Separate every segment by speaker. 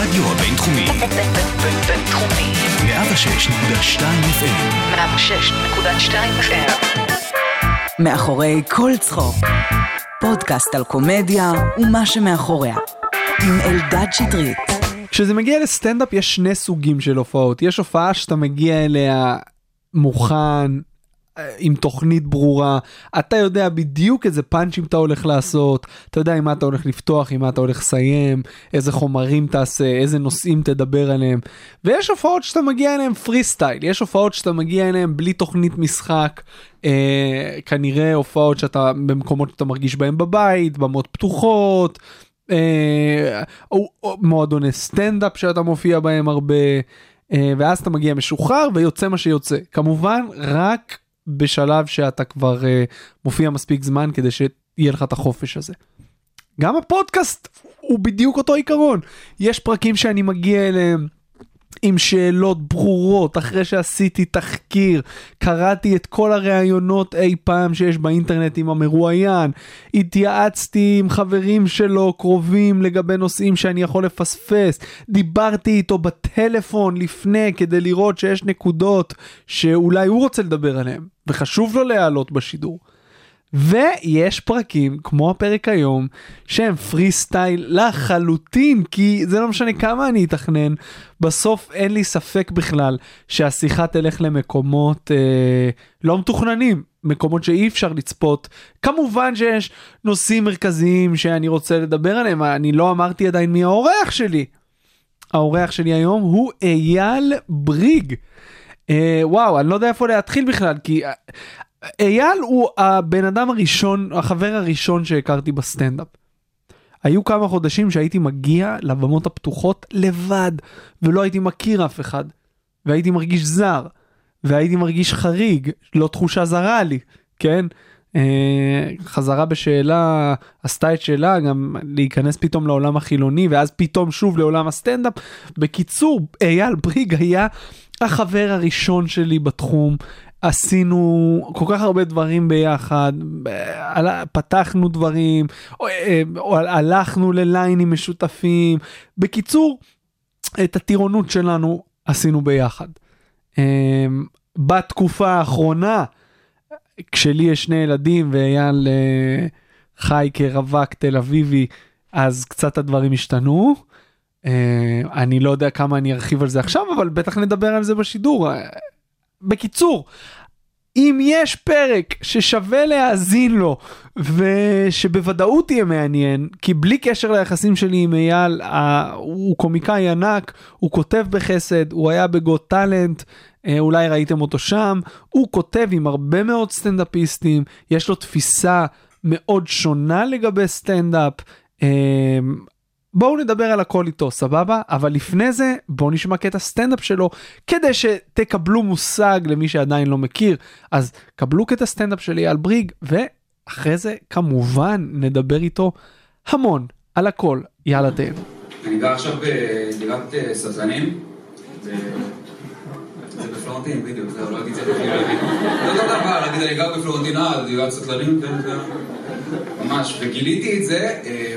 Speaker 1: הבינתחומי.
Speaker 2: בינתחומי,
Speaker 1: 106.2 FM
Speaker 2: 106.2 FM.
Speaker 3: מאחורי כל צחוק. פודקאסט על קומדיה ומה שמאחוריה. עם אלדד שטרית.
Speaker 4: כשזה מגיע לסטנדאפ יש שני סוגים של הופעות יש הופעה שאתה מגיע אליה מוכן אה, עם תוכנית ברורה אתה יודע בדיוק איזה פאנצ'ים אתה הולך לעשות אתה יודע עם מה אתה הולך לפתוח עם מה אתה הולך לסיים איזה חומרים תעשה איזה נושאים תדבר עליהם ויש הופעות שאתה מגיע אליהם פרי סטייל יש הופעות שאתה מגיע אליהם בלי תוכנית משחק אה, כנראה הופעות שאתה במקומות שאתה מרגיש בהם בבית במות פתוחות. אה, או, או, מועדוני סטנדאפ שאתה מופיע בהם הרבה, אה, ואז אתה מגיע משוחרר ויוצא מה שיוצא. כמובן, רק בשלב שאתה כבר אה, מופיע מספיק זמן כדי שיהיה לך את החופש הזה. גם הפודקאסט הוא בדיוק אותו עיקרון. יש פרקים שאני מגיע אליהם. עם שאלות ברורות, אחרי שעשיתי תחקיר, קראתי את כל הראיונות אי פעם שיש באינטרנט עם המרואיין, התייעצתי עם חברים שלו, קרובים, לגבי נושאים שאני יכול לפספס, דיברתי איתו בטלפון לפני כדי לראות שיש נקודות שאולי הוא רוצה לדבר עליהן, וחשוב לו להעלות בשידור. ויש פרקים, כמו הפרק היום, שהם פרי סטייל לחלוטין, כי זה לא משנה כמה אני אתכנן, בסוף אין לי ספק בכלל שהשיחה תלך למקומות אה, לא מתוכננים, מקומות שאי אפשר לצפות. כמובן שיש נושאים מרכזיים שאני רוצה לדבר עליהם, אני לא אמרתי עדיין מי האורח שלי. האורח שלי היום הוא אייל בריג. אה, וואו, אני לא יודע איפה להתחיל בכלל, כי אה, אייל הוא הבן אדם הראשון, החבר הראשון שהכרתי בסטנדאפ. היו כמה חודשים שהייתי מגיע לבמות הפתוחות לבד, ולא הייתי מכיר אף אחד, והייתי מרגיש זר, והייתי מרגיש חריג, לא תחושה זרה לי, כן? אה, חזרה בשאלה, עשתה את שאלה, גם להיכנס פתאום לעולם החילוני, ואז פתאום שוב לעולם הסטנדאפ. בקיצור, אייל בריג היה החבר הראשון שלי בתחום. עשינו כל כך הרבה דברים ביחד, אה, עלה- פתחנו דברים, או, אה, או, הלכנו לליינים משותפים. בקיצור, את הטירונות שלנו עשינו ביחד. אמ, בתקופה האחרונה, כשלי יש שני ילדים ואייל אה, חי כרווק תל אביבי, אז קצת הדברים השתנו. אה, אני לא יודע כמה אני ארחיב על זה עכשיו, אבל בטח נדבר על זה בשידור. אה, בקיצור, אם יש פרק ששווה להאזין לו ושבוודאות יהיה מעניין, כי בלי קשר ליחסים שלי עם אייל, ה- הוא קומיקאי ענק, הוא כותב בחסד, הוא היה בגוט טאלנט, אה, אולי ראיתם אותו שם, הוא כותב עם הרבה מאוד סטנדאפיסטים, יש לו תפיסה מאוד שונה לגבי סטנדאפ. אה, בואו נדבר על הכל איתו, סבבה? אבל לפני זה, בואו נשמע קטע סטנדאפ שלו, כדי שתקבלו מושג למי שעדיין לא מכיר. אז קבלו קטע סטנדאפ של אייל בריג, ואחרי זה כמובן נדבר איתו המון על הכל. יאללה תהנו.
Speaker 5: אני גר עכשיו בדירת אה, סזנים. זה זה בפלורנטין, בדיוק, זהו, לא הייתי צריך להגיד. לא אותו דבר, להגיד, אני גר בפלורנטין, אה, דירת סטלנים, כן, כן. ממש, וגיליתי את זה, אה,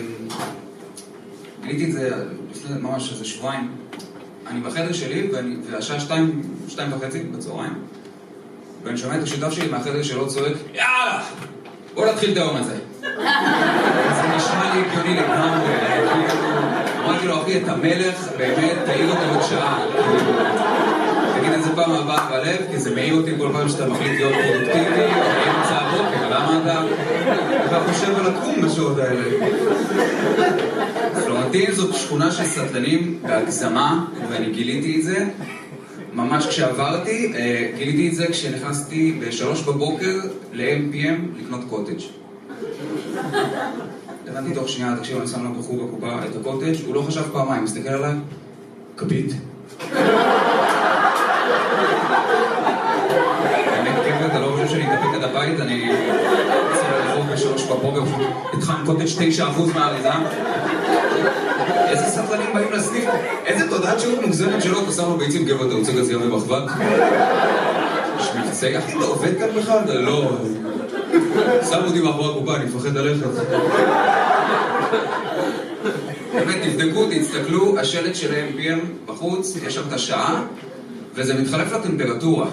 Speaker 5: גיליתי את זה לפני ממש איזה שבועיים. אני בחדר שלי, ואני- והשעה שתיים, שתיים וחצי בצהריים, ואני שומע את השותף שלי מהחדר שלו צועק, יאללה! בוא נתחיל את היום הזה. זה נשמע לי הגיוני לגמרי, כאילו, אמרתי לו, אחי, אתה מלך, באמת, תעיר אותו עוד שעה. תגיד את זה פעם הבאה בלב, כי זה מעיר אותי כל פעם שאתה מחליט להיות פרודוקטיבי, באמצע הבוקר, למה אתה... אתה חושב על התחום בשעות האלה. פלורנטין זאת שכונה של סטלנים בהגזמה, ואני גיליתי את זה. ממש כשעברתי, אה, גיליתי את זה כשנכנסתי בשלוש בבוקר ל-MPM לקנות קוטג'. הבנתי תוך שנייה, תקשיב, אני שם לו בחור בקופה את הקוטג', הוא לא חשב פעמיים, מסתכל עליי, כפית. באמת, כן, אתה לא חושב שאני אתאפק עד הבית, אני יוצא לרחוב בשלוש בבוקר, פשוט התחלנו קוטג' תשע אחוז מהאריזה. איזה סבלנים באים לסניף, איזה תודעת שירות מוגזמת שלא, אתה שם לו ביצים גבר, אתה רוצה גזיר ובחבק? יש מבצעי, אחי, אתה עובד כאן בכלל? לא. שם אותי מאחורי הקופה, אני מפחד ללכת.
Speaker 6: באמת, תבדקו, תסתכלו, השלט של ה-MPM בחוץ, יש שם את השעה, וזה מתחלף לטמפרטורה.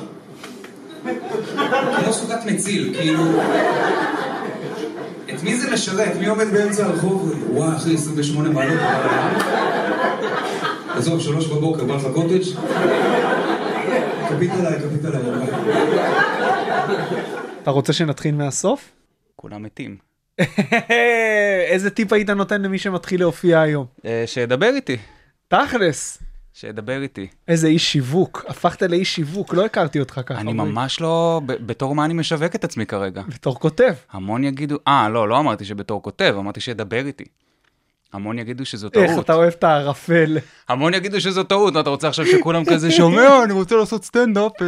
Speaker 6: כמו סוכת מציל, כאילו... את מי זה משרת? מי עומד באמצע הרחוב? וואי, אחי, 28 מעלות. אה? עזוב, שלוש בבוקר, בא לך קוטג'? כפית עליי, כפית עליי. יאללה.
Speaker 4: אתה רוצה שנתחיל מהסוף?
Speaker 5: כולם מתים.
Speaker 4: איזה טיפ היית נותן למי שמתחיל להופיע היום?
Speaker 5: אה, שידבר איתי,
Speaker 4: תכלס,
Speaker 5: שידבר איתי.
Speaker 4: איזה איש שיווק, הפכת לאיש שיווק, לא הכרתי אותך ככה.
Speaker 5: אני
Speaker 4: אוי.
Speaker 5: ממש לא, ב- בתור מה אני משווק את עצמי כרגע.
Speaker 4: בתור כותב.
Speaker 5: המון יגידו, אה, לא, לא אמרתי שבתור כותב, אמרתי שידבר איתי. המון יגידו שזו טעות.
Speaker 4: איך אתה אוהב את הערפל.
Speaker 5: המון יגידו שזו טעות, מה אתה רוצה עכשיו שכולם כזה שומע, אני רוצה לעשות סטנדאפ. אה."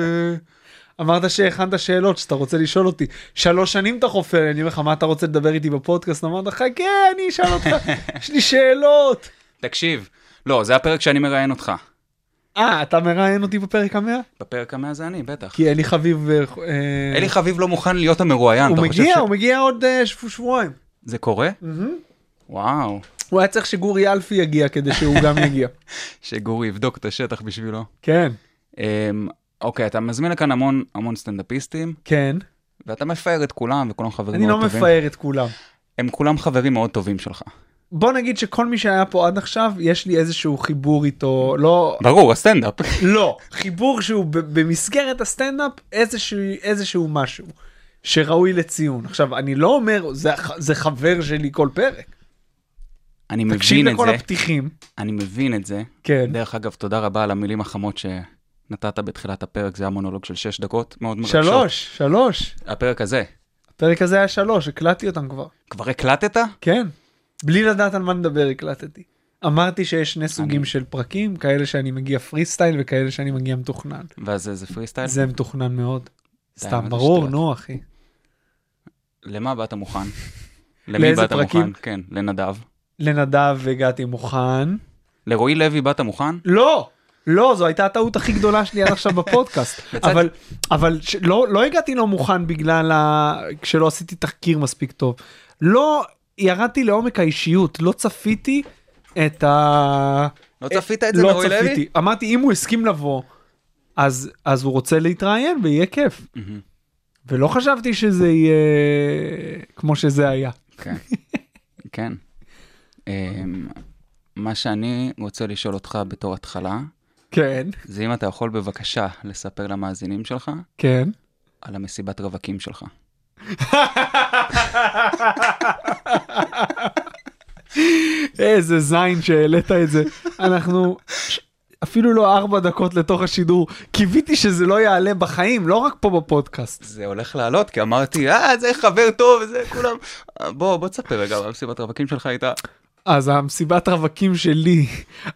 Speaker 4: אמרת שהכנת שאלות שאתה רוצה לשאול אותי. שלוש שנים אתה חופר, אני אומר לך, מה אתה רוצה לדבר איתי בפודקאסט? אמרת, חכה, אני אשאל אותך, יש לי שאלות.
Speaker 5: תקשיב, לא, זה הפרק שאני מראיין אותך.
Speaker 4: אה, אתה מראיין אותי בפרק המאה?
Speaker 5: בפרק המאה זה אני, בטח.
Speaker 4: כי אלי חביב... אה, אה,
Speaker 5: אלי חביב לא מוכן להיות המרואיין,
Speaker 4: הוא
Speaker 5: אתה חושב
Speaker 4: מגיע,
Speaker 5: ש-
Speaker 4: הוא מגיע עוד אה, שבוע- שבועיים.
Speaker 5: זה קורה? וואו,
Speaker 4: הוא היה צריך שגורי אלפי יגיע כדי שהוא גם יגיע.
Speaker 5: שגורי יבדוק את השטח בשבילו.
Speaker 4: כן,
Speaker 5: אמ, אוקיי, אתה מזמין לכאן המון המון סטנדאפיסטים,
Speaker 4: כן.
Speaker 5: ואתה מפאר את כולם, וכולם חברים
Speaker 4: אני לא
Speaker 5: מאוד טובים.
Speaker 4: מפאר את כולם.
Speaker 5: הם כולם חברים מאוד טובים שלך.
Speaker 4: בוא נגיד שכל מי שהיה פה עד עכשיו, יש לי איזשהו חיבור איתו, לא,
Speaker 5: ברור, הסטנדאפ.
Speaker 4: לא, חיבור שהוא ב- במסגרת הסטנדאפ איזשהו, איזשהו משהו שראוי לציון. עכשיו, אני לא אומר, זה, ח- זה חבר שלי כל פרק.
Speaker 5: אני
Speaker 4: תקשיב
Speaker 5: מבין את
Speaker 4: לכל
Speaker 5: זה,
Speaker 4: הפתיחים.
Speaker 5: אני מבין את זה.
Speaker 4: כן.
Speaker 5: דרך אגב, תודה רבה על המילים החמות שנתת בתחילת הפרק, זה היה מונולוג של שש דקות, מאוד מרגשות.
Speaker 4: שלוש, שלוש.
Speaker 5: הפרק הזה.
Speaker 4: הפרק הזה היה שלוש, הקלטתי אותם כבר.
Speaker 5: כבר הקלטת?
Speaker 4: כן. בלי לדעת על מה נדבר הקלטתי. אמרתי שיש שני סוגים של פרקים, כאלה שאני מגיע פרי סטייל וכאלה שאני מגיע מתוכנן.
Speaker 5: ואז איזה פרי סטייל?
Speaker 4: זה מתוכנן מאוד.
Speaker 5: כן. מה
Speaker 4: סתם,
Speaker 5: זה
Speaker 4: ברור,
Speaker 5: שטויות?
Speaker 4: נו אחי.
Speaker 5: למה באת מוכן?
Speaker 4: לאיזה
Speaker 5: למי באת
Speaker 4: פרקים?
Speaker 5: מוכן? כן, לנדב.
Speaker 4: לנדב הגעתי מוכן.
Speaker 5: לרועי לוי באת מוכן?
Speaker 4: לא, לא, זו הייתה הטעות הכי גדולה שלי עד עכשיו בפודקאסט. אבל, אבל ש- לא, לא הגעתי לא מוכן בגלל ה... כשלא עשיתי תחקיר מספיק טוב. לא ירדתי לעומק האישיות, לא צפיתי את ה...
Speaker 5: לא צפית את זה מרועי לוי?
Speaker 4: לא צפיתי. אמרתי, אם הוא הסכים לבוא, אז, אז הוא רוצה להתראיין ויהיה כיף. ולא חשבתי שזה יהיה כמו שזה היה.
Speaker 5: כן. כן. אמ, מה שאני רוצה לשאול אותך בתור התחלה,
Speaker 4: כן,
Speaker 5: זה אם אתה יכול בבקשה לספר למאזינים שלך
Speaker 4: כן.
Speaker 5: על המסיבת רווקים שלך.
Speaker 4: איזה זין שהעלית את זה. אנחנו ש- אפילו לא ארבע דקות לתוך השידור, קיוויתי שזה לא יעלה בחיים, לא רק פה בפודקאסט.
Speaker 5: זה הולך לעלות, כי אמרתי, אה, זה חבר טוב, וזה כולם. אה, בוא, בוא תספר רגע, אבל מסיבת רווקים שלך הייתה...
Speaker 4: אז המסיבת רווקים שלי,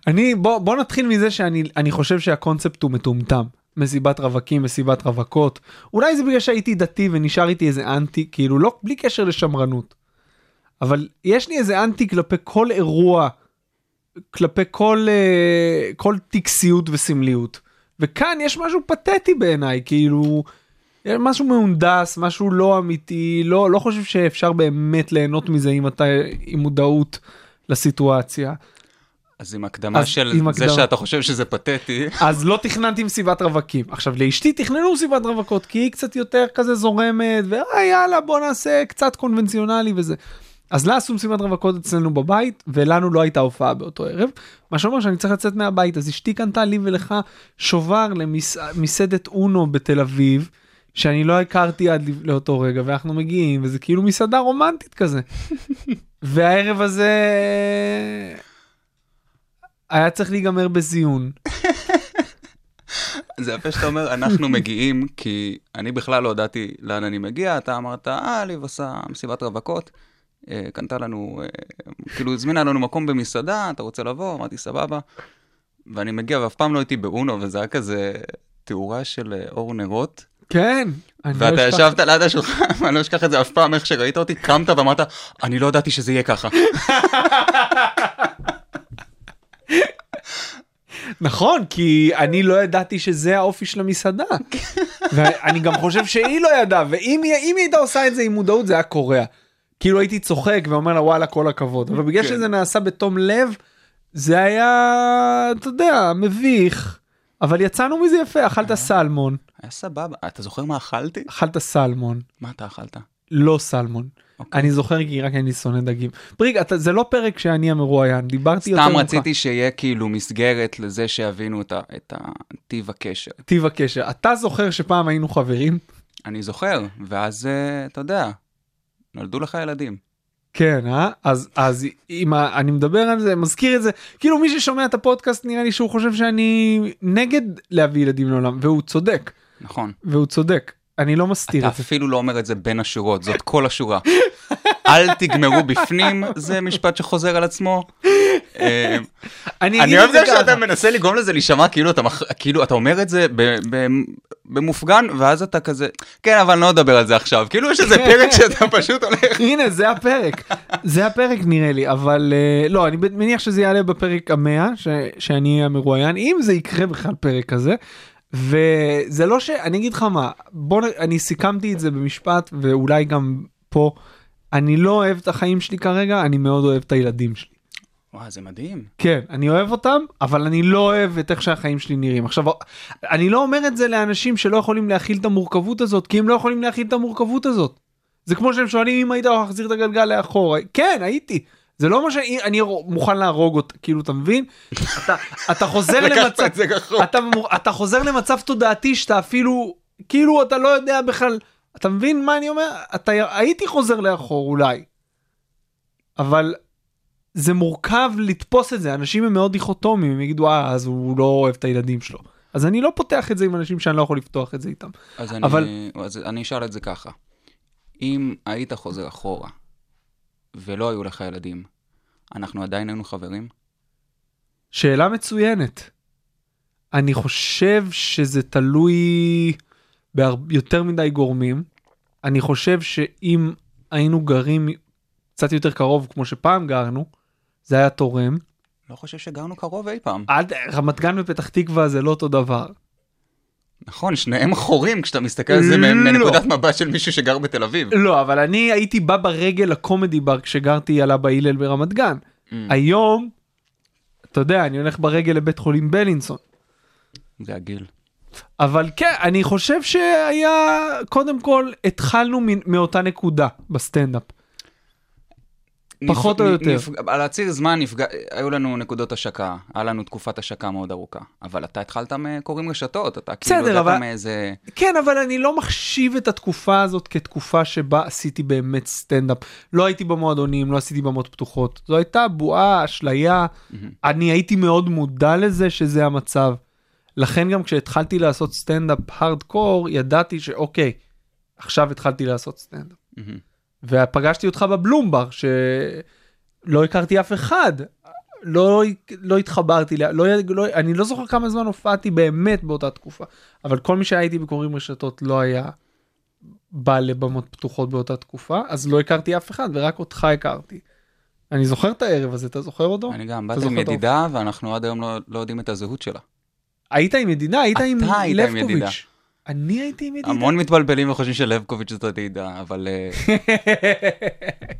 Speaker 4: אני, בוא, בוא נתחיל מזה שאני אני חושב שהקונספט הוא מטומטם. מסיבת רווקים, מסיבת רווקות. אולי זה בגלל שהייתי דתי ונשאר איתי איזה אנטי, כאילו לא, בלי קשר לשמרנות. אבל יש לי איזה אנטי כלפי כל אירוע כלפי כל, אה, כל טקסיות וסמליות. וכאן יש משהו פתטי בעיניי, כאילו, אה, משהו מהונדס, משהו לא אמיתי, לא, לא חושב שאפשר באמת ליהנות מזה אם אתה עם מודעות לסיטואציה.
Speaker 5: אז עם הקדמה
Speaker 4: אז
Speaker 5: של
Speaker 4: עם
Speaker 5: זה
Speaker 4: הקדמה.
Speaker 5: שאתה חושב שזה פתטי,
Speaker 4: אז לא תכננתי מסיבת רווקים. עכשיו, לאשתי תכננו מסיבת רווקות, כי היא קצת יותר כזה זורמת, ואה יאללה בוא נעשה קצת קונבנציונלי וזה. אז לה עשו מסיבת רווקות אצלנו בבית, ולנו לא הייתה הופעה באותו ערב, מה שאומר שאני צריך לצאת מהבית, אז אשתי קנתה לי ולך שובר למסעדת אונו בתל אביב. שאני לא הכרתי עד לפ- לאותו רגע ואנחנו מגיעים וזה כאילו מסעדה רומנטית כזה. והערב הזה היה צריך להיגמר בזיון
Speaker 5: זה יפה שאתה אומר, אנחנו מגיעים, כי אני בכלל לא ידעתי לאן אני מגיע, אתה אמרת, אה, ליב עשה מסיבת רווקות, אה, קנתה לנו, אה, כאילו הזמינה לנו מקום במסעדה, אתה רוצה לבוא? אמרתי, סבבה. ואני מגיע, ואף פעם לא הייתי באונו, וזה היה כזה תאורה של אה, אור נרות,
Speaker 4: כן. אני לא
Speaker 5: ואתה
Speaker 4: אשכח.
Speaker 5: ישבת ליד השולחן, ואני לא אשכח את זה אף פעם, איך שראית אותי, קמת ואמרת, אני לא ידעתי שזה יהיה ככה.
Speaker 4: נכון, כי אני לא ידעתי שזה האופי של המסעדה. ואני גם חושב שהיא לא ידעה, ואם היא, אם היא הייתה עושה את זה עם מודעות זה היה קורע. כאילו הייתי צוחק ואומר לה וואלה כל הכבוד אבל בגלל
Speaker 5: כן.
Speaker 4: שזה נעשה בתום לב זה היה אתה יודע מביך אבל יצאנו מזה יפה אכלת
Speaker 5: אוקיי.
Speaker 4: סלמון
Speaker 5: היה סבבה. אתה זוכר מה אכלתי?
Speaker 4: אכלת סלמון
Speaker 5: מה אתה אכלת?
Speaker 4: לא סלמון.
Speaker 5: אוקיי.
Speaker 4: אני זוכר כי רק אני שונא דגים. פריג, אתה, זה לא פרק שאני המרואיין, דיברתי יותר
Speaker 5: סתם
Speaker 4: ממך.
Speaker 5: רציתי שיהיה כאילו מסגרת לזה שיבינו את ה- את ה- טיב הקשר.
Speaker 4: טיב הקשר. אתה זוכר שפעם היינו חברים?
Speaker 5: אני זוכר, ואז אה, אתה יודע, נולדו לך ילדים.
Speaker 4: כן, אה? אז, אז אם ה- אני מדבר על זה, מזכיר את זה, כאילו מי ששומע את הפודקאסט נראה לי שהוא חושב שאני נגד להביא ילדים לעולם, והוא צודק,
Speaker 5: נכון.
Speaker 4: והוא צודק. אני לא מסתיר
Speaker 5: אתה
Speaker 4: את זה.
Speaker 5: אפילו לא אומר את זה בין השורות, זאת כל השורה. אל תגמרו בפנים, זה משפט שחוזר על עצמו. אה, אני
Speaker 4: אגיד
Speaker 5: אוהב
Speaker 4: את
Speaker 5: זה שאתה
Speaker 4: ככה.
Speaker 5: מנסה לגרום לזה להישמע כאילו אתה מח- כאילו אתה אומר את זה ב- ב- במופגן ואז אתה כזה כן אבל לא נדבר על זה עכשיו כאילו יש איזה פרק שאתה פשוט הולך
Speaker 4: הנה זה הפרק זה הפרק נראה לי אבל אה, לא אני מניח שזה יעלה בפרק המאה ש- שאני אהיה המרואיין אם זה יקרה בכלל פרק כזה. וזה לא שאני אגיד לך מה בוא נ... אני סיכמתי את זה במשפט ואולי גם פה אני לא אוהב את החיים שלי כרגע אני מאוד אוהב את הילדים שלי.
Speaker 5: וואי זה מדהים
Speaker 4: כן, אני אוהב אותם, אבל אני לא אוהב את איך שהחיים שלי נראים. עכשיו, אני לא אומר את זה לאנשים שלא יכולים להכיל את המורכבות הזאת, כי הם לא יכולים להכיל את המורכבות הזאת. זה כמו שהם שואלים אם היית מחזיר את הגלגל לאחור. כן, הייתי. זה לא מה שאני מוכן להרוג אותה, כאילו, אתה מבין? אתה, אתה חוזר
Speaker 5: לקחת
Speaker 4: למצב...
Speaker 5: את זה רחוק.
Speaker 4: אתה, מור- אתה חוזר למצב תודעתי שאתה אפילו, כאילו אתה לא יודע בכלל, אתה מבין מה אני אומר? אתה הייתי חוזר לאחור אולי, אבל זה מורכב לתפוס את זה, אנשים הם מאוד דיכוטומיים, הם יגידו אה, אז הוא לא אוהב את הילדים שלו. אז אני לא פותח את זה עם אנשים שאני לא יכול לפתוח את זה איתם.
Speaker 5: אז
Speaker 4: אבל-
Speaker 5: אני, אז אני אשאל את זה ככה. אם היית חוזר אחורה ולא היו לך ילדים, אנחנו עדיין היינו חברים?
Speaker 4: שאלה מצוינת. אני חושב שזה תלוי ביותר מדי גורמים. אני חושב שאם היינו גרים קצת יותר קרוב כמו שפעם גרנו, זה היה תורם.
Speaker 5: לא חושב שגרנו קרוב אי פעם.
Speaker 4: עד רמת גן ופתח תקווה זה לא אותו דבר.
Speaker 5: נכון, שניהם חורים כשאתה מסתכל על זה
Speaker 4: לא.
Speaker 5: מנקודת מבט של מישהו שגר בתל אביב.
Speaker 4: לא, אבל אני הייתי בא ברגל לקומדי בר כשגרתי על אבא הלל ברמת גן. Mm-hmm.
Speaker 5: Mm,
Speaker 4: היום, אתה יודע, אני הולך ברגל לבית חולים בלינסון.
Speaker 5: זה הגיל.
Speaker 4: אבל כן, אני חושב שהיה, קודם כל, התחלנו מ- מאותה נקודה בסטנדאפ. פחות או
Speaker 5: נפ-
Speaker 4: יותר.
Speaker 5: נפ- על הציר זמן נפגע, היו לנו נקודות השקה, היה לנו תקופת השקה מאוד ארוכה. אבל אתה התחלת מקוראים רשתות, אתה כאילו
Speaker 4: בסדר,
Speaker 5: הגעת
Speaker 4: אבל-
Speaker 5: מאיזה...
Speaker 4: כן, אבל אני לא מחשיב את התקופה הזאת כתקופה שבה עשיתי באמת סטנדאפ. לא הייתי במועדונים, לא עשיתי במות פתוחות. זו הייתה בועה, אשליה. אני הייתי מאוד מודע לזה שזה המצב. לכן גם כשהתחלתי לעשות סטנדאפ הארדקור, ידעתי שאוקיי, עכשיו התחלתי לעשות סטנדאפ.
Speaker 5: מהמם.
Speaker 4: ופגשתי אותך בבלומבר שלא הכרתי אף אחד לא לא התחברתי ל- לא, לא אני לא זוכר כמה זמן הופעתי באמת באותה תקופה אבל כל מי שהייתי בקוראים רשתות לא היה בא לבמות פתוחות באותה תקופה אז לא הכרתי אף אחד ורק אותך הכרתי. אני זוכר את הערב הזה אתה זוכר אותו?
Speaker 5: אני גם,
Speaker 4: אתה
Speaker 5: באתי
Speaker 4: זוכר
Speaker 5: עם
Speaker 4: את
Speaker 5: ידידה, ואנחנו עד היום לא- לא יודעים את הזהות שלה.
Speaker 4: היית עם ידידה היית
Speaker 5: אתה
Speaker 4: עם
Speaker 5: היית עם ידידה.
Speaker 4: לבקוביץ'. אני הייתי עם ידידה.
Speaker 5: המון מתבלבלים וחושבים שלבקוביץ' זאת ידידה, אבל אה,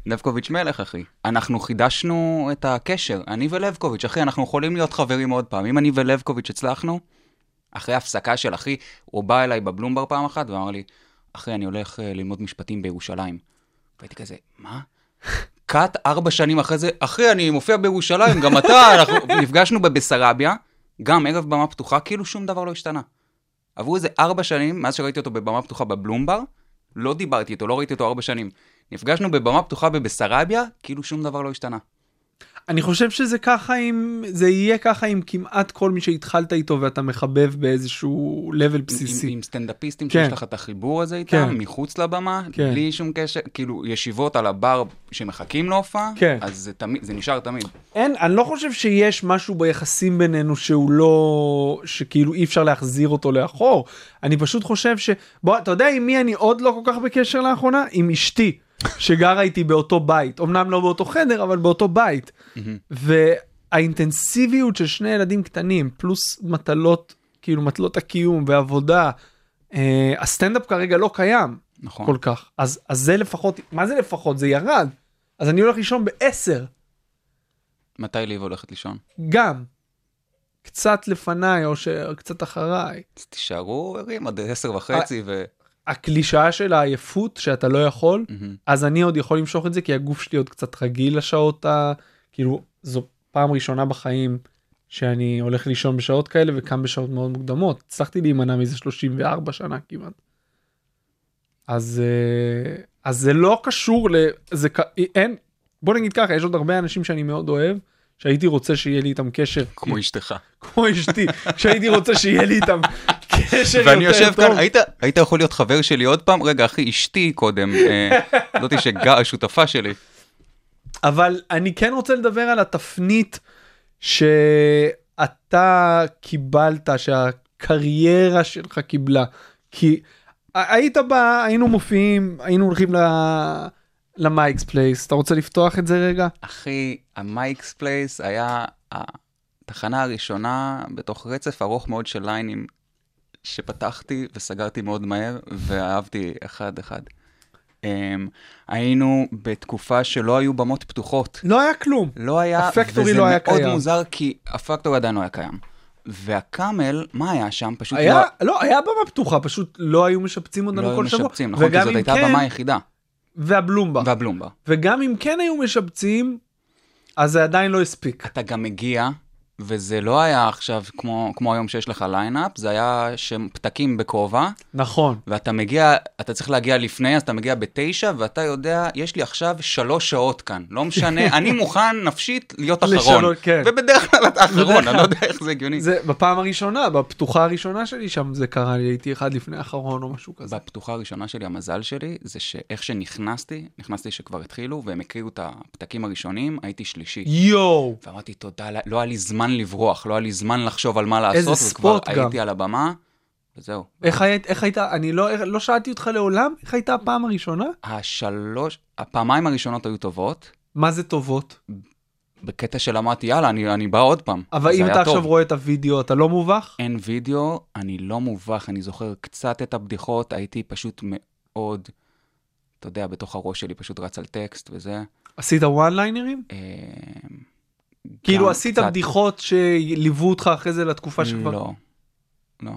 Speaker 5: לבקוביץ' מלך, אחי. אנחנו חידשנו את הקשר, אני ולבקוביץ', אחי, אנחנו יכולים להיות חברים עוד פעם. אם אני ולבקוביץ' הצלחנו, אחרי הפסקה של אחי, הוא בא אליי בבלומבר פעם אחת ואמר לי, אחי, אני הולך אה, ללמוד משפטים בירושלים. והייתי כזה, מה? קאט ארבע שנים אחרי זה, אחי, אני מופיע בירושלים, גם אתה, אנחנו נפגשנו בבסרביה, גם ערב במה פתוחה, כאילו שום דבר לא השתנה. עברו איזה ארבע שנים, מאז שראיתי אותו בבמה פתוחה בבלומבר, לא דיברתי איתו, לא ראיתי אותו ארבע שנים. נפגשנו בבמה פתוחה בבסרביה, כאילו שום דבר לא השתנה.
Speaker 4: אני חושב שזה ככה עם זה יהיה ככה עם כמעט כל מי שהתחלת איתו ואתה מחבב באיזשהו level בסיסי.
Speaker 5: עם, עם סטנדאפיסטים
Speaker 4: כן.
Speaker 5: שיש לך את החיבור הזה איתם,
Speaker 4: כן.
Speaker 5: מחוץ לבמה,
Speaker 4: כן.
Speaker 5: בלי שום קשר, כאילו ישיבות על הבר שמחכים להופעה,
Speaker 4: כן.
Speaker 5: אז זה, תמיד, זה נשאר תמיד.
Speaker 4: אין, אני לא חושב שיש משהו ביחסים בינינו שהוא לא, שכאילו אי אפשר להחזיר אותו לאחור. אני פשוט חושב ש... בוא, אתה יודע עם מי אני עוד לא כל כך בקשר לאחרונה? עם אשתי, שגרה איתי באותו בית. אמנם לא באותו חדר, אבל באותו בית. והאינטנסיביות של שני ילדים קטנים, פלוס מטלות, כאילו מטלות הקיום ועבודה, אה, הסטנדאפ כרגע לא קיים.
Speaker 5: נכון.
Speaker 4: כל כך. אז, אז זה לפחות, מה זה לפחות? זה ירד. אז אני הולך לישון בעשר,
Speaker 5: מתי ליב הולכת לישון?
Speaker 4: גם. קצת לפניי או ש- קצת אחריי.
Speaker 5: אז תישארו ערים עד עשר
Speaker 4: אה.
Speaker 5: וחצי ו...
Speaker 4: הקלישאה של העייפות שאתה לא יכול,
Speaker 5: מהמם.
Speaker 4: אז אני עוד יכול למשוך את זה כי הגוף שלי עוד קצת רגיל לשעות ה... כאילו, זו פעם ראשונה בחיים שאני הולך לישון בשעות כאלה וקם בשעות מאוד מוקדמות. הצלחתי להימנע מזה 34 שנה כמעט. אז, אה, אז זה לא קשור ל... זה כ- אין... בוא נגיד ככה, יש עוד הרבה אנשים שאני מאוד אוהב, שהייתי רוצה שיהיה לי איתם קשר.
Speaker 5: כמו אשתך.
Speaker 4: כמו אשתי, שהייתי רוצה שיהיה לי איתם קשר כן, יותר טוב.
Speaker 5: ואני יושב כאן, היית, היית יכול להיות חבר שלי עוד פעם? רגע, אחי, אשתי קודם, אה, זאתי שגה, השותפה שלי.
Speaker 4: אבל אני כן רוצה לדבר על התפנית שאתה קיבלת, שהקריירה שלך קיבלה. כי ה- היית בא, היינו מופיעים, היינו הולכים ל... למייקס פלייס, אתה רוצה לפתוח את זה רגע?
Speaker 5: אחי, המייקס פלייס היה התחנה הראשונה בתוך רצף ארוך מאוד של ליינים שפתחתי וסגרתי מאוד מהר, ואהבתי אחד-אחד. אמ, היינו בתקופה שלא היו במות פתוחות.
Speaker 4: לא היה כלום.
Speaker 5: לא היה,
Speaker 4: הפקטורי
Speaker 5: וזה
Speaker 4: לא היה
Speaker 5: מאוד
Speaker 4: קיים.
Speaker 5: מוזר, כי הפקטורי עדיין לא היה קיים. והקאמל, מה היה שם? פשוט
Speaker 4: היה,
Speaker 5: לא...
Speaker 4: לא, היה במה פתוחה, פשוט לא היו משפצים אותנו
Speaker 5: לא היו
Speaker 4: כל שבוע.
Speaker 5: משפצים, נכון? כי
Speaker 4: וגם
Speaker 5: זאת
Speaker 4: אם
Speaker 5: הייתה
Speaker 4: כן,
Speaker 5: הבמה היחידה.
Speaker 4: והבלומבה.
Speaker 5: והבלומבה.
Speaker 4: וגם אם כן היו משפצים, אז זה עדיין לא הספיק.
Speaker 5: אתה גם מגיע, וזה לא היה עכשיו כמו, כמו היום שיש לך ליינאפ, זה היה שם פתקים בכובע,
Speaker 4: נכון.
Speaker 5: ואתה מגיע, אתה צריך להגיע לפני, אז אתה מגיע בתשע, ואתה יודע, יש לי עכשיו שלוש שעות כאן, לא משנה, אני מוכן נפשית להיות אחרון.
Speaker 4: לשלוש, כן.
Speaker 5: ובדרך כלל אתה
Speaker 4: בדרך
Speaker 5: אחרון,
Speaker 4: כלל.
Speaker 5: אני לא יודע איך זה הגיוני.
Speaker 4: זה בפעם הראשונה, בפתוחה הראשונה שלי שם זה קרה לי, הייתי אחד לפני האחרון או משהו כזה.
Speaker 5: בפתוחה הראשונה שלי, המזל שלי, זה שאיך שנכנסתי, נכנסתי שכבר התחילו, והם הקריאו את הפתקים הראשונים, הייתי שלישי.
Speaker 4: יואו,
Speaker 5: ואמרתי, תודה, ל- לא היה לי זמן לברוח, לא היה לי זמן לחשוב על מה לעשות.
Speaker 4: איזה ספוט
Speaker 5: וכבר
Speaker 4: גם.
Speaker 5: הייתי על הבמה, וזהו.
Speaker 4: איך היית, איך היית, אני לא, איך- לא שאלתי אותך לעולם, איך הייתה הפעם הראשונה?
Speaker 5: השלוש, הפעמיים הראשונות היו טובות,
Speaker 4: מה זה טובות?
Speaker 5: בקטע של אמרתי, יאללה, אני, אני בא עוד פעם.
Speaker 4: אבל
Speaker 5: זה
Speaker 4: אם
Speaker 5: היה
Speaker 4: אתה
Speaker 5: טוב.
Speaker 4: עכשיו רואה את הוידאו, אתה לא מובך?
Speaker 5: אין וידאו, אני לא מובך, אני זוכר קצת את הבדיחות, הייתי פשוט מאוד, אתה יודע, בתוך הראש שלי פשוט רץ על טקסט וזה.
Speaker 4: עשית וואן ליינרים?
Speaker 5: אה, גם
Speaker 4: כאילו עשית
Speaker 5: קצת-
Speaker 4: בדיחות שליוו אותך אחרי זה לתקופה שכבר...
Speaker 5: לא, לא.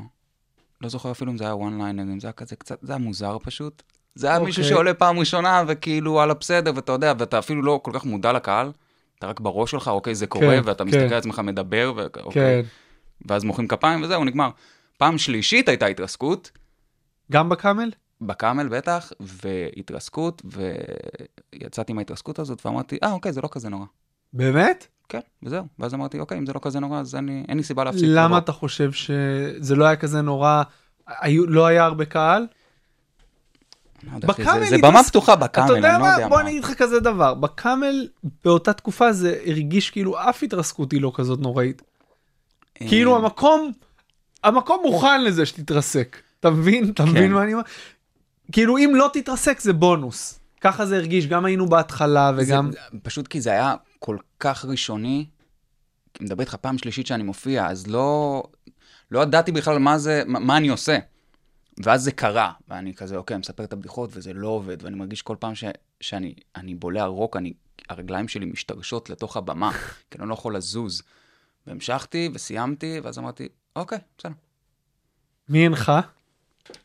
Speaker 5: לא זוכר אפילו אם זה היה one line, אם זה היה כזה קצת, זה היה מוזר פשוט. זה היה מישהו
Speaker 4: אוקיי.
Speaker 5: שעולה פעם ראשונה וכאילו על בסדר, ואתה יודע, ואתה אפילו לא כל כך מודע לקהל, אתה רק בראש שלך, אוקיי, זה קורה,
Speaker 4: כן,
Speaker 5: ואתה
Speaker 4: כן.
Speaker 5: מסתכל על עצמך מדבר, ו-
Speaker 4: כן.
Speaker 5: אוקיי, ואז מוחאים כפיים וזהו, נגמר. פעם שלישית הייתה התרסקות,
Speaker 4: גם בקאמל?
Speaker 5: בקאמל בטח, והתרסקות, ויצאתי מההתרסקות הזאת ואמרתי, אה, אוקיי, זה לא כזה נורא.
Speaker 4: באמת?
Speaker 5: כן, וזהו. ואז אמרתי, אוקיי, אם זה לא כזה נורא, אז אני- אין לי סיבה להפסיק. לבוא."
Speaker 4: למה אתה חושב שזה לא היה כזה נורא, היו- לא היה הרבה קהל?
Speaker 5: לא יודע, אחי, זה-
Speaker 4: בקאמל
Speaker 5: זה
Speaker 4: היא
Speaker 5: במה
Speaker 4: תס-
Speaker 5: פתוחה בקאמל,
Speaker 4: אתה
Speaker 5: אני לא
Speaker 4: יודע מה?
Speaker 5: יודע
Speaker 4: בוא
Speaker 5: מה.
Speaker 4: אני אגיד לך כזה דבר, בקאמל באותה תקופה זה הרגיש כאילו אף התרסקות היא לא כזאת נוראית.
Speaker 5: אה,
Speaker 4: כאילו המקום, המקום מוכן לזה שתתרסק. אתה מבין? אתה מבין
Speaker 5: כן.
Speaker 4: מה אני אומר? כאילו אם לא תתרסק זה בונוס. ככה זה הרגיש, גם היינו בהתחלה וגם...
Speaker 5: זה- פשוט כי זה היה כל כך ראשוני, אני מדבר איתך פעם שלישית שאני מופיע, אז לא... לא ידעתי בכלל מה זה, מה- מה אני עושה. ואז זה קרה, ואני כזה, אוקיי, מספר את הבדיחות, וזה לא עובד, ואני מרגיש כל פעם ש, שאני אני בולע רוק, אני, הרגליים שלי משתרשות לתוך הבמה, כי אני לא יכול לזוז. והמשכתי וסיימתי, ואז אמרתי, אוקיי, בסדר.
Speaker 4: מי הנך?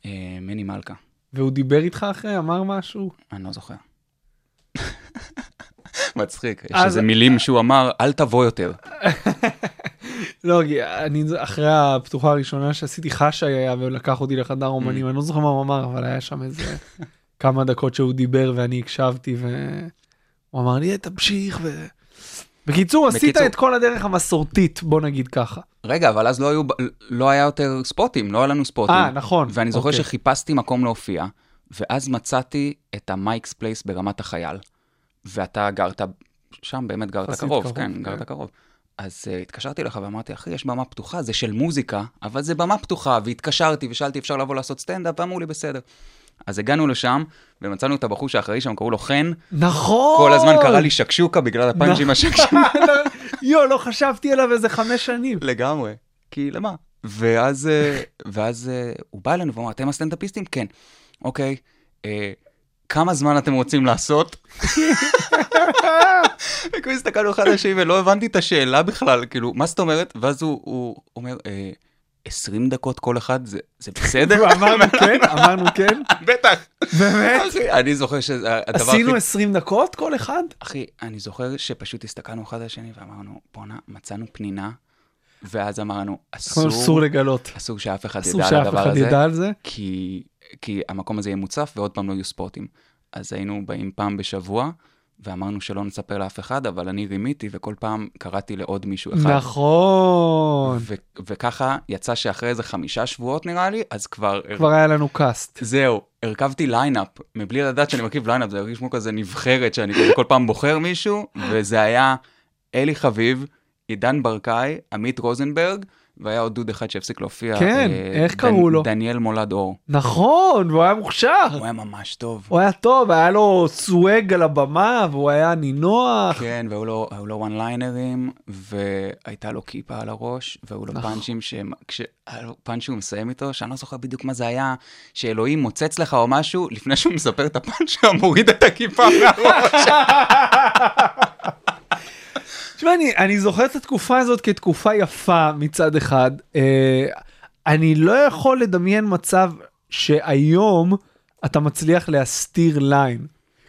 Speaker 5: אה, מני מלכה,
Speaker 4: והוא דיבר איתך אחרי, אמר משהו?
Speaker 5: אני לא זוכר. מצחיק, יש
Speaker 4: אז-
Speaker 5: איזה מילים שהוא אמר, אל תבוא יותר.
Speaker 4: לא, כי אני אחרי הפתוחה הראשונה שעשיתי חשי היה ולקח אותי לחדר
Speaker 5: Mm.
Speaker 4: אומנים, אני לא זוכר מה הוא אמר, אבל היה שם איזה כמה דקות שהוא דיבר ואני הקשבתי והוא אמר לי, "אה, תמשיך ו... בקיצור, עשית
Speaker 5: בקיצור-
Speaker 4: את כל הדרך המסורתית, בוא נגיד ככה.
Speaker 5: רגע, אבל אז לא, היו, לא היה יותר ספוטים, לא היה לנו ספוטים.
Speaker 4: אה, נכון,
Speaker 5: ואני זוכר
Speaker 4: אוקיי.
Speaker 5: שחיפשתי מקום להופיע, ואז מצאתי את המייקס פלייס ברמת החייל, ואתה גרת, שם באמת גרת
Speaker 4: יחסית
Speaker 5: קרוב,
Speaker 4: קרוב,
Speaker 5: כן,
Speaker 4: כן.
Speaker 5: גרת קרוב. אז uh, התקשרתי אליך ואמרתי, אחי, יש במה פתוחה, זה של מוזיקה, אבל זה במה פתוחה, והתקשרתי ושאלתי, אפשר לבוא לעשות סטנדאפ? ואמרו לי, בסדר. אז הגענו לשם, ומצאנו את הבחור שאחראי שם, קראו לו חן,
Speaker 4: נכון!
Speaker 5: כל הזמן קרא לי שקשוקה בגלל הפאנצ'ים השקשוקים.
Speaker 4: יואו, לא חשבתי עליו איזה חמש שנים.
Speaker 5: לגמרי. כי למה? ואז, אה, ואז אה, הוא בא אלינו ואמר, אתם הסטנדאפיסטים? כן. אוקיי, אה, כמה זמן אתם רוצים לעשות? וכאילו הסתכלנו אחד על השני ולא הבנתי את השאלה בכלל, כאילו, מה זאת אומרת? ואז הוא, הוא אומר, אה, 20 דקות כל אחד, זה, זה בסדר?
Speaker 4: אמרנו כן, אמרנו כן.
Speaker 5: בטח.
Speaker 4: באמת?
Speaker 5: אחי, אני זוכר שהדבר הכי...
Speaker 4: עשינו 20 דקות כל אחד?
Speaker 5: אחי, אני זוכר שפשוט הסתכלנו אחד על השני ואמרנו, בואנה, מצאנו פנינה, ואז אמרנו, אסור,
Speaker 4: אסור לגלות.
Speaker 5: אסור שאף אחד
Speaker 4: אסור
Speaker 5: ידע על
Speaker 4: שאף
Speaker 5: הדבר
Speaker 4: אחד
Speaker 5: הזה,
Speaker 4: ידע על זה.
Speaker 5: כי, כי המקום הזה יהיה מוצף ועוד פעם לא יהיו ספורטים. אז היינו באים פעם בשבוע, ואמרנו שלא נספר לאף אחד, אבל אני רימיתי, וכל פעם קראתי לעוד מישהו אחד.
Speaker 4: נכון.
Speaker 5: ו- וככה יצא שאחרי איזה חמישה שבועות נראה לי, אז כבר...
Speaker 4: כבר היה לנו קאסט.
Speaker 5: זהו, הרכבתי ליינאפ, מבלי לדעת שאני מרכיב ליינאפ, זה הרגיש כמו כזה נבחרת, שאני כזה כל פעם בוחר מישהו, וזה היה אלי חביב, עידן ברקאי, עמית רוזנברג, והיה עוד דוד אחד שהפסיק להופיע. אה,
Speaker 4: כן, איך קראו לו?
Speaker 5: דניאל מולד אור.
Speaker 4: נכון, והוא היה מוכשר.
Speaker 5: הוא היה ממש טוב.
Speaker 4: הוא היה טוב, היה לו סוואג על הבמה, והוא היה נינוח.
Speaker 5: כן, והיו לו, היו לו וואן ליינרים, והייתה לו כיפה על הראש, והיו לו פאנצ'ים שהם, כש... היה לו פאנץ' שהוא מסיים איתו, שאני לא זוכר בדיוק מה זה היה, שאלוהים מוצץ לך או משהו, לפני שהוא מספר את הפאנץ' שלו, מוריד את הכיפה מהראש.
Speaker 4: תשמע, אני, אני זוכר את התקופה הזאת כתקופה יפה מצד אחד. אה, אני לא יכול לדמיין מצב שהיום אתה מצליח להסתיר ליין.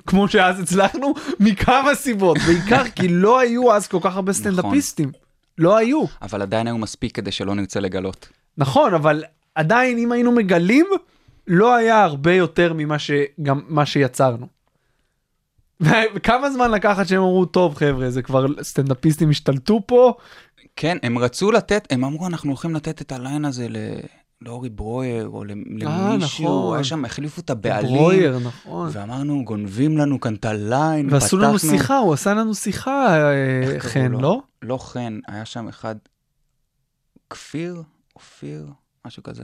Speaker 4: כמו שאז הצלחנו, מכמה סיבות, בעיקר כי לא היו אז כל כך הרבה סטנדאפיסטים. לא היו.
Speaker 5: אבל עדיין היו מספיק כדי שלא נרצה לגלות.
Speaker 4: נכון, אבל עדיין אם היינו מגלים, לא היה הרבה יותר ממה שגם מה שיצרנו. וכמה זמן לקחת שהם אמרו, טוב חבר'ה, זה כבר סטנדאפיסטים השתלטו פה,
Speaker 5: כן, הם רצו לתת, הם אמרו, אנחנו הולכים לתת את הליין הזה ל... לאורי ברויר, או למ-
Speaker 4: אה,
Speaker 5: למישהו,
Speaker 4: נכון.
Speaker 5: היה שם, החליפו את הבעלים.
Speaker 4: ברויר, נכון.
Speaker 5: ואמרנו, גונבים לנו כאן את הליין,
Speaker 4: ועשו לנו
Speaker 5: פתחנו-
Speaker 4: שיחה, הוא עשה לנו שיחה, אה,
Speaker 5: איך קראו
Speaker 4: חן,
Speaker 5: לו?
Speaker 4: לא?
Speaker 5: לא חן, היה שם אחד, כפיר, אופיר, משהו כזה.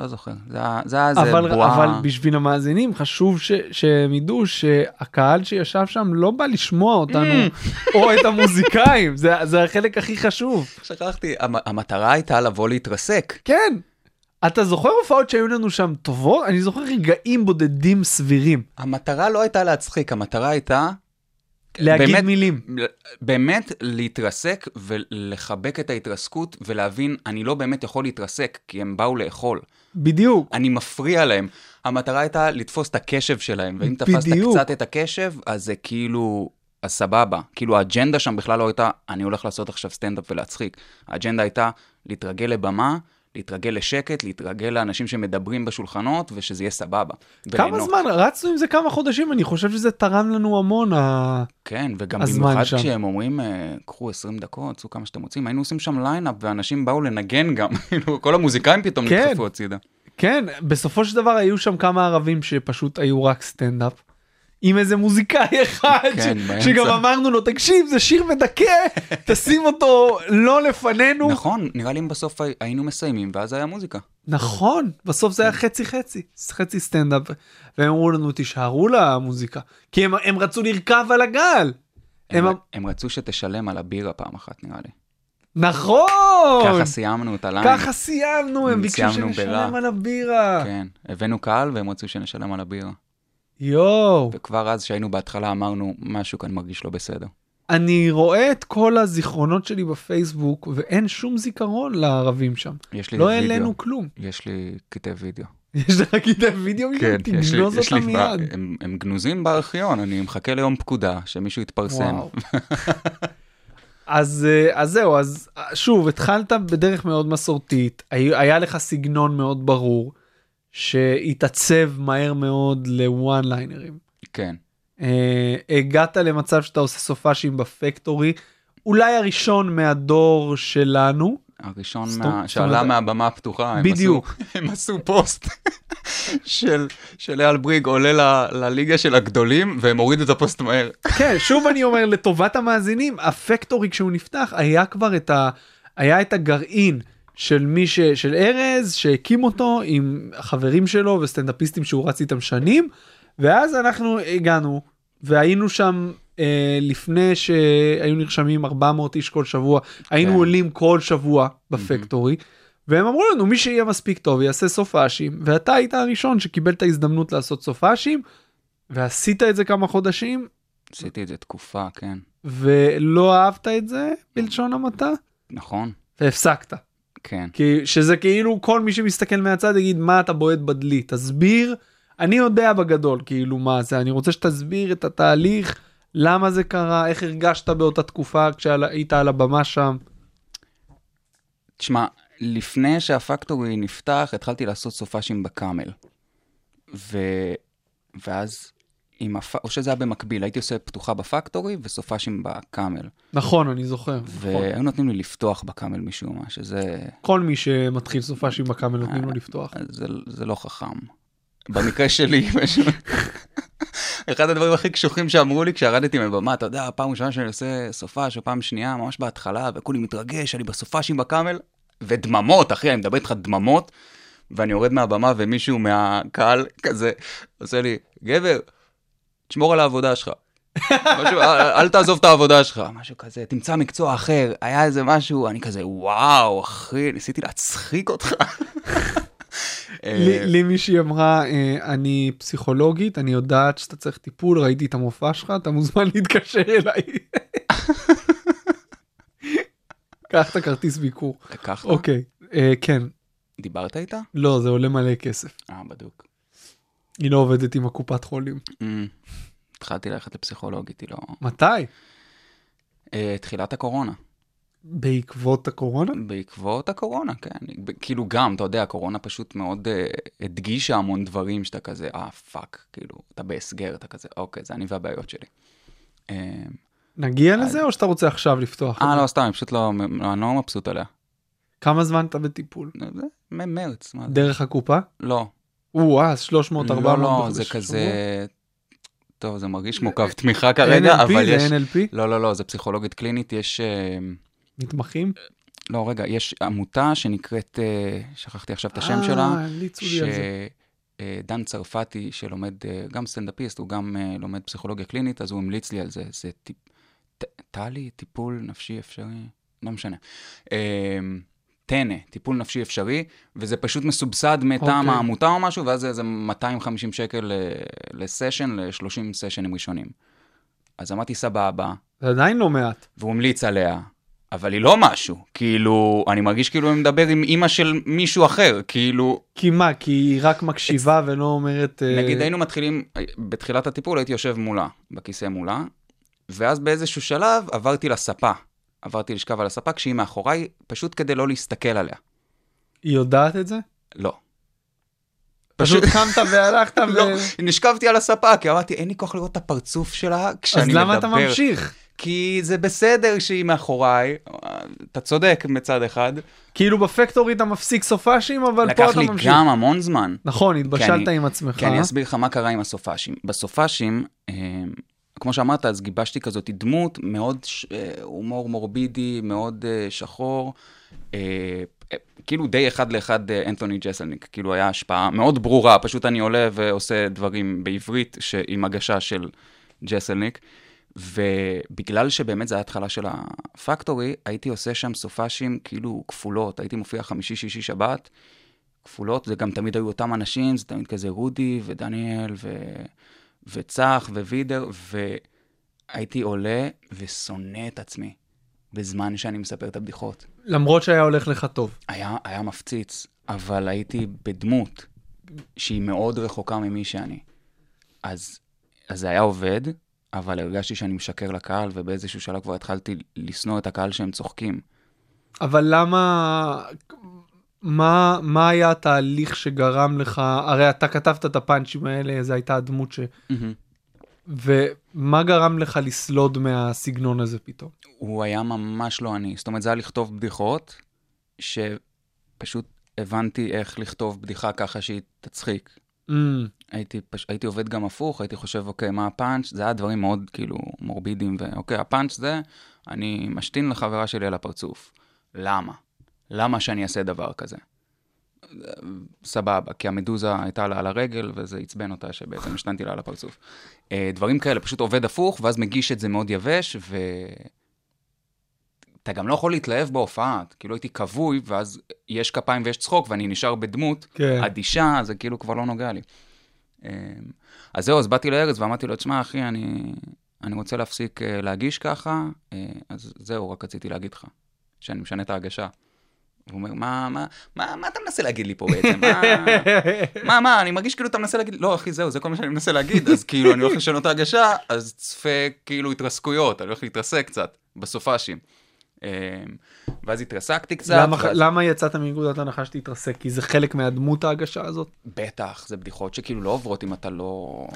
Speaker 5: לא זוכר, זה היה זה היה איזה
Speaker 4: אבל,
Speaker 5: בועה.
Speaker 4: אבל בשביל המאזינים חשוב ש, שהם ידעו שהקהל שישב שם לא בא לשמוע אותנו
Speaker 5: Mm.
Speaker 4: או את המוזיקאים, זה, זה החלק הכי חשוב.
Speaker 5: שכחתי, המ- המטרה הייתה לבוא להתרסק.
Speaker 4: כן. אתה זוכר הופעות שהיו לנו שם טובות? אני זוכר רגעים בודדים סבירים.
Speaker 5: המטרה לא הייתה להצחיק, המטרה הייתה...
Speaker 4: להגיד
Speaker 5: באמת-
Speaker 4: מילים.
Speaker 5: באמת להתרסק ולחבק את ההתרסקות ולהבין, אני לא באמת יכול להתרסק, כי הם באו לאכול.
Speaker 4: בדיוק.
Speaker 5: אני מפריע להם. המטרה הייתה לתפוס את הקשב שלהם, ואם תפסת
Speaker 4: בדיוק.
Speaker 5: קצת את הקשב, אז זה כאילו, אז סבבה. כאילו האג'נדה שם בכלל לא הייתה, אני הולך לעשות עכשיו סטנדאפ ולהצחיק. האג'נדה הייתה להתרגל לבמה, להתרגל לשקט, להתרגל לאנשים שמדברים בשולחנות, ושזה יהיה סבבה.
Speaker 4: כמה
Speaker 5: וליהנות.
Speaker 4: זמן? רצנו עם זה כמה חודשים, אני חושב שזה תרם לנו המון. ה...
Speaker 5: כן, וגם
Speaker 4: הזמן
Speaker 5: במיוחד
Speaker 4: שם.
Speaker 5: כשהם אומרים, אה, קחו 20 דקות, עשו כמה שאתם רוצים, היינו עושים שם ליינאפ, ואנשים באו לנגן גם, כאילו, כל המוזיקאים פתאום
Speaker 4: כן.
Speaker 5: נדחפו הצידה.
Speaker 4: כן, בסופו של דבר היו שם כמה ערבים שפשוט היו רק סטנדאפ. עם איזה מוזיקאי אחד,
Speaker 5: כן,
Speaker 4: ש-
Speaker 5: באמצע.
Speaker 4: שגם אמרנו לו, תקשיב, זה שיר מדכא, תשים אותו לא לפנינו.
Speaker 5: נכון, נראה לי אם בסוף הי- היינו מסיימים, ואז היה מוזיקה.
Speaker 4: נכון,
Speaker 5: כן.
Speaker 4: בסוף זה היה חצי חצי, חצי סטנדאפ. והם אמרו לנו, תישארו למוזיקה. כי הם, הם רצו לרכב על הגל. הם, הם...
Speaker 5: הם,
Speaker 4: אמ-
Speaker 5: הם רצו שתשלם על הבירה פעם אחת, נראה לי.
Speaker 4: נכון!
Speaker 5: ככה סיימנו את הליין.
Speaker 4: ככה סיימנו, הם ביקשו
Speaker 5: סיימנו
Speaker 4: שנשלם
Speaker 5: ברע.
Speaker 4: על הבירה.
Speaker 5: כן, הבאנו קהל והם רצו שנשלם על הבירה.
Speaker 4: יואו.
Speaker 5: וכבר אז, שהיינו בהתחלה, אמרנו, משהו כאן מרגיש לא בסדר.
Speaker 4: אני רואה את כל הזיכרונות שלי בפייסבוק, ואין שום זיכרון לערבים שם.
Speaker 5: יש לי
Speaker 4: לא
Speaker 5: וידאו.
Speaker 4: העלינו כלום.
Speaker 5: יש לי קטעי וידאו.
Speaker 4: יש לך כיתה וידאו מזה?
Speaker 5: כן, יש לי,
Speaker 4: כן, תגנוז
Speaker 5: יש לי,
Speaker 4: אותם מיד.
Speaker 5: הם, הם גנוזים בארכיון, אני מחכה ליום פקודה, שמישהו יתפרסם.
Speaker 4: וואו. אז, אה, אז זהו, אז אה, שוב, התחלת בדרך מאוד מסורתית, הי- היה לך סגנון מאוד ברור, שהתעצב מהר מאוד לוואן ליינרים.
Speaker 5: כן.
Speaker 4: אה, הגעת למצב שאתה עושה סופאשים בפקטורי, אולי הראשון מהדור שלנו,
Speaker 5: הראשון
Speaker 4: זאת-
Speaker 5: מה...
Speaker 4: זאת
Speaker 5: שעלה
Speaker 4: אומרת-
Speaker 5: מהבמה הפתוחה, הם
Speaker 4: בדיוק.
Speaker 5: עשו- הם עשו פוסט של של אייל בריג עולה ל- לליגה של הגדולים, והם הורידו את הפוסט מהר.
Speaker 4: כן, שוב אני אומר לטובת המאזינים, הפקטורי כשהוא נפתח היה כבר את ה... היה את הגרעין של מי ש... של ארז שהקים אותו עם החברים שלו וסטנדאפיסטים שהוא רץ איתם שנים, ואז אנחנו הגענו והיינו שם אה, לפני שהיו נרשמים 400 איש כל שבוע, היינו
Speaker 5: כן.
Speaker 4: עולים כל שבוע בפקטורי. והם אמרו לנו מי שיהיה מספיק טוב יעשה סופאשים ואתה היית הראשון שקיבל את ההזדמנות לעשות סופאשים ועשית את זה כמה חודשים
Speaker 5: עשיתי את זה תקופה, כן.
Speaker 4: ולא אהבת את זה בלשון המעטה
Speaker 5: נכון,
Speaker 4: והפסקת.
Speaker 5: כן.
Speaker 4: כי שזה כאילו כל מי שמסתכל מהצד יגיד מה אתה בועט בדלי תסביר אני יודע בגדול כאילו מה זה אני רוצה שתסביר את התהליך למה זה קרה איך הרגשת באותה תקופה כשהיית על הבמה שם
Speaker 5: תשמע, לפני שהפקטורי נפתח, התחלתי לעשות סופאשים בקאמל. ו... ואז, עם הפ... או שזה היה במקביל, הייתי עושה פתוחה בפקטורי וסופאשים בקאמל.
Speaker 4: נכון אני זוכר
Speaker 5: והיו נותנים לי לפתוח בקאמל משום מה, שזה
Speaker 4: כל מי שמתחיל סופאשים בקאמל נותנים לו לפתוח
Speaker 5: זה, זה לא חכם. במקרה שלי, אחד הדברים הכי קשוחים שאמרו לי כשערדתי מבמה, אתה יודע, פעם ראשונה שאני עושה סופש, או פעם שנייה, ממש בהתחלה, וכולי מתרגש, אני בסופש עם בקאמל, ודממות, אחי, אני מדבר איתך דממות, ואני יורד מהבמה ומישהו מהקהל כזה עושה לי, גבר, תשמור על העבודה שלך. משהו, "אל- אל תעזוב את העבודה שלך, משהו כזה, תמצא מקצוע אחר, היה איזה משהו, אני כזה, וואו, אחי, ניסיתי להצחיק אותך. אה,
Speaker 4: לי לי מישהי אמרה אה, אני פסיכולוגית אני יודעת שאתה צריך טיפול ראיתי את המופע שלך אתה מוזמן להתקשר אליי. קח את הכרטיס ביקור.
Speaker 5: לקחת?
Speaker 4: אוקיי אה, כן
Speaker 5: דיברת איתה?
Speaker 4: לא זה עולה מלא כסף
Speaker 5: אה, בדוק.
Speaker 4: היא לא עובדת עם הקופת חולים.
Speaker 5: אמ, התחלתי ללכת לפסיכולוגית, היא לא...
Speaker 4: מתי?
Speaker 5: אה, תחילת הקורונה.
Speaker 4: בעקבות הקורונה?
Speaker 5: בעקבות הקורונה, כן. ב- כאילו גם, אתה יודע, הקורונה פשוט מאוד אה, הדגישה המון דברים שאתה כזה, אה, פאק, כאילו, אתה בהסגר, אתה כזה, אוקיי, זה אני והבעיות שלי. אה,
Speaker 4: נגיע לזה או שאתה רוצה עכשיו לפתוח?
Speaker 5: אה, לא, סתם, אני פשוט לא, לא- אני לא מבסוט עליה.
Speaker 4: כמה זמן אתה בטיפול?
Speaker 5: זה מ- מרץ, מה זה?
Speaker 4: דרך הקופה?
Speaker 5: לא.
Speaker 4: או, אה, אז 300 400
Speaker 5: אה, לא, לא,
Speaker 4: בחודש,
Speaker 5: זה
Speaker 4: שבוע?
Speaker 5: כזה... טוב, זה מרגיש כמו קו תמיכה כרגע,
Speaker 4: NLP,
Speaker 5: אבל יש...
Speaker 4: זה NLP?
Speaker 5: לא, לא, לא, זה פסיכולוגית קלינית, יש... אה,
Speaker 4: מתמחים?
Speaker 5: לא, רגע, יש עמותה שנקראת, אה, שכחתי עכשיו את השם שלה,
Speaker 4: אה, המליצו לי על זה.
Speaker 5: שדן צרפתי, שלומד, אה, גם סטנדאפיסט, הוא גם אה, לומד פסיכולוגיה קלינית, אז הוא המליץ לי על זה. זה טיפ... ט- טלי, טיפול נפשי אפשרי, לא משנה. אה, טנא, טיפול נפשי אפשרי, וזה פשוט מסובסד מטעם
Speaker 4: אוקיי.
Speaker 5: העמותה או משהו, ואז זה איזה 250 שקל אה, לסשן, ל-30 סשנים ראשונים. אז אמרתי, סבבה,
Speaker 4: זה עדיין לא מעט.
Speaker 5: והוא המליץ עליה, אבל היא לא משהו. כאילו, אני מרגיש כאילו אני מדבר עם אימא של מישהו אחר. כאילו,
Speaker 4: כי מה? כי היא רק מקשיבה ולא אומרת... אה,
Speaker 5: נגיד היינו מתחילים, בתחילת הטיפול הייתי יושב מולה, בכיסא מולה, ואז באיזשהו שלב עברתי לספה. עברתי לשכב על הספה כשהיא מאחוריי, פשוט כדי לא להסתכל עליה.
Speaker 4: היא יודעת את זה?
Speaker 5: לא.
Speaker 4: פשוט קמת והלכת ו...
Speaker 5: לא, נשכבתי על הספה, כי אמרתי, אין לי כוח לראות את הפרצוף שלה כשאני
Speaker 4: אז
Speaker 5: מדבר.
Speaker 4: למה אתה ממשיך?
Speaker 5: כי זה בסדר שהיא מאחוריי, אתה צודק מצד אחד.
Speaker 4: כאילו בפקטורי אתה מפסיק סופאשים, אבל פה
Speaker 5: לקח
Speaker 4: אתה
Speaker 5: לי
Speaker 4: ממשיך.
Speaker 5: גם המון זמן.
Speaker 4: נכון, התבשלת
Speaker 5: אני-
Speaker 4: עם עצמך.
Speaker 5: כי כן, אני אסביר לך מה קרה עם הסופאשים. בסופאשים, אה, כמו שאמרת, אז גיבשתי כזאת דמות, מאוד ש- אה, הומור מורבידי, מאוד אה, שחור, אה, אה, כאילו די אחד לאחד אה, אנתוני ג'סלניק, כאילו היה השפעה מאוד ברורה, פשוט אני עולה ועושה דברים בעברית ש- עם הגשה של ג'סלניק. ובגלל שבאמת זו ההתחלה של הפקטורי, הייתי עושה שם סופאשים כאילו כפולות, הייתי מופיע חמישי, שישי, שבת, כפולות, זה גם תמיד היו אותם אנשים, זה תמיד כזה רודי ודניאל ו... וצח ווידר, והייתי עולה ושונא את עצמי בזמן שאני מספר את הבדיחות.
Speaker 4: למרות שהיה הולך לך טוב.
Speaker 5: היה, היה מפציץ, אבל הייתי בדמות שהיא מאוד רחוקה ממי שאני. אז, אז זה היה עובד, אבל הרגשתי שאני משקר לקהל, ובאיזשהו שלב כבר התחלתי לשנוא את הקהל שהם צוחקים.
Speaker 4: אבל למה... מה, מה היה התהליך שגרם לך, הרי אתה כתבת את הפאנצ'ים האלה, זו הייתה הדמות ש... ומה גרם לך לסלוד מהסגנון הזה פתאום?
Speaker 5: הוא היה ממש לא אני. זאת אומרת, זה היה לכתוב בדיחות, שפשוט הבנתי איך לכתוב בדיחה ככה שהיא תצחיק.
Speaker 4: Mm,
Speaker 5: הייתי, פש... הייתי עובד גם הפוך, הייתי חושב, אוקיי, מה הפאנץ'? זה היה דברים מאוד כאילו מורבידיים, ואוקיי, הפאנץ' זה, אני משתין לחברה שלי על הפרצוף. למה? למה שאני אעשה דבר כזה? סבבה, כי המדוזה הייתה לה על הרגל, וזה עצבן אותה שבעצם השתנתי לה על הפרצוף. אה, דברים כאלה, פשוט עובד הפוך, ואז מגיש את זה מאוד יבש, ו... אתה גם לא יכול להתלהב בהופעה, את- כאילו הייתי כבוי, ואז יש כפיים ויש צחוק, ואני נשאר בדמות
Speaker 4: כן.
Speaker 5: אדישה, זה כאילו כבר לא נוגע לי. אמ, אז זהו, אז באתי לארז ואמרתי לו, תשמע, אחי, אני, אני רוצה להפסיק אה, להגיש ככה, אה, אז זהו, רק רציתי להגיד לך, שאני משנה את ההגשה. הוא אומר, מה, מה, מה, מה אתה מנסה להגיד לי פה בעצם? מה,
Speaker 4: Mm.
Speaker 5: מה, מה, אני מרגיש כאילו אתה מנסה להגיד, לא, אחי, זהו, זה כל מה שאני מנסה להגיד, אז כאילו, אני הולך לשנות את ההגשה, אז צפה כאילו התרסקויות, אני הולך להתרסק קצת, בסופאשים. אמ, ואז התרסקתי קצת,
Speaker 4: למה-
Speaker 5: ואז-
Speaker 4: למה יצאת מנקודת הנחה שתתרסק? כי זה חלק מהדמות ההגשה הזאת?
Speaker 5: בטח, זה בדיחות שכאילו לא עוברות אם אתה לא...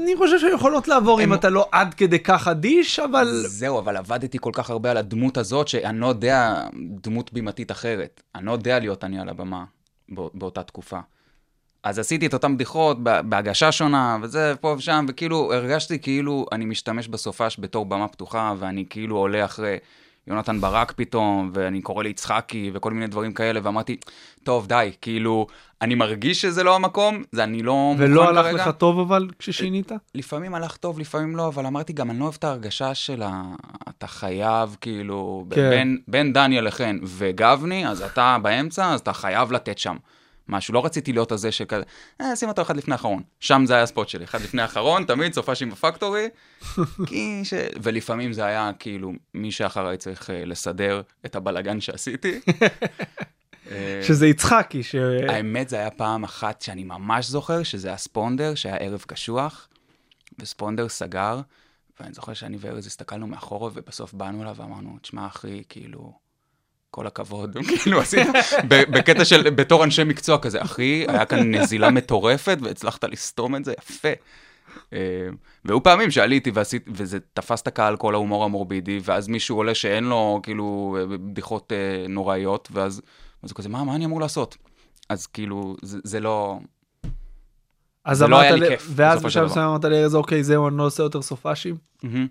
Speaker 4: אני חושב שיכולות לעבור אם
Speaker 5: הם-
Speaker 4: אתה לא עד כדי כך אדיש, אבל...
Speaker 5: זהו, אבל עבדתי כל כך הרבה על הדמות הזאת, שאני לא יודע דמות בימתית אחרת. אני לא יודע להיות אני על הבמה בא- באותה תקופה. אז עשיתי את אותן בדיחות בה- בהגשה שונה, וזה, פה ושם, וכאילו הרגשתי כאילו אני משתמש בסופש בתור במה פתוחה, ואני כאילו עולה אחרי יונתן ברק פתאום, ואני קורא ליצחקי, וכל מיני דברים כאלה, ואמרתי, טוב, די, כאילו, אני מרגיש שזה לא המקום, זה אני לא מוכן כרגע.
Speaker 4: ולא
Speaker 5: אה,
Speaker 4: הלך לך טוב אבל כששינית?
Speaker 5: לפעמים הלך טוב, לפעמים לא, אבל אמרתי גם, אני לא אוהב את ההרגשה של ה... אתה חייב, כאילו,
Speaker 4: כן.
Speaker 5: כן. בין, בין דניאל לחן וגבני, אז אתה באמצע, אז אתה חייב לתת שם. משהו, לא רציתי להיות הזה שכזה, אה, שים אותו אחד לפני האחרון. שם זה היה הספוט שלי, אחד לפני האחרון, תמיד, סופאשים בפקטורי. כי ש... ולפעמים זה היה כאילו, מי שאחריי צריך אה, לסדר את הבלגן שעשיתי. אה,
Speaker 4: שזה יצחקי, ש...
Speaker 5: האמת, זה היה פעם אחת שאני ממש זוכר, שזה היה ספונדר, שהיה ערב קשוח, וספונדר סגר, ואני זוכר שאני וארז הסתכלנו מאחורה, ובסוף באנו אליו ואמרנו, תשמע, אחי, כאילו, כל הכבוד, כאילו, עשינו, ב- בקטע של, בתור אנשי מקצוע כזה, אחי, היה כאן נזילה מטורפת, והצלחת לסתום את זה, יפה. אה, והיו פעמים שעליתי ועשית, וזה תפס את הקהל כל ההומור המורבידי, ואז מישהו עולה שאין לו כאילו אה, בדיחות אה, נוראיות, ואז אז הוא כזה, מה, מה אני אמור לעשות? אז כאילו, זה, זה לא...
Speaker 4: אז
Speaker 5: זה לא
Speaker 4: אמרת
Speaker 5: היה לי
Speaker 4: ל-
Speaker 5: כיף,
Speaker 4: ואז
Speaker 5: בסופו של
Speaker 4: בשלב
Speaker 5: דבר.
Speaker 4: מסוים אמרת לארז, אוקיי, זהו, אני לא עושה יותר סופאשים.
Speaker 5: מהמם.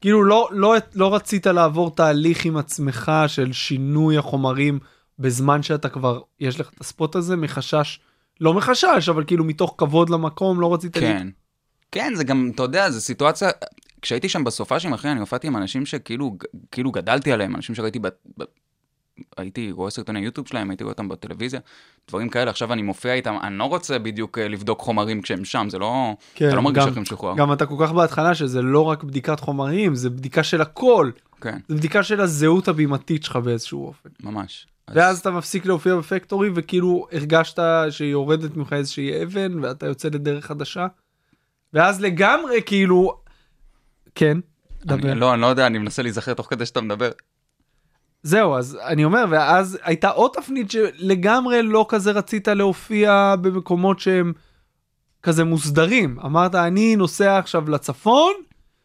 Speaker 4: כאילו, לא- לא- לא רצית לעבור תהליך עם עצמך של שינוי החומרים בזמן שאתה כבר, יש לך את הספוט הזה, מחשש, לא מחשש, אבל כאילו מתוך כבוד למקום, לא רצית... לי-
Speaker 5: כן. כן, זה גם, אתה יודע, זו סיטואציה... כשהייתי שם בסופאשים, אחי, אני הופעתי עם אנשים שכאילו ג- כאילו גדלתי עליהם, אנשים שראיתי ב... ב... הייתי רואה סרטוני יוטיוב שלהם, הייתי רואה אותם בטלוויזיה, דברים כאלה, עכשיו אני מופיע איתם, אני לא רוצה בדיוק אה, לבדוק חומרים כשהם שם, זה לא...
Speaker 4: כן,
Speaker 5: אתה לא מרגיש
Speaker 4: גם-
Speaker 5: איך הם שוחרר.
Speaker 4: גם אתה כל כך בהתחלה שזה לא רק בדיקת חומרים, זה בדיקה של הכל.
Speaker 5: כן,
Speaker 4: זה בדיקה של הזהות הבימתית שלך באיזשהו אופן.
Speaker 5: ממש. אז-
Speaker 4: ואז אתה מפסיק להופיע בפקטורי וכאילו הרגשת שיורדת ממך איזושהי אבן ואתה יוצא לדרך חדשה. ואז לגמרי כאילו, כן, דבר.
Speaker 5: אני, לא, אני לא יודע, אני מנסה להיזכר תוך כדי שאתה מדבר.
Speaker 4: זהו אז אני אומר ואז הייתה עוד תפנית שלגמרי לא כזה רצית להופיע במקומות שהם כזה מוסדרים אמרת אני נוסע עכשיו לצפון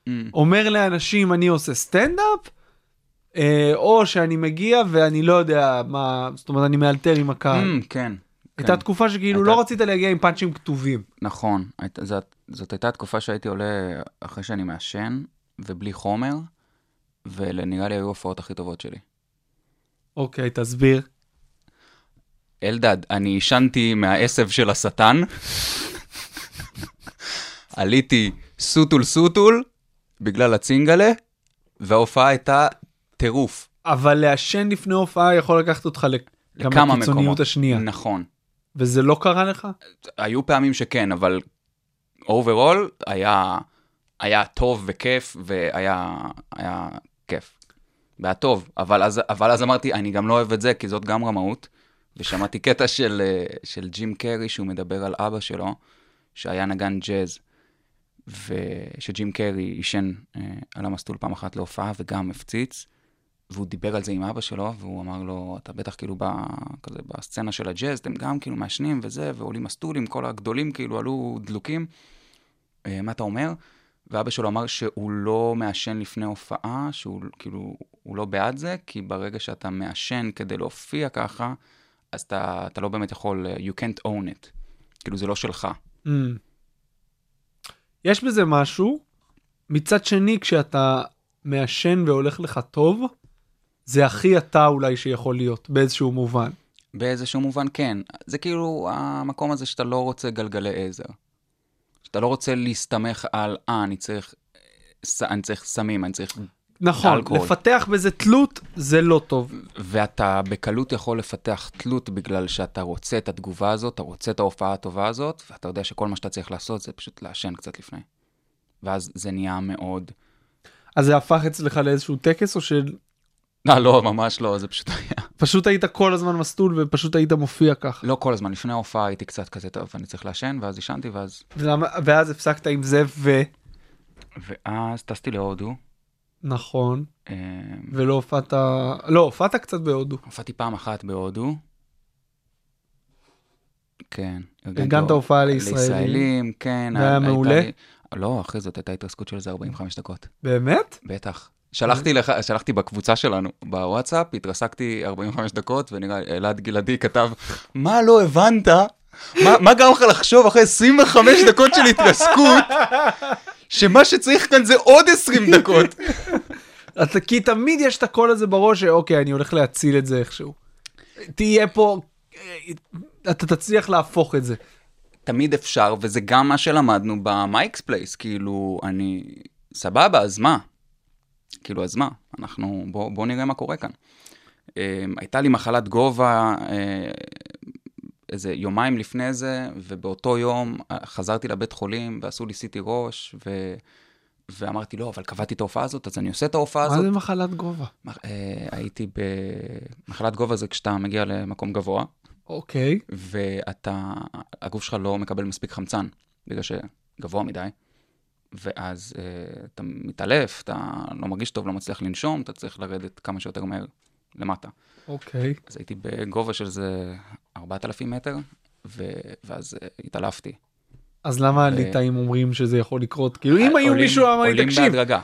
Speaker 5: Mm.
Speaker 4: אומר לאנשים אני עושה סטנדאפ אה, או שאני מגיע ואני לא יודע מה זאת אומרת אני מאלתר עם הקהל.
Speaker 5: Mm, כן.
Speaker 4: אה. הייתה
Speaker 5: כן.
Speaker 4: תקופה שכאילו
Speaker 5: הייתה-
Speaker 4: לא רצית להגיע עם פאנצ'ים כתובים.
Speaker 5: נכון, היית, זאת, זאת הייתה תקופה שהייתי עולה אחרי שאני מעשן ובלי חומר, ונראה לי היו ההופעות הכי טובות שלי.
Speaker 4: אוקיי, תסביר.
Speaker 5: אלדד, אני עישנתי מהעשב של השטן, עליתי סוטול סוטול בגלל הצינגלה, וההופעה הייתה טירוף.
Speaker 4: אבל לעשן לפני הופעה יכול לקחת אותך לק- גם
Speaker 5: לכמה
Speaker 4: לקיצוניות
Speaker 5: מקומות.
Speaker 4: השנייה.
Speaker 5: נכון.
Speaker 4: וזה לא קרה לך?
Speaker 5: היו פעמים שכן, אבל אוברול היה, היה טוב וכיף, והיה היה כיף. והיה טוב, אבל אז, אבל אז אמרתי, אני גם לא אוהב את זה, כי זאת גם רמאות. ושמעתי קטע של, אה, של ג'ים קרי, שהוא מדבר על אבא שלו, שהיה נגן ג'אז, ושג'ים קרי עישן אה, על המסלול פעם אחת להופעה, וגם הפציץ. והוא דיבר על זה עם אבא שלו, והוא אמר לו, אתה בטח כאילו ב, כזה בסצנה של הג'אז, אתם גם כאילו מעשנים וזה, ועולים מסטולים, כל הגדולים כאילו עלו דלוקים. אה, מה אתה אומר? ואבא שלו אמר שהוא לא מעשן לפני הופעה, שהוא כאילו, הוא לא בעד זה, כי ברגע שאתה מעשן כדי להופיע ככה, אז אתה, אתה לא באמת יכול, אה, you can't own it. כאילו, זה לא שלך.
Speaker 4: Mm. יש בזה משהו. מצד שני, כשאתה מעשן והולך לך טוב, זה הכי אתה אולי שיכול להיות, באיזשהו מובן.
Speaker 5: באיזשהו מובן כן. זה כאילו המקום הזה שאתה לא רוצה גלגלי עזר. שאתה לא רוצה להסתמך על, אה, אני צריך, ס- אני צריך אה, סמים, אני צריך
Speaker 4: נכון,
Speaker 5: אלכוהול.
Speaker 4: לפתח בזה תלות זה לא טוב.
Speaker 5: ואתה בקלות יכול לפתח תלות בגלל שאתה רוצה את התגובה הזאת, אתה רוצה את ההופעה הטובה הזאת, ואתה יודע שכל מה שאתה צריך לעשות זה פשוט לעשן קצת לפני. ואז זה נהיה מאוד...
Speaker 4: אז זה הפך אצלך לאיזשהו טקס או שפשוט
Speaker 5: לא, לא, ממש לא, זה פשוט היה...
Speaker 4: היית כל הזמן מסטול ופשוט היית מופיע כך?
Speaker 5: לא כל הזמן, לפני ההופעה הייתי קצת כזה, טוב, אני צריך לעשן, ואז עישנתי, ואז...
Speaker 4: ולמה- ואז הפסקת עם זה ו...
Speaker 5: ואז טסתי להודו,
Speaker 4: נכון,
Speaker 5: אה,
Speaker 4: ולא הופעת... לא, הופעת קצת בהודו.
Speaker 5: הופעתי פעם אחת בהודו. כן.
Speaker 4: ארגנת הופעה לישראלים.
Speaker 5: לישראלים, כן.
Speaker 4: והיה
Speaker 5: הייתה
Speaker 4: מעולה?
Speaker 5: לי- לא, אחי, זאת הייתה התרסקות של איזה 45 דקות.
Speaker 4: באמת?
Speaker 5: בטח. שלחתי לך, שלחתי בקבוצה שלנו, בוואטסאפ, התרסקתי 45 דקות, ונראה, אלעד גלעדי כתב, מה לא הבנת? מה, מה גרם לך לחשוב אחרי 25 דקות של התרסקות, שמה שצריך כאן זה עוד 20 דקות?
Speaker 4: אתה, כי תמיד יש את הקול הזה בראש שאוקיי, אני הולך להציל את זה איכשהו. תהיה פה, אה, אתה תצליח להפוך את זה.
Speaker 5: תמיד אפשר, וזה גם מה שלמדנו במייקס פלייס, כאילו, אני, סבבה, אז מה? כאילו, אז מה? אנחנו, בואו בוא נראה מה קורה כאן. אה, הייתה לי מחלת גובה אה, איזה יומיים לפני זה, ובאותו יום אה, חזרתי לבית חולים, ועשו לי סיטי ראש, ו... ואמרתי, לא, אבל קבעתי את ההופעה הזאת, אז אוקיי. אני עושה את ההופעה
Speaker 4: מה
Speaker 5: הזאת.
Speaker 4: זה מחלת גובה?
Speaker 5: מח- אה, הייתי במחלת גובה זה כשאתה מגיע למקום גבוה,
Speaker 4: אוקיי.
Speaker 5: ואתה, הגוף שלך לא מקבל מספיק חמצן, בגלל שגבוה מדי, ואז אה, אתה מתעלף, אתה לא מרגיש טוב, לא מצליח לנשום, אתה צריך לרדת כמה שיותר מהר למטה.
Speaker 4: אוקיי.
Speaker 5: אז הייתי בגובה של איזה 4,000 מטר, ו... ואז אה, התעלפתי.
Speaker 4: אז למה הליטאים אומרים שזה יכול לקרות? כאילו, אם היו
Speaker 5: אוקיי. עולים-
Speaker 4: מישהו אמר לי,
Speaker 5: עולים
Speaker 4: תקשיב,
Speaker 5: בהדרגה.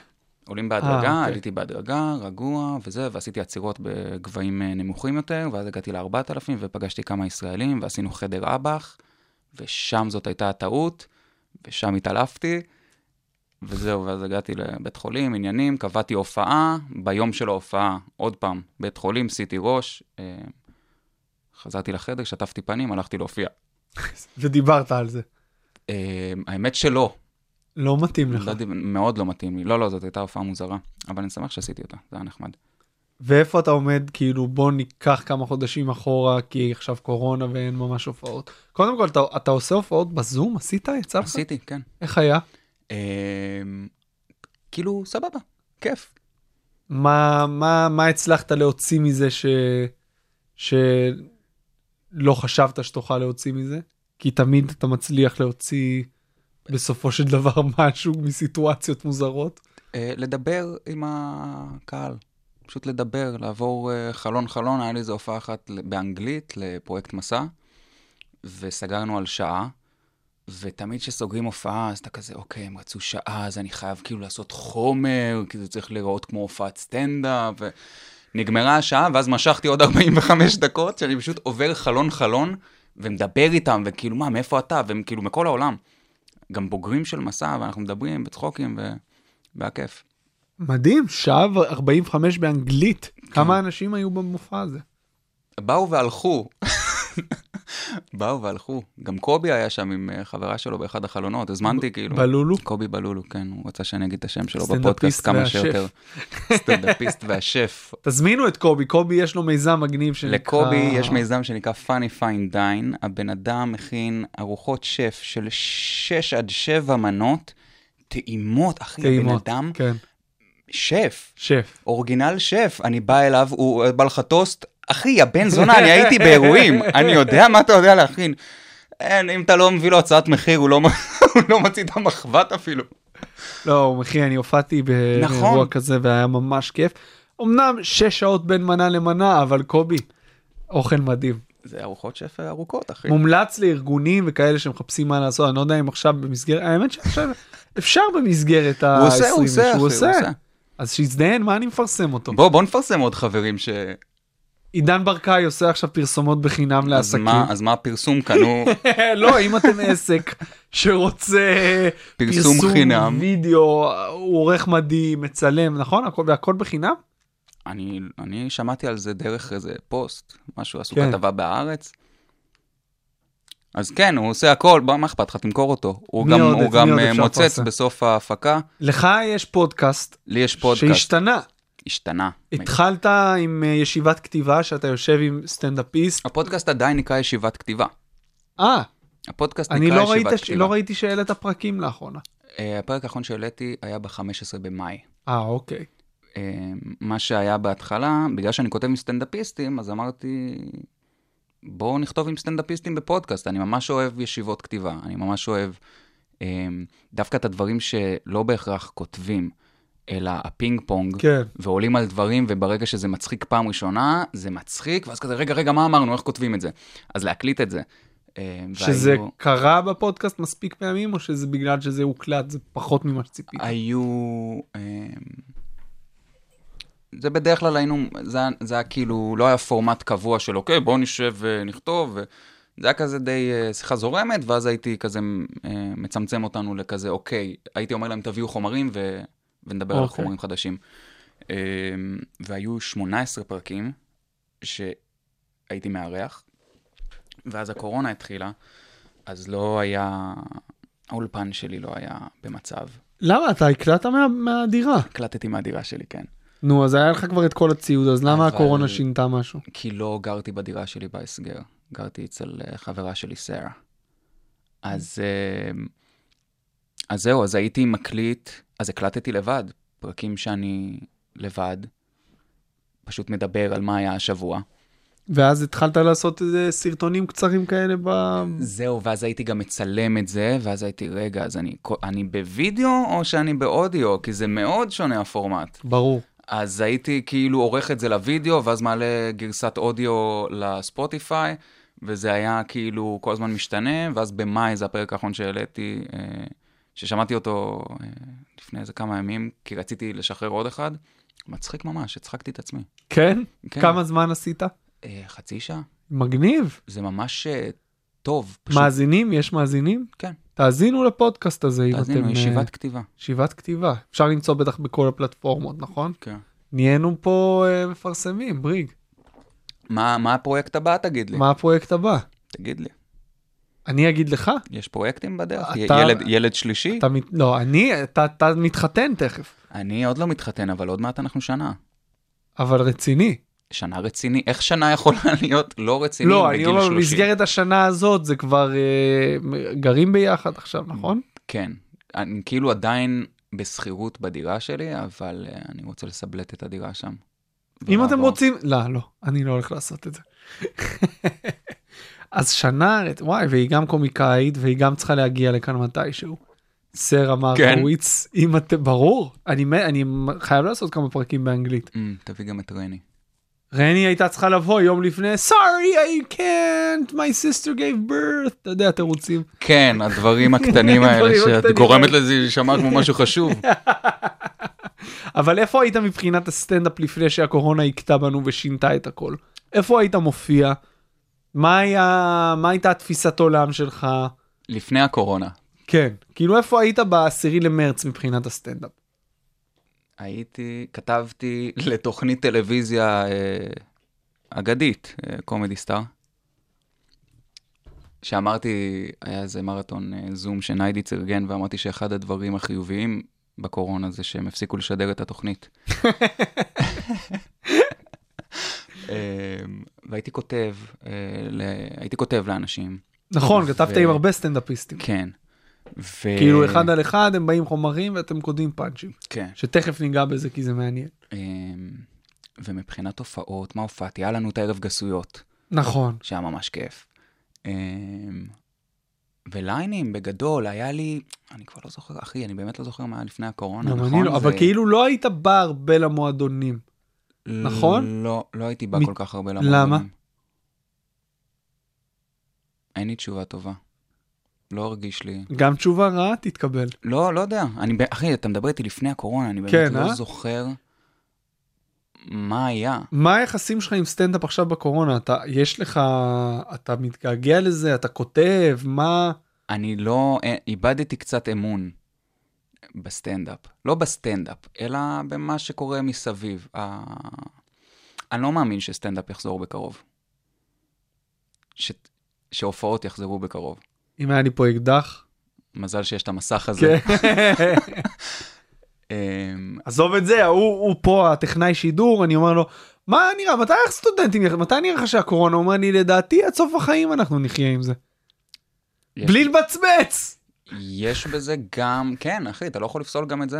Speaker 5: עולים בהדרגה,
Speaker 4: אוקיי.
Speaker 5: עליתי בהדרגה, רגוע וזה, ועשיתי עצירות בגבהים אה, נמוכים יותר, ואז הגעתי ל-4,000 ופגשתי כמה ישראלים, ועשינו חדר אב"ח, ושם זאת הייתה הטעות, ושם התעלפתי, וזהו, ואז הגעתי לבית חולים, עניינים, קבעתי הופעה, ביום של ההופעה, עוד פעם, בית חולים, סיטי ראש, אה, חזרתי לחדר, שטפתי פנים, הלכתי להופיע.
Speaker 4: ודיברת על זה.
Speaker 5: אה, האמת שלא,
Speaker 4: לא מתאים לך.
Speaker 5: לא יודע, מאוד לא מתאים לי. לא, לא, זאת הייתה הופעה מוזרה, אבל אני שמח שעשיתי אותה, זה היה נחמד.
Speaker 4: ואיפה אתה עומד, כאילו, בוא ניקח כמה חודשים אחורה, כי עכשיו קורונה ואין ממש הופעות. קודם כל, אתה, אתה עושה הופעות בזום? עשית? יצא לך?
Speaker 5: עשיתי, כן.
Speaker 4: איך היה?
Speaker 5: אמ, כאילו, סבבה, כיף.
Speaker 4: מה, מה, מה הצלחת להוציא מזה ש... שלא חשבת שתוכל להוציא מזה? כי תמיד אתה מצליח להוציא בסופו של דבר משהו מסיטואציות מוזרות.
Speaker 5: אה, לדבר עם הקהל, פשוט לדבר, לעבור אה, חלון-חלון, היה לי איזו הופעה אחת ל- באנגלית לפרויקט מסע, וסגרנו על שעה. ותמיד כשסוגרים הופעה, אז אתה כזה, אוקיי, הם רצו שעה, אז אני חייב כאילו לעשות חומר, כי זה צריך להיראות כמו הופעת סטנדאפ. ו... נגמרה השעה, ואז משכתי עוד 45 דקות, שאני פשוט עובר חלון-חלון, ומדבר איתם, וכאילו, מה, מאיפה אתה? והם כאילו מכל העולם. גם בוגרים של מסע, ואנחנו מדברים בצחוקים, ו... והכיף.
Speaker 4: מדהים, שעה ו-45 באנגלית.
Speaker 5: כן.
Speaker 4: כמה אנשים היו במופע הזה?
Speaker 5: באו והלכו. באו והלכו. גם קובי היה שם עם אה, חברה שלו באחד החלונות, הזמנתי כאילו.
Speaker 4: בלולו?
Speaker 5: קובי בלולו, כן, הוא רצה שאני אגיד את השם שלו
Speaker 4: סטנדאפיסט
Speaker 5: בפודקאסט כמה
Speaker 4: והשף. אה.
Speaker 5: שיותר. סטנדאפיסט והשף.
Speaker 4: תזמינו את קובי, קובי יש לו מיזם מגניב שנקרא...
Speaker 5: לקובי יש מיזם שנקרא Funny Fine Dine, הבן אדם מכין ארוחות שף של 6 עד 7 מנות, טעימות, אחי,
Speaker 4: טעימות.
Speaker 5: הבן אדם,
Speaker 4: כן,
Speaker 5: שף,
Speaker 4: שף.
Speaker 5: אורגינל שף, אני בא אליו, הוא בא לך טוסט, אחי, הבן זונה, אני הייתי באירועים, אני יודע מה אתה יודע להכין. אין, אם אתה לא מביא לו הצעת מחיר, הוא לא, מ- הוא לא מוציא את המחבת אפילו.
Speaker 4: לא, אחי, אני הופעתי באירוע
Speaker 5: נכון.
Speaker 4: כזה והיה ממש כיף. אמנם שש שעות בין מנה למנה, אבל קובי, אוכל מדהים.
Speaker 5: זה ארוחות שף ארוכות, אחי.
Speaker 4: מומלץ לארגונים וכאלה שמחפשים מה לעשות, אני לא יודע אם עכשיו במסגרת, האמת שעכשיו אפשר במסגרת ה-20,
Speaker 5: הוא עושה, הוא עושה, אחי, הוא עושה.
Speaker 4: אז שיזדיין, מה אני מפרסם אותו?
Speaker 5: בוא, בוא נפרסם עוד חברים ש...
Speaker 4: עידן ברקאי עושה עכשיו פרסומות בחינם
Speaker 5: אז
Speaker 4: לעסקים.
Speaker 5: מה, אז מה הפרסום כאן? הוא...
Speaker 4: לא, אם אתם עסק שרוצה
Speaker 5: פרסום חינם.
Speaker 4: וידאו, הוא עורך מדהים, מצלם, נכון? הכל, והכל בחינם?
Speaker 5: אני, אני שמעתי על זה דרך איזה פוסט, משהו, עשו
Speaker 4: כן.
Speaker 5: כן. כתבה בהארץ. אז כן, הוא עושה הכל, מה- מה אכפת לך, תמכור אותו. הוא
Speaker 4: מי
Speaker 5: גם,
Speaker 4: עוד-
Speaker 5: הוא
Speaker 4: מי
Speaker 5: גם
Speaker 4: עוד
Speaker 5: אה,
Speaker 4: אפשר
Speaker 5: מוצץ
Speaker 4: לפרסם?
Speaker 5: בסוף ההפקה.
Speaker 4: לך יש פודקאסט
Speaker 5: לי יש פודקאסט,
Speaker 4: שהשתנה.
Speaker 5: השתנה.
Speaker 4: התחלת עם אה, ישיבת כתיבה שאתה יושב עם סטנדאפיסט.
Speaker 5: הפודקאסט עדיין נקרא ישיבת כתיבה.
Speaker 4: אה,
Speaker 5: הפודקאסט
Speaker 4: אני
Speaker 5: נקרא
Speaker 4: לא ראית-
Speaker 5: ישיבת כתיבה.
Speaker 4: לא ראיתי שהעלית פרקים לאחרונה.
Speaker 5: אה, הפרק האחרון שהעליתי היה ב-15 במאי.
Speaker 4: אה, אוקיי.
Speaker 5: אה, מה שהיה בהתחלה, בגלל שאני כותב עם סטנדאפיסטים, אז אמרתי, בואו נכתוב עם סטנדאפיסטים בפודקאסט. אני ממש אוהב ישיבות כתיבה, אני ממש אוהב אה, דווקא את הדברים שלא בהכרח כותבים, אלא הפינג פונג,
Speaker 4: כן.
Speaker 5: ועולים על דברים, וברגע שזה מצחיק פעם ראשונה, זה מצחיק, ואז כזה, רגע, רגע, מה אמרנו, איך כותבים את זה? אז להקליט את זה. אה,
Speaker 4: שזה
Speaker 5: והיו-
Speaker 4: קרה בפודקאסט מספיק פעמים או שזה בגלל שזה הוקלט זה פחות ממה שציפיתי?
Speaker 5: היו... אמ, זה בדרך כלל היינו, זה, היה- זה היה כאילו, לא היה פורמט קבוע של אוקיי, בואו נשב ונכתוב, זה היה כזה די אה, שיחה זורמת, ואז הייתי כזה אה, מצמצם אותנו לכזה, אוקיי, הייתי אומר להם תביאו חומרים ו, ונדבר על
Speaker 4: אוקיי.
Speaker 5: חומרים חדשים. אמ, והיו 18 פרקים שהייתי מארח, ואז הקורונה התחילה, אז לא היה, האולפן שלי לא היה במצב.
Speaker 4: למה אתה הקלטת מה- מהדירה?
Speaker 5: הקלטתי מהדירה שלי, כן.
Speaker 4: נו אז היה לך כבר את כל הציוד אז למה
Speaker 5: אה, אבל-
Speaker 4: הקורונה שינתה משהו?
Speaker 5: כי לא גרתי בדירה שלי בהסגר, גרתי אצל אה, חברה שלי, סרה. אז, אה, אז זהו, אז הייתי מקליט, אז הקלטתי לבד, פרקים שאני לבד, פשוט מדבר על מה היה השבוע.
Speaker 4: ואז התחלת לעשות איזה סרטונים קצרים כאלה ב...
Speaker 5: זהו, ואז הייתי גם מצלם את זה, ואז הייתי, רגע, אז אני, אני בווידאו או שאני באודיו? כי זה מאוד שונה הפורמט.
Speaker 4: ברור.
Speaker 5: אז הייתי כאילו עורך את זה לוידאו, ואז מעלה גרסת אודיו לספוטיפיי, וזה היה כאילו כל הזמן משתנה, ואז במאי זה הפרק האחרון שהעליתי, אה, ששמעתי אותו אה, לפני איזה כמה ימים, כי רציתי לשחרר עוד אחד. מצחיק ממש, הצחקתי את עצמי.
Speaker 4: כן?
Speaker 5: כן.
Speaker 4: כמה זמן עשית?
Speaker 5: אה, חצי שעה?
Speaker 4: מגניב.
Speaker 5: זה ממש אה, טוב. פשוט
Speaker 4: מאזינים? יש מאזינים?
Speaker 5: כן.
Speaker 4: תאזינו לפודקאסט הזה אם
Speaker 5: תאזינו,
Speaker 4: אתם...
Speaker 5: ישיבת
Speaker 4: אה,
Speaker 5: כתיבה.
Speaker 4: ישיבת כתיבה. אפשר למצוא בטח בכל הפלטפורמות, נכון?
Speaker 5: כן.
Speaker 4: נהיינו פה אה, מפרסמים, בריג.
Speaker 5: מה, מה הפרויקט הבא, תגיד לי?
Speaker 4: מה הפרויקט הבא?
Speaker 5: תגיד לי.
Speaker 4: אני אגיד לך?
Speaker 5: יש פרויקטים בדרך?
Speaker 4: אתה-
Speaker 5: י- ילד, ילד שלישי?
Speaker 4: אתה מת... לא, אני, אתה, אתה מתחתן תכף,
Speaker 5: אני עוד לא מתחתן, אבל עוד מעט אנחנו שנה.
Speaker 4: אבל רציני.
Speaker 5: שנה רציני, איך שנה יכולה להיות לא רצינית
Speaker 4: לא, אני
Speaker 5: בגיל
Speaker 4: אומר,
Speaker 5: 30?
Speaker 4: במסגרת השנה הזאת זה כבר אה, מ- גרים ביחד עכשיו, נכון?
Speaker 5: כן, אני כאילו עדיין בשכירות בדירה שלי, אבל אה, אני רוצה לסבלט את הדירה שם.
Speaker 4: אם
Speaker 5: ולעבור.
Speaker 4: אתם רוצים, לא, לא, אני לא הולך לעשות את זה. אז שנה, וואי, והיא גם קומיקאית, והיא גם צריכה להגיע לכאן מתישהו. סרה מרקוויץ, אם אתם, ברור, אני, מ- אני חייב לעשות כמה פרקים באנגלית.
Speaker 5: אמ, תביא גם את רני.
Speaker 4: רני הייתה צריכה לבוא יום לפני, sorry, I can't, my sister gave birth, אתה יודע, תירוצים.
Speaker 5: כן, הדברים הקטנים האלה
Speaker 4: הדברים
Speaker 5: שאת
Speaker 4: הקטנים
Speaker 5: גורמת
Speaker 4: האלה.
Speaker 5: לזה להישמע כמו משהו חשוב.
Speaker 4: אבל איפה היית מבחינת הסטנדאפ לפני שהקורונה הכתה בנו ושינתה את הכל? איפה היית מופיע? מה, היה, מה הייתה התפיסת עולם שלך?
Speaker 5: לפני הקורונה
Speaker 4: כן, כאילו איפה היית בעשירי למרץ מבחינת הסטנדאפ?
Speaker 5: הייתי, כתבתי לתוכנית טלוויזיה אה, אגדית, אה, קומדי סטאר, שאמרתי, היה איזה מרתון אה, זום שניידיץ ארגן, ואמרתי שאחד הדברים החיוביים בקורונה זה שהם הפסיקו לשדר את התוכנית. אה, והייתי כותב, אה, ל- הייתי כותב לאנשים,
Speaker 4: נכון, כתבת
Speaker 5: ו-
Speaker 4: עם הרבה סטנדאפיסטים.
Speaker 5: כן. ו...
Speaker 4: כאילו אחד על אחד הם באים חומרים ואתם כותבים פאנצ'ים,
Speaker 5: כן.
Speaker 4: שתכף ניגע בזה כי זה מעניין.
Speaker 5: אמ, ומבחינת הופעות, מה הופעתי? היה לנו את הערב גסויות,
Speaker 4: נכון,
Speaker 5: שהיה ממש כיף. אמ, וליינים, בגדול, היה לי, אני כבר לא זוכר, אחי, אני באמת לא זוכר מה היה לפני הקורונה,
Speaker 4: גם
Speaker 5: נכון?
Speaker 4: אני לא, אבל
Speaker 5: זה-
Speaker 4: כאילו לא היית בא הרבה למועדונים. נכון?
Speaker 5: לא, לא הייתי בא
Speaker 4: מ-
Speaker 5: כל כך הרבה
Speaker 4: למה?
Speaker 5: למועדונים. אין לי תשובה טובה. לא הרגיש לי.
Speaker 4: גם תשובה רעה תתקבל.
Speaker 5: לא, לא יודע. אני, ב- אחי, אתה מדבר איתי לפני הקורונה, אני באמת
Speaker 4: כן,
Speaker 5: לא
Speaker 4: אה?
Speaker 5: זוכר מה היה.
Speaker 4: מה היחסים שלך עם סטנדאפ עכשיו בקורונה? אתה, יש לך, אתה מתגעגע לזה, אתה כותב, מה...
Speaker 5: אני לא, אה, איבדתי קצת אמון בסטנדאפ. לא בסטנדאפ, אלא במה שקורה מסביב. אה, אני לא מאמין שסטנדאפ יחזור בקרוב. ש... שהופעות יחזרו בקרוב.
Speaker 4: אם היה לי פה אקדח.
Speaker 5: מזל שיש את המסך הזה.
Speaker 4: כן.
Speaker 5: אמ,
Speaker 4: עזוב את זה, הוא, הוא פה הטכנאי שידור, אני אומר לו, מה נראה, מתי איך סטודנטים, יח- מתי נראה לך שהקורונה? הוא אומר לי, לדעתי עד סוף החיים אנחנו נחיה עם זה.
Speaker 5: יש-
Speaker 4: בלי לבצבץ!
Speaker 5: יש בזה גם, כן, אחי, אתה לא יכול לפסול גם את זה.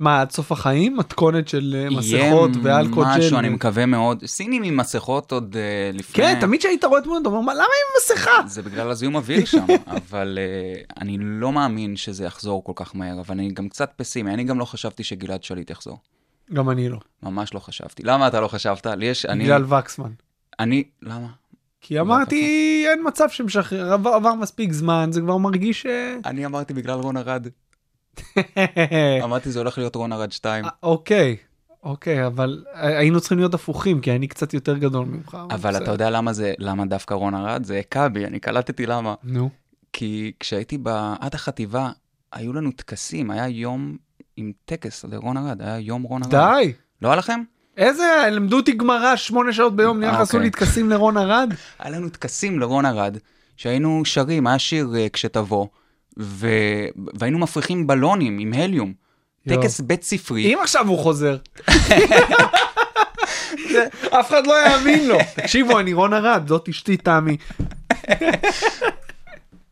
Speaker 4: מה, עד סוף החיים? מתכונת של אה,
Speaker 5: יהיה
Speaker 4: מסכות ואלכוהול
Speaker 5: משהו,
Speaker 4: ג'ל?
Speaker 5: אני מקווה מאוד. סינים עם מסכות עוד אה, לפני...
Speaker 4: כן, תמיד כשהיית רואה תמונות, אתה אומר, "מה, למה עם מסכה?
Speaker 5: זה בגלל הזיהום אוויר שם, אבל uh, אני לא מאמין שזה יחזור כל כך מהר, אבל אני גם קצת פסימי, אני גם לא חשבתי שגלעד שליט יחזור.
Speaker 4: גם אני לא,
Speaker 5: ממש לא חשבתי. למה אתה לא חשבת? לי יש, אני, לא.
Speaker 4: בגלל וקסמן.
Speaker 5: אני, למה?
Speaker 4: כי אמרתי, אין מצב שמשחרר, עבר עבר מספיק זמן, זה כבר מרגיש... אה,
Speaker 5: אני אמרתי בגלל רון ארד.
Speaker 4: אה.
Speaker 5: אמרתי זה הולך להיות רון ארד 2.
Speaker 4: אוקיי, אוקיי, אבל היינו צריכים להיות הפוכים, כי אני קצת יותר גדול ממך.
Speaker 5: אבל אתה
Speaker 4: בסדר.
Speaker 5: יודע למה זה, למה דווקא רון ארד? זה הכה בי, אני קלטתי למה.
Speaker 4: נו.
Speaker 5: כי כשהייתי ב... עד החטיבה, היו לנו טקסים, היה יום עם טקס לרון ארד, היה יום רון ארד.
Speaker 4: די.
Speaker 5: לא היה לכם?
Speaker 4: איזה, לימדו אותי גמרא שמונה שעות ביום, נראה לך
Speaker 5: אה,
Speaker 4: עשו לי
Speaker 5: אוקיי.
Speaker 4: טקסים לרון ארד?
Speaker 5: היה לנו טקסים לרון ארד, שהיינו שרים, היה שיר אה, כשתבוא, ו... והיינו מפריחים בלונים עם הליום.
Speaker 4: יואו.
Speaker 5: טקס בית ספרי.
Speaker 4: אם עכשיו הוא חוזר. זה- אף אחד לא יאמין לו. תקשיבו, אני רון ארד, זאת אשתי תמי.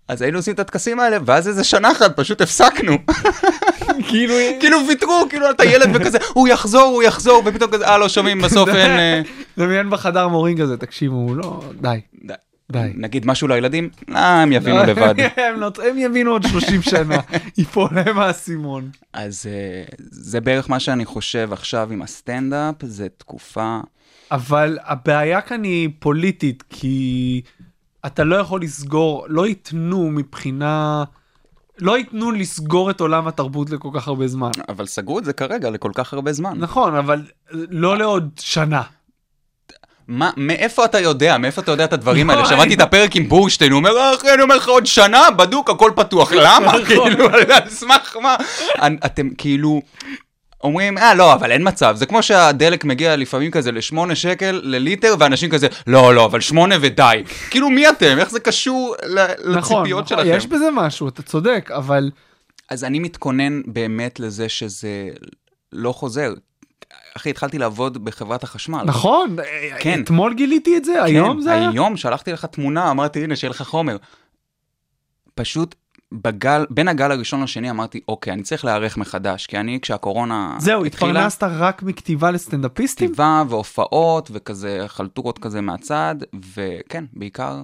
Speaker 5: אז היינו עושים את הטקסים האלה, ואז איזה שנה אחת פשוט הפסקנו.
Speaker 4: כאילו,
Speaker 5: כאילו ויתרו, כאילו אתה ילד וכזה, הוא יחזור, הוא יחזור, ופתאום כזה, אה, לא שומעים, בסוף אין... אה,
Speaker 4: דמיין בחדר מורים כזה, תקשיבו, הוא לא, די.
Speaker 5: די.
Speaker 4: די.
Speaker 5: נגיד משהו לילדים, אה, הם יבינו לבד.
Speaker 4: הם לא- הם יבינו עוד 30 שנה, ייפול להם האסימון.
Speaker 5: אז אה, זה בערך מה שאני חושב עכשיו עם הסטנדאפ, זה תקופה...
Speaker 4: אבל הבעיה כאן היא פוליטית, כי אתה לא יכול לסגור, לא ייתנו מבחינה, לא ייתנו לסגור את עולם התרבות לכל כך הרבה זמן.
Speaker 5: אבל סגרו את זה כרגע לכל כך הרבה זמן.
Speaker 4: נכון, אבל לא לעוד שנה.
Speaker 5: מה, מאיפה אתה יודע? מאיפה אתה יודע את הדברים האלה?
Speaker 4: לא,
Speaker 5: שמעתי את
Speaker 4: אני-
Speaker 5: הפרק עם בורשטיין, הוא אומר, "אה, אחי, אני אומר לך עוד שנה, בדוק, הכל פתוח. למה?
Speaker 4: נכון.
Speaker 5: כאילו, על סמך מה? אנ- אתם כאילו... אומרים, אה, לא, אבל אין מצב. זה כמו שהדלק מגיע לפעמים כזה לשמונה שקל לליטר, ואנשים כזה, לא, לא, אבל שמונה ודי. כאילו, מי אתם? איך זה קשור ל-
Speaker 4: נכון,
Speaker 5: לציפיות
Speaker 4: נכון,
Speaker 5: שלכם?
Speaker 4: יש בזה משהו, אתה צודק, אבל
Speaker 5: אז אני מתכונן באמת לזה שזה לא חוזר. אחי, התחלתי לעבוד בחברת החשמל.
Speaker 4: נכון,
Speaker 5: כן.
Speaker 4: אתמול גיליתי את זה, היום זה היה?
Speaker 5: היום שלחתי לך תמונה, אמרתי, הנה, שיהיה לך חומר. פשוט בגל, בין הגל הראשון לשני אמרתי, אוקיי, אני צריך להיערך מחדש, כי אני, כשהקורונה
Speaker 4: זהו,
Speaker 5: התחילה, כן,
Speaker 4: התפרנסת רק מכתיבה לסטנדאפיסטים?
Speaker 5: כתיבה והופעות וכזה חלטורות כזה מהצד, וכן, בעיקר,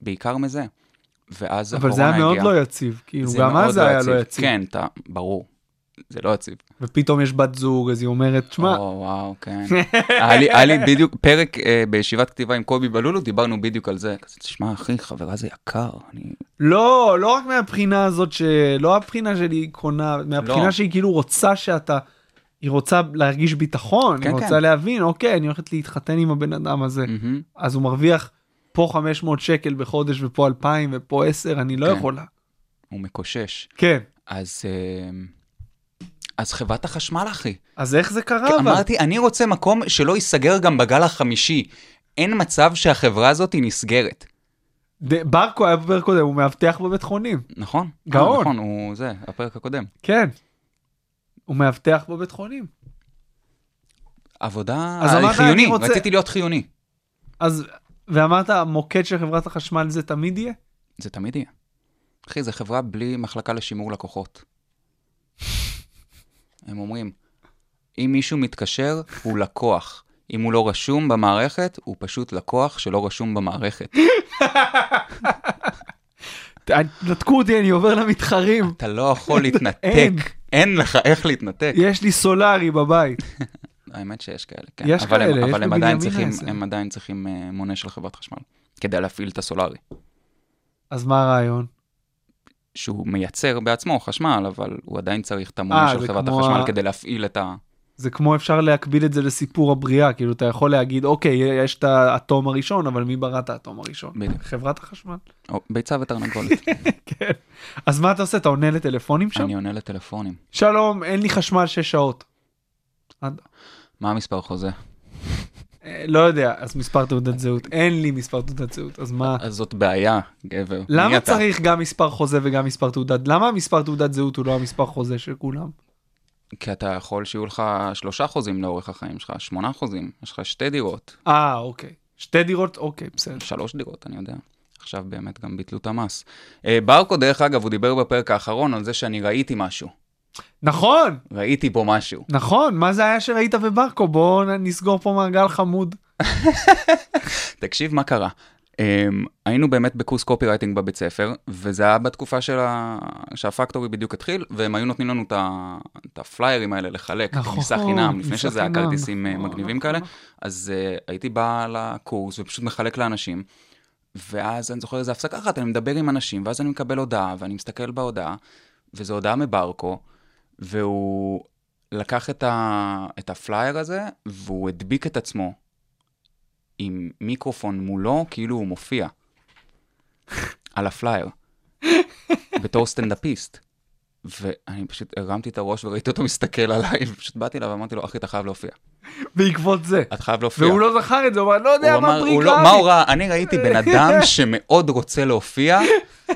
Speaker 5: בעיקר מזה. ואז
Speaker 4: אבל זה
Speaker 5: הקורונה
Speaker 4: היה מאוד
Speaker 5: הגיעה.
Speaker 4: לא יציב, כאילו,
Speaker 5: זה
Speaker 4: גם
Speaker 5: מאוד
Speaker 4: אז זה היה לא יציב.
Speaker 5: כן, אתה, ברור, זה לא יציב.
Speaker 4: ופתאום יש בת זוג, אז היא אומרת, שמע,
Speaker 5: או, וואו, כן. היה לי- היה לי בדיוק פרק אה, בישיבת כתיבה עם קובי בלולו, דיברנו בדיוק על זה. כזה, תשמע, אחי, חברה זה יקר, אני
Speaker 4: לא, לא רק מהבחינה הזאת שלא הבחינה שלי קונה, מהבחינה
Speaker 5: לא.
Speaker 4: שהיא כאילו רוצה שאתה, היא רוצה להרגיש ביטחון,
Speaker 5: כן,
Speaker 4: היא רוצה
Speaker 5: כן.
Speaker 4: להבין, אוקיי, אני הולכת להתחתן עם הבן אדם הזה,
Speaker 5: מהמם.
Speaker 4: אז הוא מרוויח פה 500 שקל בחודש ופה 2,000 ופה 10, אני לא
Speaker 5: כן.
Speaker 4: יכולה.
Speaker 5: הוא מקושש.
Speaker 4: כן,
Speaker 5: אז, אמ, אז חברת החשמל, אחי.
Speaker 4: אז איך זה קרה? אבל?
Speaker 5: אמרתי, אני רוצה מקום שלא ייסגר גם בגל החמישי. אין מצב שהחברה הזאת היא נסגרת,
Speaker 4: ד- ברקו היה בפרק קודם, הוא מאבטח בבית חונים,
Speaker 5: נכון?
Speaker 4: גאון.
Speaker 5: אה, נכון, הוא זה, הפרק הקודם.
Speaker 4: כן. הוא מאבטח בבית חונים.
Speaker 5: עבודה
Speaker 4: אז אמרת,
Speaker 5: אה, חיוני,
Speaker 4: אני רוצה-
Speaker 5: רציתי להיות חיוני.
Speaker 4: אז, ואמרת, המוקד של חברת החשמל זה תמיד יהיה?
Speaker 5: זה תמיד יהיה. אחי, זו חברה בלי מחלקה לשימור לקוחות. הם אומרים, אם מישהו מתקשר, הוא לקוח. אם הוא לא רשום במערכת, הוא פשוט לקוח שלא רשום במערכת.
Speaker 4: ת- נתקו אותי, אני עובר למתחרים.
Speaker 5: אתה לא יכול להתנתק.
Speaker 4: אין.
Speaker 5: אין לך איך להתנתק.
Speaker 4: יש לי סולארי בבית.
Speaker 5: האמת שיש כאלה, כן.
Speaker 4: יש
Speaker 5: אבל הם-
Speaker 4: כאלה, יש
Speaker 5: אבל הם
Speaker 4: בבנימינה
Speaker 5: עדיין צריכים,
Speaker 4: איזה.
Speaker 5: הם עדיין צריכים אה, מונה של חברת חשמל, כדי להפעיל את הסולארי.
Speaker 4: אז מה הרעיון?
Speaker 5: שהוא מייצר בעצמו חשמל, אבל הוא עדיין צריך את
Speaker 4: אה,
Speaker 5: המונה של
Speaker 4: זה
Speaker 5: חברת
Speaker 4: כמו
Speaker 5: החשמל
Speaker 4: ה-
Speaker 5: כדי להפעיל את ה...
Speaker 4: זה כמו אפשר להקביל את זה לסיפור הבריאה, כאילו אתה יכול להגיד, אוקיי, יש את האטום הראשון, אבל מי ברא את האטום הראשון?
Speaker 5: בדיוק.
Speaker 4: חברת החשמל.
Speaker 5: או, ביצה ותרנגולת.
Speaker 4: כן. אז מה אתה עושה? אתה עונה לטלפונים שם?
Speaker 5: אני עונה לטלפונים.
Speaker 4: שלום, אין לי חשמל שש שעות. עד-
Speaker 5: מה המספר חוזה?
Speaker 4: אה, לא יודע, אז מספר תעודת זהות. אין לי מספר תעודת זהות, אז מה?
Speaker 5: אז זאת בעיה, גבר. מי
Speaker 4: למה
Speaker 5: אתה?
Speaker 4: צריך גם מספר חוזה וגם מספר תעודת? למה המספר תעודת זהות הוא לא המספר חוזה של כולם?
Speaker 5: כי אתה יכול שיהיו לך שלושה חוזים לאורך החיים שלך, שמונה חוזים, יש לך שתי דירות,
Speaker 4: אה, אוקיי. שתי דירות? אוקיי, בסדר.
Speaker 5: שלוש דירות, אני יודע. עכשיו באמת גם ביטלו את המס. אה, ברקו, דרך אגב, הוא דיבר בפרק האחרון על זה שאני ראיתי משהו.
Speaker 4: נכון,
Speaker 5: ראיתי פה משהו.
Speaker 4: נכון, מה זה היה שראית וברקו? בואו נ- נסגור פה מעגל חמוד.
Speaker 5: תקשיב מה קרה. אמ, היינו באמת בקורס קופי רייטינג בבית ספר, וזה היה בתקופה של ה... שהפקטורי בדיוק התחיל, והם היו נותנים לנו את ה- את הפליירים האלה לחלק,
Speaker 4: נכון,
Speaker 5: כניסה חינם, לפני
Speaker 4: כניסה
Speaker 5: שזה היה
Speaker 4: חינם,
Speaker 5: כרטיסים אה,
Speaker 4: נכון,
Speaker 5: מגניבים
Speaker 4: נכון,
Speaker 5: כאלה.
Speaker 4: נכון.
Speaker 5: אז אה, הייתי בא לקורס ופשוט מחלק לאנשים, ואז אני זוכר איזה הפסקה אחת, אני מדבר עם אנשים, ואז אני מקבל הודעה, ואני מסתכל בהודעה, וזו הודעה מברקו, והוא לקח את, ה... את הפלייר הזה, והוא הדביק את עצמו עם מיקרופון מולו, כאילו הוא מופיע. על הפלייר. בתור סטנדאפיסט. ואני פשוט הרמתי את הראש וראיתי אותו מסתכל עליי, ופשוט באתי אליו ואמרתי לו, אחי, אתה חייב להופיע.
Speaker 4: בעקבות זה.
Speaker 5: אתה חייב להופיע.
Speaker 4: והוא לא זכר את זה, הוא אמר, לא יודע
Speaker 5: כן. הוא
Speaker 4: מה
Speaker 5: אמר,
Speaker 4: פרי
Speaker 5: הוא לא,
Speaker 4: גרמי.
Speaker 5: מה הוא ראה? אני ראיתי בן אדם שמאוד רוצה להופיע,
Speaker 4: אה,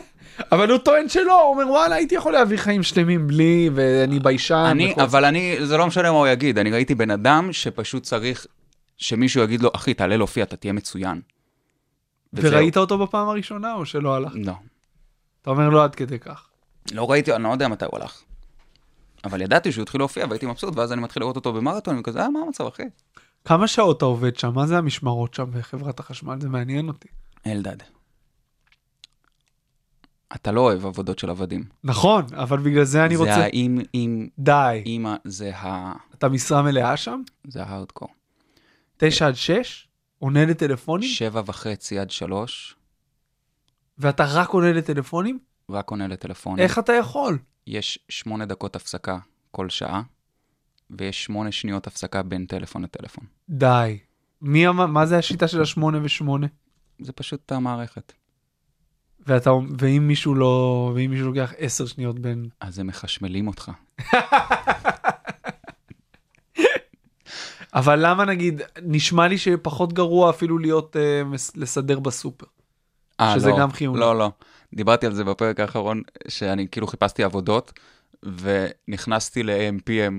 Speaker 4: אבל הוא טוען שלא, הוא אומר, וואלה, הייתי יכול להביא חיים שלמים בלי, ואני ביישן.
Speaker 5: אני,
Speaker 4: וכל
Speaker 5: אבל אני, זה לא משנה מה הוא יגיד, אני ראיתי בן אדם שפשוט צריך שמישהו יגיד לו, אחי, תעלה להופיע, אתה תהיה מצוין.
Speaker 4: זה."
Speaker 5: וזהו.
Speaker 4: וראית אותו בפעם הראשונה או שלא הלך?
Speaker 5: לא.
Speaker 4: אתה אומר, לא עד כדי כך.
Speaker 5: לא ראיתי, אני לא יודע מתי הוא הלך. אבל ידעתי שהוא התחיל להופיע והייתי מבסוט, ואז אני מתחיל לראות אותו במרתון, וכזה, אה, מה המצב, אחי?
Speaker 4: כמה שעות אתה עובד שם? מה זה המשמרות שם בחברת החשמל? זה מעניין אותי.
Speaker 5: אלדד. אתה לא אוהב עבודות של עבדים.
Speaker 4: נכון, אבל בגלל זה אני
Speaker 5: זה
Speaker 4: רוצה...
Speaker 5: האם, אם,
Speaker 4: די.
Speaker 5: אימא, זה ה...
Speaker 4: אתה משרה מלאה שם?
Speaker 5: זה ההארדקור.
Speaker 4: תשע עד שש? עונה לטלפונים?
Speaker 5: שבע וחצי עד שלוש,
Speaker 4: ואתה רק עונה לטלפונים?
Speaker 5: רק עונה לטלפון.
Speaker 4: איך אתה יכול?
Speaker 5: יש שמונה דקות הפסקה כל שעה, ויש שמונה שניות הפסקה בין טלפון לטלפון.
Speaker 4: די. מי אמר, מה זה השיטה של השמונה ושמונה?
Speaker 5: זה פשוט המערכת.
Speaker 4: ואתה, ואם מישהו לא, ואם מישהו לוקח עשר שניות בין...
Speaker 5: אז הם מחשמלים אותך.
Speaker 4: אבל למה נגיד, נשמע לי שפחות גרוע אפילו להיות, אה, מס- לסדר בסופר.
Speaker 5: אה,
Speaker 4: שזה
Speaker 5: לא,
Speaker 4: גם חיוני.
Speaker 5: לא, לא. דיברתי על זה בפרק האחרון, שאני כאילו חיפשתי עבודות, ונכנסתי ל-AMPM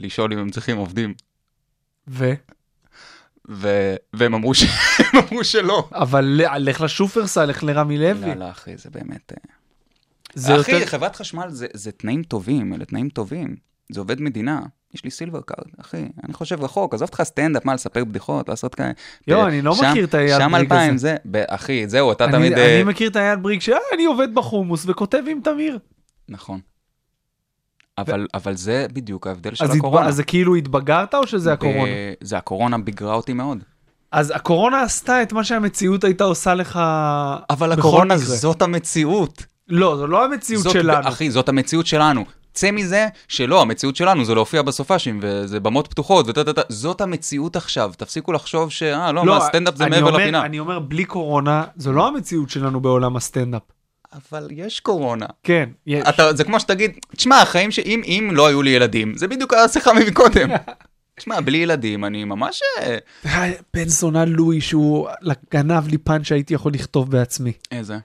Speaker 5: לשאול אם הם צריכים עובדים,
Speaker 4: ו?
Speaker 5: ו... והם אמרו, ש... הם אמרו שלא.
Speaker 4: אבל ל- לך לשופרסל, לך לרמי לוי.
Speaker 5: לא, לא, אחי, זה באמת... אה,
Speaker 4: זה
Speaker 5: אחי,
Speaker 4: יותר...
Speaker 5: חברת חשמל זה, זה תנאים טובים, אלה תנאים טובים. זה עובד מדינה. יש לי סילבר קארד, אחי, אני חושב רחוק, עזוב אותך סטנדאפ, מה, לספר בדיחות, לעשות כאלה.
Speaker 4: יואו,
Speaker 5: אה,
Speaker 4: אני לא
Speaker 5: שם-
Speaker 4: מכיר את היד
Speaker 5: שם
Speaker 4: בריג
Speaker 5: אלפיים,
Speaker 4: הזה.
Speaker 5: זה, ב- אחי, זהו, אתה
Speaker 4: אני,
Speaker 5: תמיד...
Speaker 4: אני
Speaker 5: אה,
Speaker 4: מכיר את היד בריג שאני עובד בחומוס וכותב עם תמיר.
Speaker 5: נכון. אבל, אבל זה בדיוק ההבדל של
Speaker 4: אז,
Speaker 5: הקורונה.
Speaker 4: התב... אז זה כאילו התבגרת או שזה הקורונה?
Speaker 5: ב- זה הקורונה ביגרה אותי מאוד.
Speaker 4: אז הקורונה עשתה את מה שהמציאות הייתה עושה לך
Speaker 5: אבל
Speaker 4: בכל
Speaker 5: הקורונה
Speaker 4: מקרה.
Speaker 5: זאת המציאות.
Speaker 4: לא, זו לא המציאות
Speaker 5: זאת-
Speaker 4: שלנו.
Speaker 5: אחי, זאת המציאות שלנו. צא מזה שלא, המציאות שלנו זה להופיע בסופאשים, וזה במות פתוחות, וטה-טה-טה. זאת המציאות עכשיו, תפסיקו לחשוב ש... אה, לא, מה, סטנדאפ זה
Speaker 4: אני
Speaker 5: מעבר
Speaker 4: אומר-
Speaker 5: לפינה.
Speaker 4: אני אומר, בלי קורונה, זו לא המציאות שלנו בעולם הסטנדאפ.
Speaker 5: אבל יש קורונה.
Speaker 4: כן, יש.
Speaker 5: אתה, זה כמו שתגיד, תשמע, החיים שאם אם לא היו לי ילדים, זה בדיוק השיחה מקודם. תשמע, בלי ילדים, אני ממש... אה,
Speaker 4: בן זונה לואי שהוא גנב לי פאנץ' שהייתי יכול לכתוב בעצמי.
Speaker 5: איזה?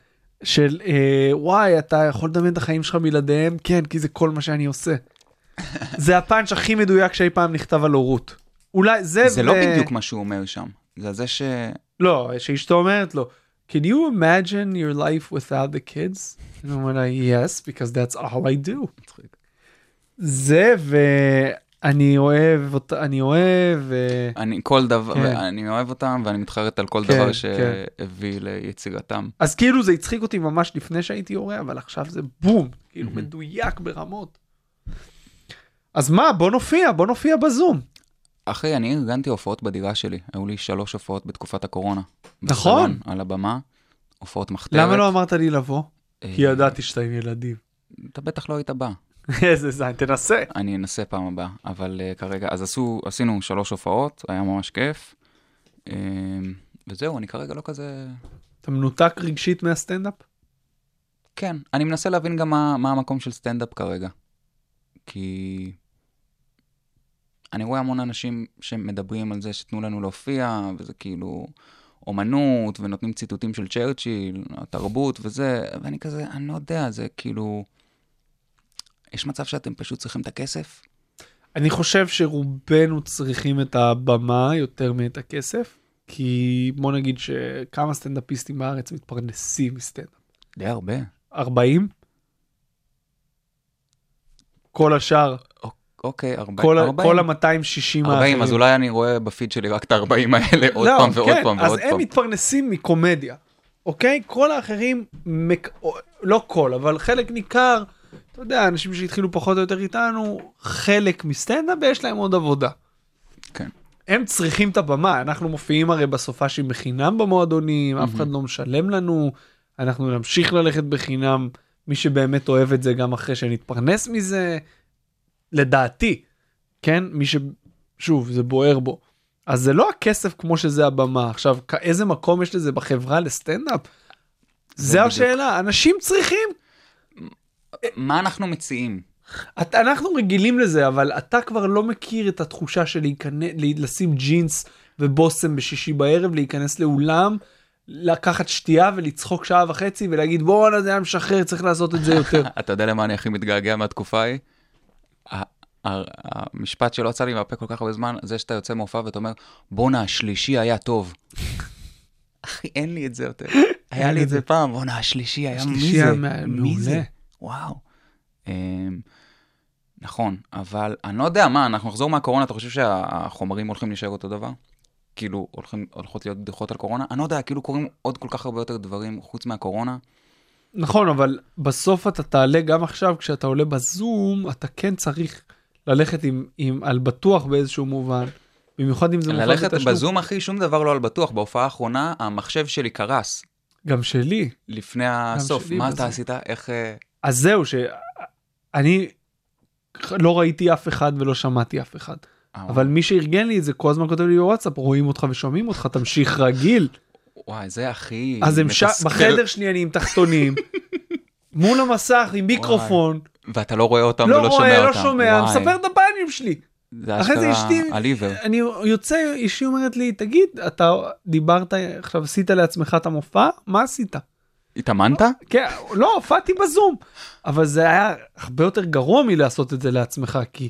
Speaker 4: של אה, וואי, אתה יכול לדמיין את החיים שלך בלעדיהם? כן, כי זה כל מה שאני עושה. זה הפאנץ' הכי מדויק שאי פעם נכתב על הורות. אולי זה...
Speaker 5: זה לא
Speaker 4: ו-
Speaker 5: בדיוק מה שהוא אומר שם. זה זה ש...
Speaker 4: לא, שאשתו אומרת לו, can you imagine your life without the kids? And I'm like, yes, because that's all I do. זה ואני אוהב אותה, אני אוהב, ו-
Speaker 5: אני כל דבר,
Speaker 4: כן.
Speaker 5: אני אוהב אותם, ואני מתחרט על כל
Speaker 4: כן,
Speaker 5: דבר
Speaker 4: כן.
Speaker 5: שהביא ליצירתם.
Speaker 4: אז כאילו זה הצחיק אותי ממש לפני שהייתי הורה, אבל עכשיו זה בום, כאילו מדויק ברמות. אז מה, בוא נופיע, בוא נופיע בזום.
Speaker 5: אחי, אני ארגנתי הופעות בדירה שלי. היו לי שלוש הופעות בתקופת הקורונה.
Speaker 4: נכון.
Speaker 5: בסלון, על הבמה, הופעות מחתרת.
Speaker 4: למה לא אמרת לי לבוא?
Speaker 5: אה,
Speaker 4: כי ידעתי שאתה עם ילדים.
Speaker 5: אתה בטח לא היית בא.
Speaker 4: איזה זין, תנסה.
Speaker 5: אני אנסה פעם הבאה, אבל אה, כרגע... אז עשו, עשינו שלוש הופעות, היה ממש כיף. אה, וזהו, אני כרגע לא כזה...
Speaker 4: אתה מנותק רגשית מהסטנדאפ?
Speaker 5: כן, אני מנסה להבין גם מה, מה המקום של סטנדאפ כרגע. כי... אני רואה המון אנשים שמדברים על זה שתנו לנו להופיע, וזה כאילו אומנות, ונותנים ציטוטים של צ'רצ'יל, התרבות וזה, ואני כזה, אני לא יודע, זה כאילו... יש מצב שאתם פשוט צריכים את הכסף?
Speaker 4: אני חושב שרובנו צריכים את הבמה יותר מאת הכסף, כי בוא נגיד שכמה סטנדאפיסטים בארץ מתפרנסים מסטנדאפ.
Speaker 5: די הרבה.
Speaker 4: 40? כל השאר,
Speaker 5: אוקיי, ארבע-
Speaker 4: כל ה-
Speaker 5: 40.
Speaker 4: כל ה-260 האחרים.
Speaker 5: 40, אז אולי אני רואה בפיד שלי רק את ה-40 האלה עוד
Speaker 4: לא,
Speaker 5: פעם ועוד
Speaker 4: כן,
Speaker 5: פעם
Speaker 4: אז
Speaker 5: ועוד
Speaker 4: הם
Speaker 5: פעם.
Speaker 4: מתפרנסים מקומדיה, אוקיי? כל האחרים, מק... או- לא כל, אבל חלק ניכר, אתה יודע, אנשים שהתחילו פחות או יותר איתנו, חלק מסטנדאפ ויש להם עוד עבודה.
Speaker 5: כן.
Speaker 4: הם צריכים את הבמה, אנחנו מופיעים הרי בסופ"שים בחינם במועדונים, אף אחד לא משלם לנו, אנחנו נמשיך ללכת בחינם, מי שבאמת אוהב את זה גם אחרי שנתפרנס מזה, לדעתי, כן? מי ש... שוב, זה בוער בו. אז זה לא הכסף כמו שזה הבמה. עכשיו, כ- איזה מקום יש לזה בחברה לסטנדאפ? זה
Speaker 5: בדיוק.
Speaker 4: השאלה, אנשים צריכים.
Speaker 5: מה אנחנו מציעים?
Speaker 4: את, אנחנו רגילים לזה, אבל אתה כבר לא מכיר את התחושה של להיכנס, לשים ג'ינס ובושם בשישי בערב, להיכנס לאולם, לקחת שתייה ולצחוק שעה וחצי ולהגיד בואנה זה היה משחרר, צריך לעשות את זה יותר.
Speaker 5: אתה יודע למה אני הכי מתגעגע מהתקופה ההיא? ה- ה- המשפט שלא יצא לי מהפה כל כך הרבה זמן, זה שאתה יוצא מהופעה ואתה אומר, בואנה, השלישי היה טוב. אחי, אין לי את זה יותר. היה לי את זה פעם, בואנה, השלישי היה, מי
Speaker 4: השלישי
Speaker 5: זה?
Speaker 4: היה מע-
Speaker 5: מי זה?
Speaker 4: מעולה.
Speaker 5: וואו. אמ, נכון, אבל אני לא יודע מה, אנחנו נחזור מהקורונה, אתה חושב שהחומרים הולכים להישאר אותו דבר? כאילו, הולכים, הולכות להיות בדיחות על קורונה? אני לא יודע, כאילו קורים עוד כל כך הרבה יותר דברים חוץ מהקורונה.
Speaker 4: נכון, אבל בסוף אתה תעלה גם עכשיו, כשאתה עולה בזום, אתה כן צריך ללכת עם, עם על בטוח באיזשהו מובן, במיוחד אם זה מופע
Speaker 5: ללכת
Speaker 4: בתשלום.
Speaker 5: בזום, אחי, שום דבר לא על בטוח. בהופעה האחרונה, המחשב שלי קרס
Speaker 4: גם שלי.
Speaker 5: לפני הסוף.
Speaker 4: שלי
Speaker 5: מה
Speaker 4: בזום.
Speaker 5: אתה עשית? איך... אה,
Speaker 4: אז זהו, שאני לא ראיתי אף אחד ולא שמעתי אף אחד.
Speaker 5: אה,
Speaker 4: אבל מי שארגן לי את זה כל הזמן כותב לי בוואטסאפ, רואים אותך ושומעים אותך, תמשיך רגיל.
Speaker 5: אה, וואי, זה הכי...
Speaker 4: אז הם ש...
Speaker 5: מתסכל.
Speaker 4: בחדר שלי אני עם תחתונים, מול המסך עם מיקרופון,
Speaker 5: ואתה לא רואה אותם ולא
Speaker 4: לא
Speaker 5: שומע אותם.
Speaker 4: רואה, לא שומע,
Speaker 5: וואי,
Speaker 4: מספר את הבנים שלי.
Speaker 5: זה
Speaker 4: אחרי זה
Speaker 5: אשכרה
Speaker 4: אשתי-
Speaker 5: עליבר.
Speaker 4: אני יוצא, אישי אומרת לי, תגיד, אתה דיברת, עכשיו עשית לעצמך את המופע? מה עשית?
Speaker 5: התאמנת?
Speaker 4: כן, לא, הופעתי בזום. אבל זה היה הרבה יותר גרוע מלעשות את זה לעצמך, כי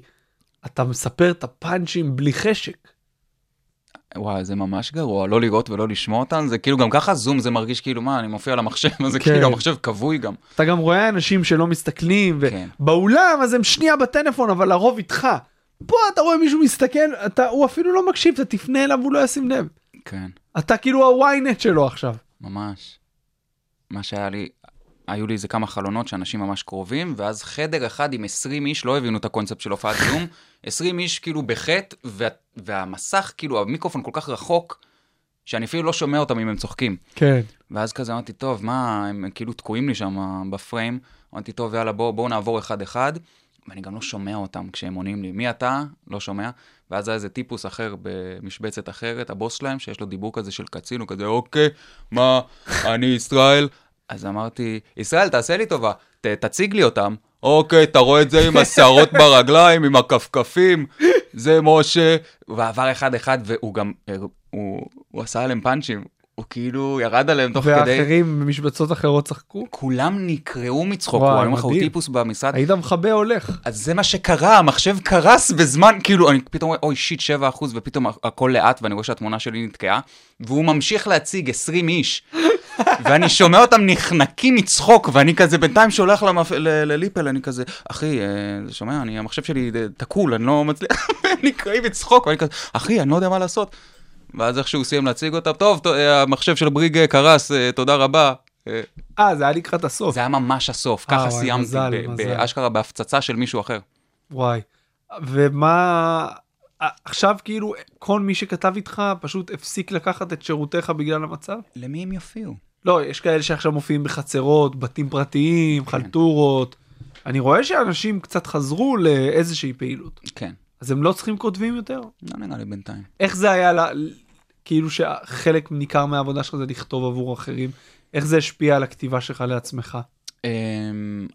Speaker 4: אתה מספר את הפאנצ'ים בלי חשק.
Speaker 5: וואי, זה ממש גרוע, לא לראות ולא לשמוע אותם, זה כאילו גם ככה זום, זה מרגיש כאילו, מה, אני מופיע על המחשב, אז זה
Speaker 4: כן.
Speaker 5: כאילו המחשב כבוי גם.
Speaker 4: אתה גם רואה אנשים שלא מסתכלים,
Speaker 5: כן.
Speaker 4: ובאולם אז הם שנייה בטלפון, אבל לרוב איתך. פה אתה רואה מישהו מסתכל, אתה, הוא אפילו לא מקשיב, אתה תפנה אליו, הוא לא ישים לב.
Speaker 5: כן,
Speaker 4: אתה כאילו הוויינט שלו עכשיו.
Speaker 5: ממש. מה שהיה לי, היו לי איזה כמה חלונות שאנשים ממש קרובים, ואז חדר אחד עם 20 איש, לא הבינו את הקונספט של הופעת זום, 20 איש כאילו בחטא, וה, והמסך, כאילו, המיקרופון כל כך רחוק, שאני אפילו לא שומע אותם אם הם צוחקים.
Speaker 4: כן.
Speaker 5: ואז כזה אמרתי, טוב, מה, הם כאילו תקועים לי שם בפריים. אמרתי, טוב, יאללה, בואו בוא נעבור אחד-אחד. ואני גם לא שומע אותם כשהם עונים לי, מי אתה? לא שומע. ואז היה איזה טיפוס אחר במשבצת אחרת, הבוס שלהם, שיש לו דיבור כזה של קצין, הוא כזה, אוקיי, מה, אני ישראל. אז אמרתי, ישראל, תעשה לי טובה, ת, תציג לי אותם. אוקיי, אתה רואה את זה עם השערות ברגליים, עם הכפכפים, זה משה. ועבר אחד-אחד, והוא גם, אה, הוא, הוא עשה עליהם פאנצ'ים. הוא כאילו ירד עליהם תוך כדי...
Speaker 4: ואחרים במשבצות אחרות צחקו.
Speaker 5: כולם נקרעו מצחוק,
Speaker 4: וואי,
Speaker 5: וואי, אני אומר לך, הוא
Speaker 4: מדהים.
Speaker 5: טיפוס במשרד.
Speaker 4: היית מכבה הולך.
Speaker 5: אז זה מה שקרה, המחשב קרס בזמן, כאילו, אני פתאום רואה, אוי, שיט, 7 אחוז, ופתאום הכל לאט, ואני רואה שהתמונה שלי נתקעה, והוא ממשיך להציג 20 איש, ואני שומע אותם נחנקים מצחוק, ואני כזה בינתיים שולח למפ... ל- לליפל, אני כזה, אחי, אה, אתה שומע, אני, המחשב שלי אה, תקול, אני לא מצליח, אני נקרעי בצחוק, ואני כזה, אחי, אני לא יודע מה לעשות. ואז איכשהו הוא סיים להציג אותם, טוב, ת- אה, המחשב של בריג אה, קרס, אה, תודה רבה. אה,
Speaker 4: אה, זה היה לקראת הסוף.
Speaker 5: זה היה ממש הסוף,
Speaker 4: אה,
Speaker 5: ככה
Speaker 4: וואי,
Speaker 5: סיימתי,
Speaker 4: מזל,
Speaker 5: ב-
Speaker 4: מזל.
Speaker 5: באשכרה בהפצצה של מישהו אחר.
Speaker 4: וואי. ומה... עכשיו כאילו כל מי שכתב איתך פשוט הפסיק לקחת את שירותיך בגלל המצב?
Speaker 5: למי הם יופיעו?
Speaker 4: לא, יש כאלה שעכשיו מופיעים בחצרות, בתים
Speaker 5: כן.
Speaker 4: פרטיים, חלטורות. אני רואה שאנשים קצת חזרו לאיזושהי פעילות.
Speaker 5: כן,
Speaker 4: אז הם לא צריכים כותבים יותר?
Speaker 5: לא נראה לי בינתיים.
Speaker 4: איך זה היה, לה, כאילו שחלק ניכר מהעבודה שלך זה לכתוב עבור אחרים? איך זה השפיע על הכתיבה שלך לעצמך?
Speaker 5: אמ,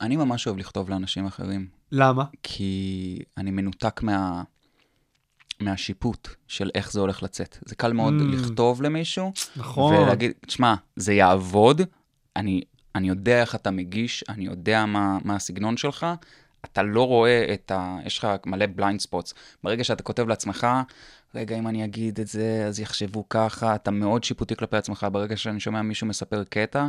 Speaker 5: אני ממש אוהב לכתוב לאנשים אחרים,
Speaker 4: למה?
Speaker 5: כי אני מנותק מה... מהשיפוט של איך זה הולך לצאת. זה קל מאוד לכתוב למישהו,
Speaker 4: נכון.
Speaker 5: ולהגיד, תשמע, זה יעבוד, אני, אני יודע איך אתה מגיש, אני יודע מה, מה הסגנון שלך, אתה לא רואה את ה... יש לך מלא בליינד ספוטס. ברגע שאתה כותב לעצמך, רגע, אם אני אגיד את זה, אז יחשבו ככה, אתה מאוד שיפוטי כלפי עצמך. ברגע שאני שומע מישהו מספר קטע,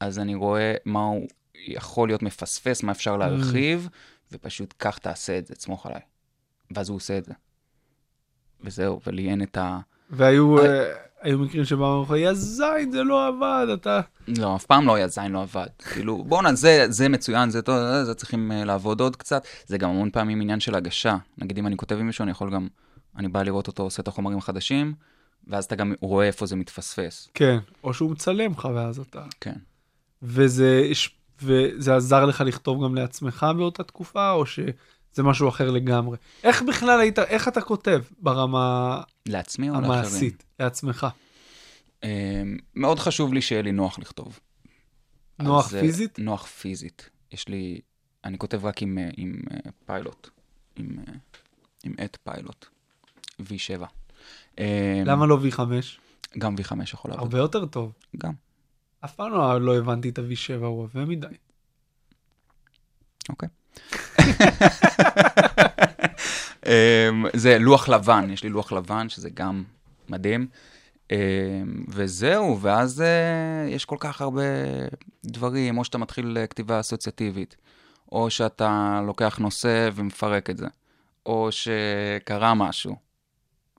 Speaker 5: אז אני רואה מה הוא יכול להיות מפספס, מה אפשר להרחיב, ופשוט כך תעשה את זה, תסמוך עליי. ואז הוא עושה את זה. וזהו, ולי אין את ה...
Speaker 4: והיו אה, היו מקרים שבאו לך, יא זין, זה לא עבד, אתה...
Speaker 5: לא, אף פעם לא היה זין לא עבד. כאילו, בואנה, זה, זה מצוין, זה טוב, זה, זה צריכים אה, לעבוד עוד קצת. זה גם המון פעמים עניין של הגשה. נגיד, אם אני כותב עם מישהו, אני יכול גם, אני בא לראות אותו עושה את החומרים החדשים, ואז אתה גם רואה איפה זה מתפספס.
Speaker 4: כן. או שהוא מצלם לך ואז אתה...
Speaker 5: כן.
Speaker 4: וזה, הש- וזה עזר לך לכתוב גם לעצמך באותה תקופה, או שזה משהו אחר לגמרי? איך בכלל היית, איך אתה כותב ברמה
Speaker 5: לעצמי
Speaker 4: לא,
Speaker 5: או לאחרים?
Speaker 4: המעשית, לעצמך?
Speaker 5: אה, מאוד חשוב לי שיהיה לי נוח לכתוב.
Speaker 4: נוח
Speaker 5: אז, אה,
Speaker 4: פיזית?
Speaker 5: נוח פיזית. יש לי, אני כותב רק עם, אה, עם אה, פיילוט. עם, אה, עם עט פיילוט. V7. אה,
Speaker 4: למה אוקיי. לא V5?
Speaker 5: גם V5 יכול לעבוד.
Speaker 4: הרבה יותר טוב.
Speaker 5: גם.
Speaker 4: אף פעם לא- לא הבנתי את ה-V7, הוא עבה מדי.
Speaker 5: אוקיי. אמ, זה לוח לבן, יש לי לוח לבן, שזה גם מדהים. אמ, וזהו, ואז אה, יש כל כך הרבה דברים, או שאתה מתחיל אה, כתיבה אסוציאטיבית, או שאתה לוקח נושא ומפרק את זה, או שקרה משהו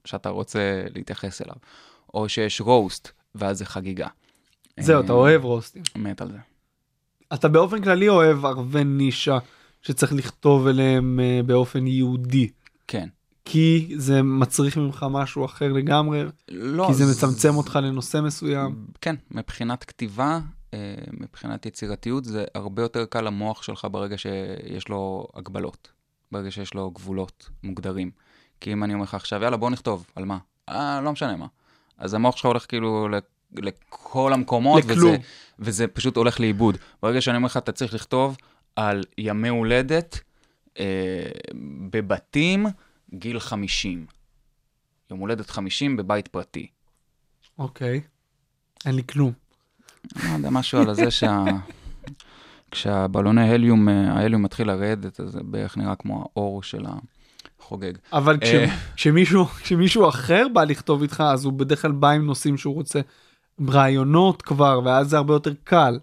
Speaker 5: שאתה רוצה להתייחס אליו, או שיש רוסט, ואז זה חגיגה.
Speaker 4: זהו, אתה
Speaker 5: אמ,
Speaker 4: אוהב רוסטים.
Speaker 5: מת על זה.
Speaker 4: אתה באופן כללי אוהב ערבי נישה שצריך לכתוב אליהם אה, באופן יהודי.
Speaker 5: כן.
Speaker 4: כי זה מצריך ממך משהו אחר לגמרי,
Speaker 5: לא,
Speaker 4: כי זה מצמצם אותך לנושא מסוים.
Speaker 5: כן, מבחינת כתיבה, אה, מבחינת יצירתיות, זה הרבה יותר קל למוח שלך ברגע שיש לו הגבלות, ברגע שיש לו גבולות מוגדרים. כי אם אני אומר לך עכשיו, יאללה, בוא נכתוב, על מה? אה, לא משנה מה. אז המוח שלך הולך כאילו ל- לכל המקומות,
Speaker 4: לכלום.
Speaker 5: וזה, וזה פשוט הולך לאיבוד. ברגע שאני אומר לך, אתה צריך לכתוב על ימי הולדת אה, בבתים, גיל 50. יום הולדת 50 בבית פרטי.
Speaker 4: אוקיי. אין לי כלום.
Speaker 5: לא יודע, משהו על זה שה... כשהבלוני הליום, אה, ההליום מתחיל לרדת, אז זה בערך נראה כמו האור של החוגג.
Speaker 4: אבל כש-
Speaker 5: אה.
Speaker 4: כשמישהו, כשמישהו אחר בא לכתוב איתך, אז הוא בדרך כלל בא עם נושאים שהוא רוצה, עם רעיונות כבר, ואז זה הרבה יותר קל.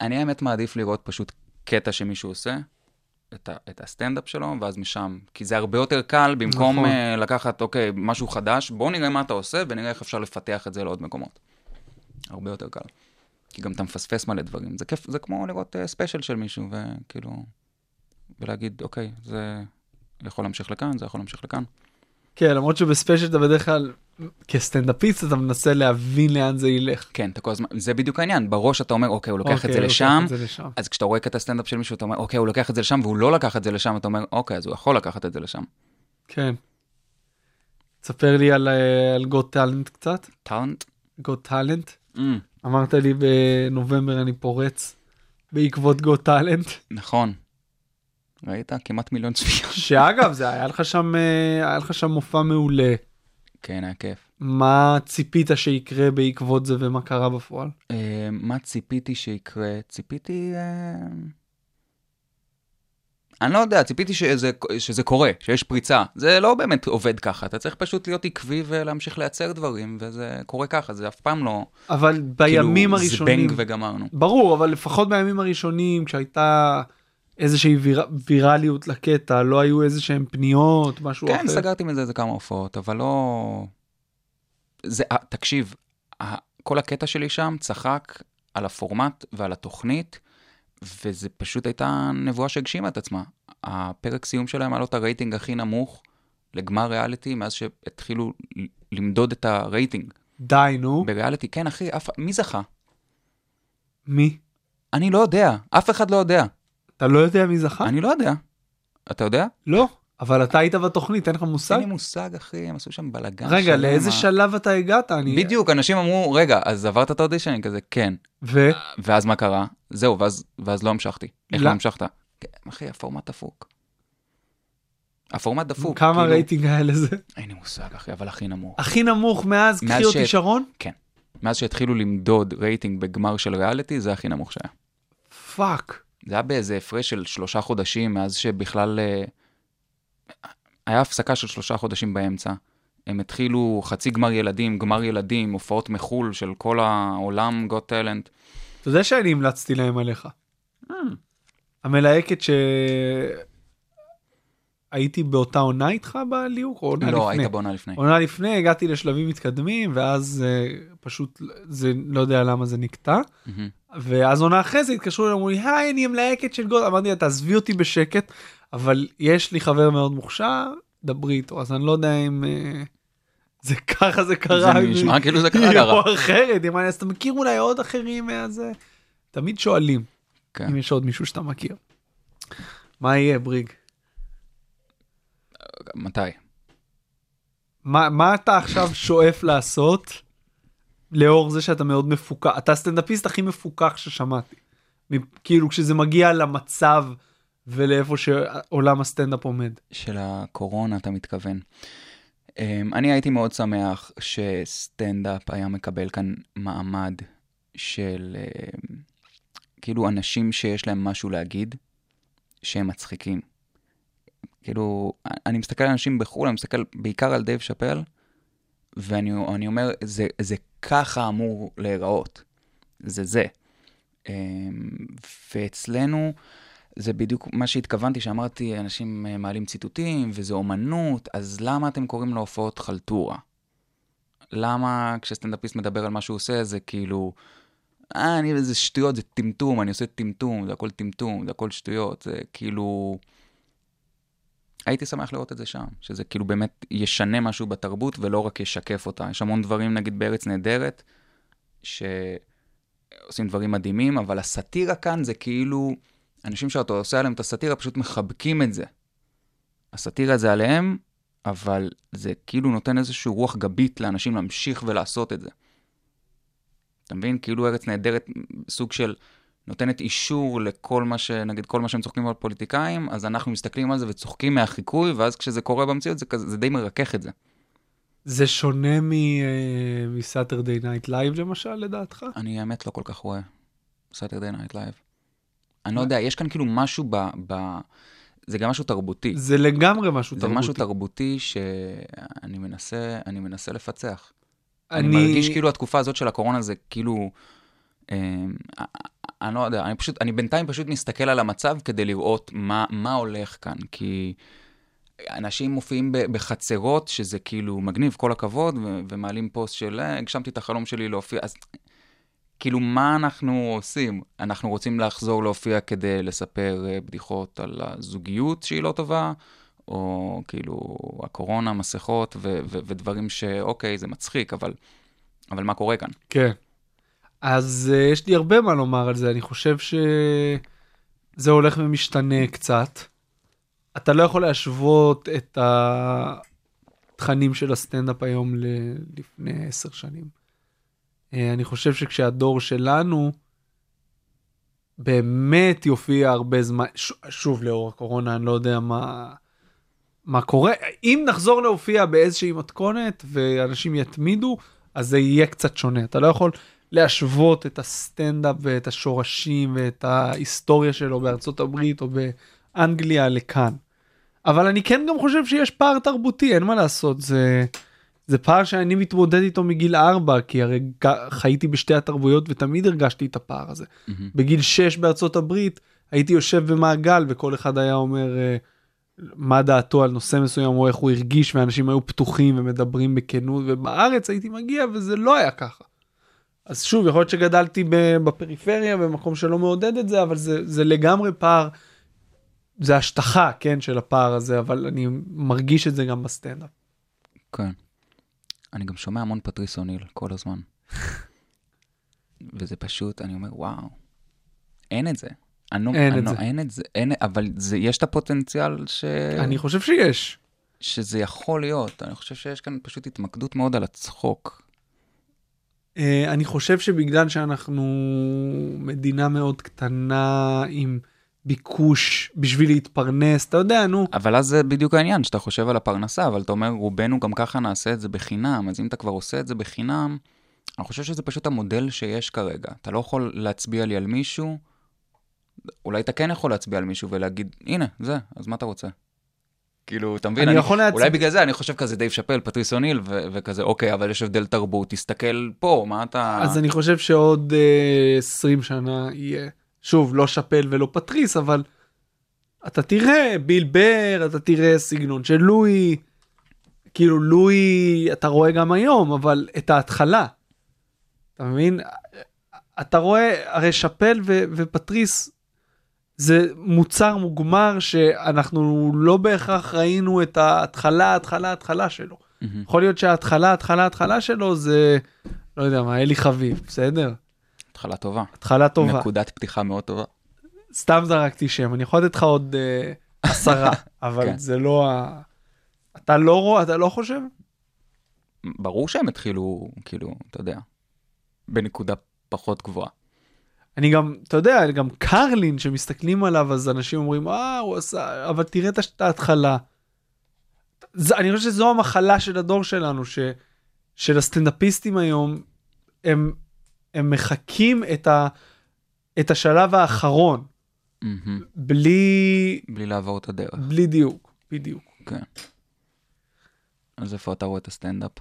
Speaker 5: אני האמת מעדיף לראות פשוט קטע שמישהו עושה, את, ה- את הסטנדאפ שלו, ואז משם. כי זה הרבה יותר קל, במקום
Speaker 4: נכון.
Speaker 5: נכון. לקחת, אוקיי, משהו חדש, בואו נראה מה אתה עושה ונראה איך אפשר לפתח את זה לעוד מקומות. הרבה יותר קל. כי גם אתה מפספס מלא דברים. זה כיף, זה כמו לראות אה, ספיישל של מישהו, וכאילו... ולהגיד, אוקיי, זה יכול להמשיך לכאן, זה יכול להמשיך לכאן.
Speaker 4: כן, למרות שבספיישל אתה בדרך כלל, כסטנדאפיסט אתה מנסה להבין לאן זה ילך.
Speaker 5: כן, אתה כל הזמן, זה בדיוק העניין, בראש אתה אומר, אוקיי, הוא לוקח
Speaker 4: אוקיי,
Speaker 5: את זה לשם,
Speaker 4: את זה לשם.
Speaker 5: אז כשאתה רואה קטע סטנדאפ של מישהו, אתה אומר, אוקיי, הוא לוקח את זה לשם, והוא לא לקח את זה לשם, אתה אומר, אוקיי, אז הוא יכול לקחת את זה לשם.
Speaker 4: כן. תספר לי על, אה, על גוד טאלנט קצת.
Speaker 5: טאלנט?
Speaker 4: גוד טאלנט.
Speaker 5: Mm,
Speaker 4: אמרת לי בנובמבר אני פורץ בעקבות גוד טאלנט.
Speaker 5: נכון. ראית? כמעט מיליון צפיות.
Speaker 4: שאגב, זה היה לך שם, אה, היה לך שם מופע מעולה.
Speaker 5: כן, היה כיף.
Speaker 4: מה ציפית שיקרה בעקבות זה ומה קרה בפועל?
Speaker 5: אה, מה ציפיתי שיקרה? ציפיתי... אה, אני לא יודע, ציפיתי שזה, שזה קורה, שיש פריצה. זה לא באמת עובד ככה, אתה צריך פשוט להיות עקבי ולהמשיך לייצר דברים, וזה קורה ככה, זה אף פעם לא...
Speaker 4: אבל בימים
Speaker 5: כאילו,
Speaker 4: הראשונים,
Speaker 5: זבנג וגמרנו.
Speaker 4: ברור, אבל לפחות בימים הראשונים כשהייתה איזושהי ויר... ויראליות לקטע, לא היו איזה שהם פניות, משהו
Speaker 5: כן,
Speaker 4: אחר.
Speaker 5: סגרתי מזה איזה כמה הופעות, אבל לא... זה, אה, תקשיב, ה- כל הקטע שלי שם צחק על הפורמט ועל התוכנית, וזה פשוט הייתה נבואה שהגשימה את עצמה. הפרק סיום שלהם היה לו את הרייטינג הכי נמוך לגמר ריאליטי מאז שהתחילו ל- למדוד את הרייטינג.
Speaker 4: די, נו.
Speaker 5: בריאליטי, כן, אחי, אף... מי זכה?
Speaker 4: מי?
Speaker 5: אני לא יודע, אף אחד לא יודע.
Speaker 4: אתה לא יודע מי זכה?
Speaker 5: אני לא יודע. אתה יודע?
Speaker 4: לא. אבל אתה היית בתוכנית, אין לך מושג?
Speaker 5: אין לי מושג, אחי, הם עשו שם בלאגן.
Speaker 4: רגע,
Speaker 5: שלם,
Speaker 4: לאיזה
Speaker 5: ה-
Speaker 4: שלב אתה הגעת? אני...
Speaker 5: בדיוק, אנשים אמרו, רגע, אז עברת את האודישן? כזה, כן.
Speaker 4: ו...
Speaker 5: ואז מה קרה? זהו, ואז, ואז לא המשכתי. איך
Speaker 4: לא.
Speaker 5: לא המשכת? כן, אחי, הפורמט דפוק. הפורמט דפוק.
Speaker 4: כמה
Speaker 5: כאילו-
Speaker 4: רייטינג היה לזה?
Speaker 5: אין לי מושג, אחי, אבל הכי נמוך.
Speaker 4: הכי נמוך מאז
Speaker 5: מאז
Speaker 4: קחי אותי
Speaker 5: ש-
Speaker 4: שרון?
Speaker 5: כן. מאז שהתחילו למדוד רייטינג בגמר של ריאליטי, זה הכי נמוך שהיה.
Speaker 4: פאק.
Speaker 5: זה היה באיזה הפרש של שלושה חודשים, מאז שבכלל... אה, היה הפסקה של שלושה חודשים באמצע. הם התחילו חצי גמר ילדים, גמר ילדים, הופעות מחול של כל העולם, גוט טלנט.
Speaker 4: אתה יודע שאני המלצתי להם עליך.
Speaker 5: אה.
Speaker 4: המלהקת ש... הייתי באותה עונה איתך בליהוק או עונה לפני?
Speaker 5: לא, היית בעונה לפני.
Speaker 4: עונה לפני הגעתי לשלבים מתקדמים ואז אה, פשוט זה לא יודע למה זה נקטע.
Speaker 5: מהמם.
Speaker 4: ואז עונה אחרי זה התקשרו אליי, אמרו לי, היי, אני המלהקת של גולד, אמרתי לה, תעזבי אותי בשקט, אבל יש לי חבר מאוד מוכשר, דברי איתו, אז אני לא יודע אם אה, זה ככה זה
Speaker 5: זה
Speaker 4: קרה.
Speaker 5: נשמע כאילו זה קרה
Speaker 4: כאילו
Speaker 5: קרה.
Speaker 4: אחרת, היא אמרה לי, אז אתה מכיר אולי עוד אחרים מהזה? תמיד שואלים
Speaker 5: כן.
Speaker 4: אם יש עוד מישהו שאתה מכיר. מה יהיה, בריג?
Speaker 5: מתי?
Speaker 4: מה מה אתה עכשיו שואף לעשות לאור זה שאתה מאוד מפוקח אתה הסטנדאפיסט הכי מפוקח ששמעתי. מ- כאילו כשזה מגיע למצב ולאיפה שעולם הסטנדאפ עומד.
Speaker 5: של הקורונה, אתה מתכוון. אמ, אני הייתי מאוד שמח שסטנדאפ היה מקבל כאן מעמד של אמ, כאילו אנשים שיש להם משהו להגיד, שהם מצחיקים. כאילו, אני מסתכל על אנשים בחו"ל, אני מסתכל בעיקר על דייב שאפל, ואני אני אומר, זה, זה ככה אמור להיראות. זה זה. אמ, ואצלנו, זה בדיוק מה שהתכוונתי, שאמרתי, אנשים אה, מעלים ציטוטים, וזה אומנות, אז למה אתם קוראים להופעות חלטורה? למה כשסטנדאפיסט מדבר על מה שהוא עושה, זה כאילו, אה, אני איזה שטויות, זה טמטום, אני עושה טמטום, זה הכל טמטום, זה הכל שטויות, זה כאילו... הייתי שמח לראות את זה שם, שזה כאילו באמת ישנה משהו בתרבות ולא רק ישקף אותה. יש המון דברים, נגיד בארץ נהדרת, שעושים דברים מדהימים, אבל הסאטירה כאן זה כאילו, אנשים שאתה עושה עליהם את הסאטירה פשוט מחבקים את זה. הסאטירה זה עליהם, אבל זה כאילו נותן איזושהי רוח גבית לאנשים להמשיך ולעשות את זה. אתה מבין? כאילו ארץ נהדרת, סוג של נותנת אישור לכל מה ש... נגיד כל מה שהם צוחקים על פוליטיקאים, אז אנחנו מסתכלים על זה וצוחקים מהחיקוי, ואז כשזה קורה במציאות זה, כזה, זה די מרכך את זה.
Speaker 4: זה שונה אה, מסאטרדי נייט לייב למשל לדעתך?
Speaker 5: אני האמת לא כל כך רואה סאטרדי נייט לייב. אני לא יודע, יש כאן כאילו משהו ב... ב... זה גם משהו תרבותי.
Speaker 4: זה לגמרי משהו
Speaker 5: זה
Speaker 4: תרבותי.
Speaker 5: משהו תרבותי שאני מנסה, אני מנסה לפצח. אני... אני מרגיש כאילו התקופה הזאת של הקורונה זה כאילו, אה, אני לא יודע, אני פשוט, אני בינתיים פשוט מסתכל על המצב כדי לראות מה, מה הולך כאן, כי אנשים מופיעים ב- בחצרות, שזה כאילו מגניב, כל הכבוד, ו- ומעלים פוסט של, "אה, הגשמתי את החלום שלי להופיע, אז כאילו, מה אנחנו עושים? אנחנו רוצים לחזור להופיע כדי לספר אה, בדיחות על הזוגיות שהיא לא טובה, או כאילו הקורונה, מסכות ו- ו- ודברים שאוקיי, זה מצחיק, אבל, אבל מה קורה כאן?
Speaker 4: כן. אז uh, יש לי הרבה מה לומר על זה, אני חושב שזה הולך ומשתנה קצת. אתה לא יכול להשוות את התכנים של הסטנדאפ היום ללפני עשר שנים. Uh, אני חושב שכשהדור שלנו באמת יופיע הרבה זמן, ש- שוב לאור הקורונה, אני לא יודע מה... מה קורה, אם נחזור להופיע באיזושהי מתכונת ואנשים יתמידו, אז זה יהיה קצת שונה. אתה לא יכול להשוות את הסטנדאפ ואת השורשים ואת ההיסטוריה שלו בארצות הברית או באנגליה לכאן. אבל אני כן גם חושב שיש פער תרבותי, אין מה לעשות, זה, זה פער שאני מתמודד איתו מגיל 4, כי הרי ג- חייתי בשתי התרבויות ותמיד הרגשתי את הפער הזה.
Speaker 5: מהמם.
Speaker 4: בגיל 6 בארצות הברית הייתי יושב במעגל וכל אחד היה אומר אה, מה דעתו על נושא מסוים או איך הוא הרגיש ואנשים היו פתוחים ומדברים בכנות ובארץ הייתי מגיע וזה לא היה ככה. אז שוב יכול להיות שגדלתי ב- בפריפריה במקום שלא מעודד את זה אבל זה, זה לגמרי פער. זה השטחה כן של הפער הזה אבל אני מרגיש את זה גם בסטנדאפ.
Speaker 5: כן. אני גם שומע המון פטריס אוניל כל הזמן. וזה פשוט, אני אומר, וואו, אין את זה. אני לא-
Speaker 4: אין
Speaker 5: אני
Speaker 4: את
Speaker 5: לא-
Speaker 4: זה.
Speaker 5: אין את זה, אין, אבל זה, יש את הפוטנציאל ש...
Speaker 4: אני חושב שיש.
Speaker 5: שזה יכול להיות. אני חושב שיש כאן פשוט התמקדות מאוד על הצחוק.
Speaker 4: אה, אני חושב שבגלל שאנחנו מדינה מאוד קטנה עם ביקוש בשביל להתפרנס, אתה יודע, נו.
Speaker 5: אבל אז זה בדיוק העניין, שאתה חושב על הפרנסה, אבל אתה אומר, רובנו גם ככה נעשה את זה בחינם, אז אם אתה כבר עושה את זה בחינם, אני חושב שזה פשוט המודל שיש כרגע. אתה לא יכול להצביע לי על מישהו, אולי אתה כן יכול להצביע על מישהו ולהגיד, הנה, זה, אז מה אתה רוצה? כאילו, אתה מבין?
Speaker 4: אני יכול להצ-
Speaker 5: אולי בגלל זה אני חושב כזה דייב שאפל, פטריס אוניל, ו- וכזה, אוקיי, אבל יש הבדל תרבות, תסתכל פה, מה אתה...
Speaker 4: אז אני חושב שעוד אה, 20 שנה יהיה, שוב, לא שאפל ולא פטריס, אבל אתה תראה ביל בר, אתה תראה סגנון של לואי, כאילו לואי אתה רואה גם היום, אבל את ההתחלה, אתה מבין? אתה רואה, הרי שאפל ו- ופטריס זה מוצר מוגמר שאנחנו לא בהכרח ראינו את ההתחלה, ההתחלה, ההתחלה שלו.
Speaker 5: מהמם.
Speaker 4: יכול להיות שההתחלה, התחלה, התחלה שלו זה, לא יודע מה, אלי חביב, בסדר?
Speaker 5: התחלה טובה.
Speaker 4: התחלה טובה.
Speaker 5: נקודת פתיחה מאוד טובה.
Speaker 4: סתם זרקתי שם, אני יכול לתת לך עוד אה, עשרה, אבל
Speaker 5: כן.
Speaker 4: זה לא ה... אתה לא רואה, אתה לא חושב?
Speaker 5: ברור שהם התחילו, כאילו, אתה יודע, בנקודה פחות גבוהה.
Speaker 4: אני גם, אתה יודע, גם קרלין שמסתכלים עליו, אז אנשים אומרים, אה, הוא עשה, אבל תראה את הש- את ההתחלה. זה, אני חושב שזו המחלה של הדור שלנו, ש, של הסטנדאפיסטים היום, הם, הם מחקים את, ה, את השלב האחרון,
Speaker 5: מהמם.
Speaker 4: בלי,
Speaker 5: בלי לעבור את הדרך.
Speaker 4: בלי דיוק, בדיוק.
Speaker 5: כן. אז איפה אתה רואה את הסטנדאפ?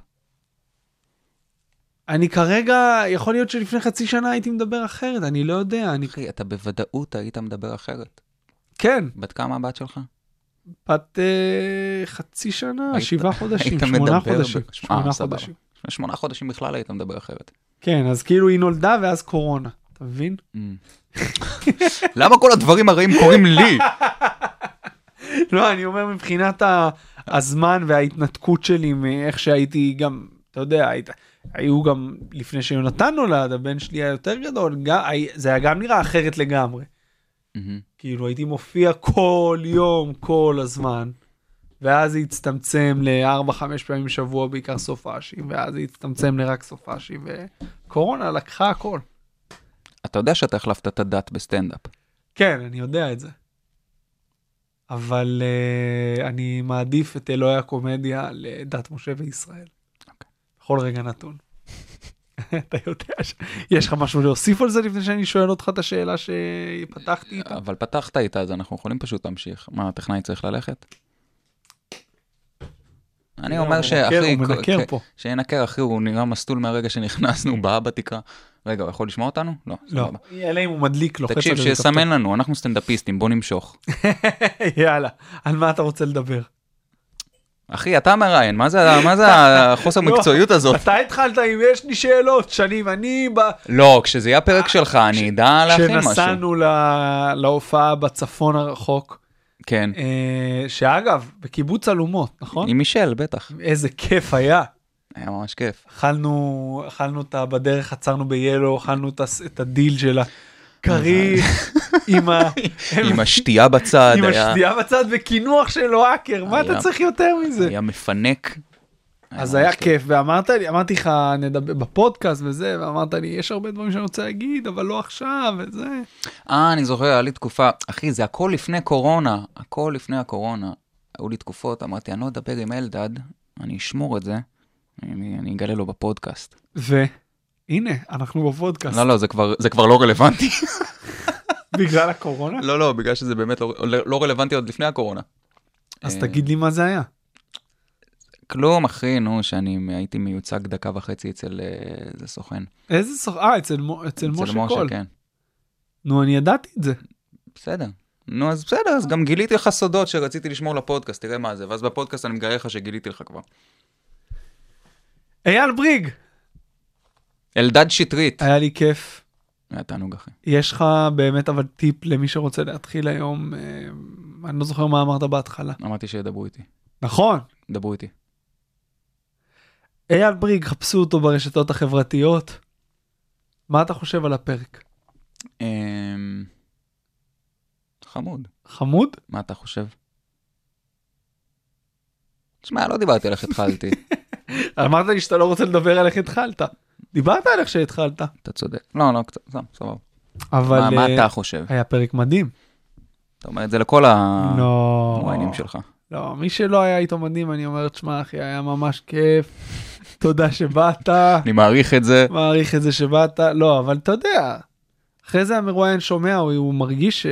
Speaker 4: אני כרגע, יכול להיות שלפני חצי שנה הייתי מדבר אחרת, אני לא יודע, אני...
Speaker 5: אחי, אתה בוודאות היית מדבר אחרת.
Speaker 4: כן,
Speaker 5: בת כמה הבת שלך?
Speaker 4: בת אה, חצי שנה,
Speaker 5: היית-
Speaker 4: שבעה חודשים,
Speaker 5: היית
Speaker 4: שמונה
Speaker 5: מדבר
Speaker 4: חודשים,
Speaker 5: ב-
Speaker 4: שמונה
Speaker 5: אה, סבבה.
Speaker 4: חודשים.
Speaker 5: לפני שמונה חודשים בכלל היית מדבר אחרת.
Speaker 4: כן, אז כאילו היא נולדה ואז קורונה, אתה מבין?
Speaker 5: למה כל הדברים הרעים קורים לי?
Speaker 4: לא, אני אומר מבחינת ה- הזמן וההתנתקות שלי מאיך שהייתי גם, אתה יודע, היית, היו גם לפני שיונתן נולד, הבן שלי היה יותר גדול, גם, הי- זה היה גם נראה אחרת לגמרי.
Speaker 5: מהמם.
Speaker 4: כאילו הייתי מופיע כל יום, כל הזמן, ואז זה הצטמצם ל-4-5 פעמים בשבוע, בעיקר סופאשים, ואז זה הצטמצם לרק סופאשים, וקורונה לקחה הכל.
Speaker 5: אתה יודע שאתה החלפת את הדת בסטנדאפ.
Speaker 4: כן, אני יודע את זה. אבל uh, אני מעדיף את אלוהי הקומדיה לדת משה וישראל.
Speaker 5: אוקיי.
Speaker 4: בכל רגע נתון. אתה יודע שיש לך משהו להוסיף על זה לפני שאני שואל אותך את השאלה שפתחתי איתה?
Speaker 5: אבל פתחת איתה, אז אנחנו יכולים פשוט להמשיך. מה, הטכנאי צריך ללכת? אני
Speaker 4: לא, הוא
Speaker 5: אומר
Speaker 4: מנקר,
Speaker 5: שאחי,
Speaker 4: הוא מנקר
Speaker 5: כ-
Speaker 4: פה.
Speaker 5: שינקר אחי, הוא נראה מסטול מהרגע שנכנסנו, באה בתקרה. רגע, הוא יכול לשמוע אותנו? לא,
Speaker 4: לא,
Speaker 5: סבבה.
Speaker 4: אלא אם הוא מדליק, לוחץ על
Speaker 5: תקשיב,
Speaker 4: איזה
Speaker 5: שיסמן לנו, אנחנו סטנדאפיסטים, בוא נמשוך.
Speaker 4: כפתור. יאללה, על מה אתה רוצה לדבר?
Speaker 5: אחי, אתה מראיין, מה זה מה זה החוסר
Speaker 4: לא.
Speaker 5: מקצועיות הזאת?
Speaker 4: אתה התחלת עם יש לי שאלות, שנים, אני ב...
Speaker 5: לא, כשזה יהיה הפרק שלך, אני אדע להכין משהו.
Speaker 4: כשנסענו ל- להופעה בצפון הרחוק,
Speaker 5: כן,
Speaker 4: אה, שאגב, בקיבוץ אלומות, נכון?
Speaker 5: עם מישל, בטח.
Speaker 4: איזה כיף היה.
Speaker 5: היה ממש כיף.
Speaker 4: אכלנו, אכלנו אותה בדרך, עצרנו ביאלו, אכלנו את הס- את הדיל שלה. כריך, עם ה...
Speaker 5: עם השתייה בצד,
Speaker 4: כן. עם
Speaker 5: היה-
Speaker 4: השתייה בצד וקינוח שלו האקר, מה אתה
Speaker 5: היה-
Speaker 4: צריך יותר מזה?
Speaker 5: היה מפנק.
Speaker 4: אז
Speaker 5: ממש
Speaker 4: היה כיף ואמרת לי אמרתי לך נדבר בפודקאסט וזה ואמרת לי יש הרבה דברים שאני רוצה להגיד אבל לא עכשיו וזה
Speaker 5: אה, אני זוכר, היה לי תקופה, אחי, זה הכל לפני קורונה, הכל לפני הקורונה. היו לי תקופות, אמרתי, אני לא אדבר עם אלדד, אני אשמור את זה, אני, אני אגלה לו בפודקאסט.
Speaker 4: והנה אנחנו בפודקאסט
Speaker 5: לא, לא, זה כבר, זה כבר לא רלוונטי.
Speaker 4: בגלל הקורונה
Speaker 5: לא, לא, בגלל שזה באמת לא, לא רלוונטי עוד לפני הקורונה.
Speaker 4: אז
Speaker 5: אה,
Speaker 4: תגיד לי מה זה היה
Speaker 5: כלום, אחי, נו, שאני הייתי מיוצג דקה וחצי אצל אה, איזה סוכן.
Speaker 4: איזה סוף אה אצל מו- אצל משה קול
Speaker 5: כן.
Speaker 4: נו אני ידעתי את זה
Speaker 5: בסדר. נו, אז בסדר, אז גם גיליתי לך סודות שרציתי לשמור לפודקאסט, תראה מה זה. ואז בפודקאסט אני מגלה לך שגיליתי לך כבר.
Speaker 4: אייל בריג
Speaker 5: אלדד שטרית.
Speaker 4: היה לי כיף
Speaker 5: היה תענוג, אחי.
Speaker 4: יש לך באמת אבל טיפ למי שרוצה להתחיל היום אה, אני לא זוכר מה אמרת בהתחלה
Speaker 5: אמרתי שידברו איתי.
Speaker 4: נכון
Speaker 5: דברו איתי.
Speaker 4: אייל בריג חפשו אותו ברשתות החברתיות מה אתה חושב על הפרק
Speaker 5: אמ, חמוד,
Speaker 4: חמוד.
Speaker 5: מה אתה חושב? תשמע, לא דיברתי על איך התחלתי,
Speaker 4: אמרת לי שאתה לא רוצה לדבר על איך התחלת. דיברת על איך שהתחלת.
Speaker 5: אתה צודק. לא, לא, קצת, סתם, סבבה.
Speaker 4: אבל
Speaker 5: מה מה
Speaker 4: אה,
Speaker 5: אתה חושב?
Speaker 4: היה פרק מדהים.
Speaker 5: אתה אומר את זה לכל
Speaker 4: לא.
Speaker 5: המועיינים שלך.
Speaker 4: לא, מי שלא היה איתו מדהים, אני אומר, תשמע, אחי, היה ממש כיף, תודה שבאת,
Speaker 5: אני מעריך את זה.
Speaker 4: מעריך את זה שבאת, לא, אבל אתה יודע, אחרי זה המרואיין שומע, הוא, הוא מרגיש, ש...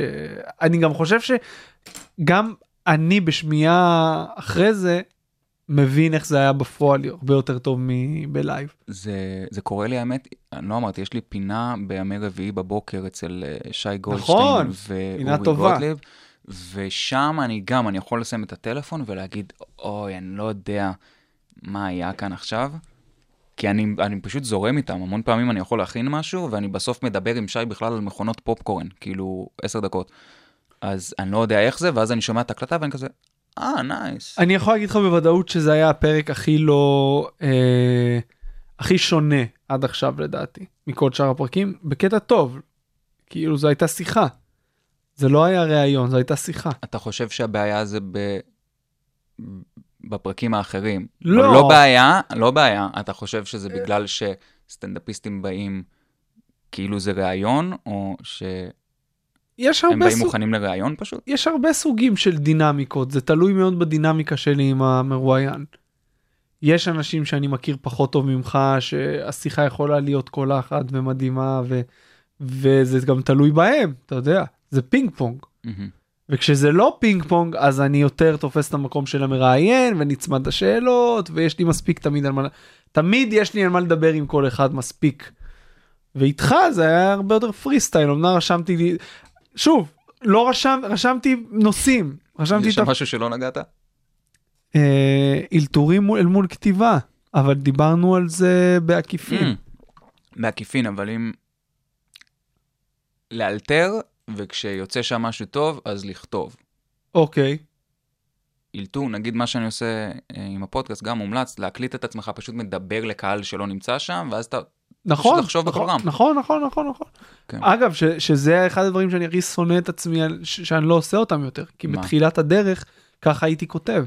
Speaker 4: אני גם חושב שגם אני בשמיעה אחרי זה, מבין איך זה היה בפועל הרבה יותר טוב מבלייב.
Speaker 5: זה, זה קורה לי, האמת, אני לא אמרתי, יש לי פינה בימי רביעי בבוקר אצל אה, שי
Speaker 4: נכון,
Speaker 5: גולדשטיין
Speaker 4: פינה
Speaker 5: ואורי
Speaker 4: טובה.
Speaker 5: גוטליב, ושם אני גם, אני יכול לסיים את הטלפון ולהגיד, אוי, אני לא יודע מה היה כאן עכשיו, כי אני, אני פשוט זורם איתם, המון פעמים אני יכול להכין משהו, ואני בסוף מדבר עם שי בכלל על מכונות פופקורן, כאילו, עשר דקות. אז אני לא יודע איך זה, ואז אני שומע את ההקלטה ואני כזה, אה, נייס.
Speaker 4: אני יכול להגיד לך בוודאות שזה היה הפרק הכי לא... אה, הכי שונה עד עכשיו לדעתי, מכל שאר הפרקים, בקטע טוב. כאילו זו הייתה שיחה. זה לא היה ראיון, זו הייתה שיחה.
Speaker 5: אתה חושב שהבעיה זה ב... בפרקים האחרים.
Speaker 4: לא. אה.
Speaker 5: אבל לא בעיה, לא בעיה. אתה חושב שזה בגלל שסטנדאפיסטים באים כאילו זה ראיון,
Speaker 4: לא,
Speaker 5: או שהם
Speaker 4: יש הרבה,
Speaker 5: באים
Speaker 4: סוג...
Speaker 5: מוכנים לראיון פשוט?
Speaker 4: יש הרבה סוגים של דינמיקות, זה תלוי מאוד בדינמיקה שלי עם המרואיין. יש אנשים שאני מכיר פחות טוב ממך, שהשיחה יכולה להיות קולחת ומדהימה, ו... וזה גם תלוי בהם, אתה יודע, זה פינג פונג.
Speaker 5: מהמם.
Speaker 4: וכשזה לא פינג פונג אז אני יותר תופס את המקום של המראיין ונצמד לשאלות ויש לי מספיק תמיד על מה תמיד יש לי על מה לדבר עם כל אחד מספיק. ואיתך זה היה הרבה יותר פרי סטייל אמנם רשמתי לי שוב לא רשם רשמתי נושאים רשמתי
Speaker 5: יש
Speaker 4: את
Speaker 5: שם
Speaker 4: ה-
Speaker 5: משהו שלא נגעת?
Speaker 4: אה, אלתורים מול- אל מול כתיבה אבל דיברנו על זה בעקיפין.
Speaker 5: Mm. בעקיפין, אבל אם... לאלתר, וכשיוצא שם משהו טוב, אז לכתוב.
Speaker 4: אוקיי
Speaker 5: אילתור, נגיד מה שאני עושה אה, עם הפודקאסט, גם מומלץ, להקליט את עצמך, פשוט מדבר לקהל שלא נמצא שם, ואז אתה...
Speaker 4: נכון
Speaker 5: לחשוב בקול
Speaker 4: נכון,
Speaker 5: רם.
Speaker 4: נכון נכון נכון נכון.
Speaker 5: כן.
Speaker 4: אגב ש, שזה אחד הדברים שאני הכי שונא את עצמי על- ש, שאני לא עושה אותם יותר כי
Speaker 5: מה?
Speaker 4: בתחילת הדרך ככה הייתי כותב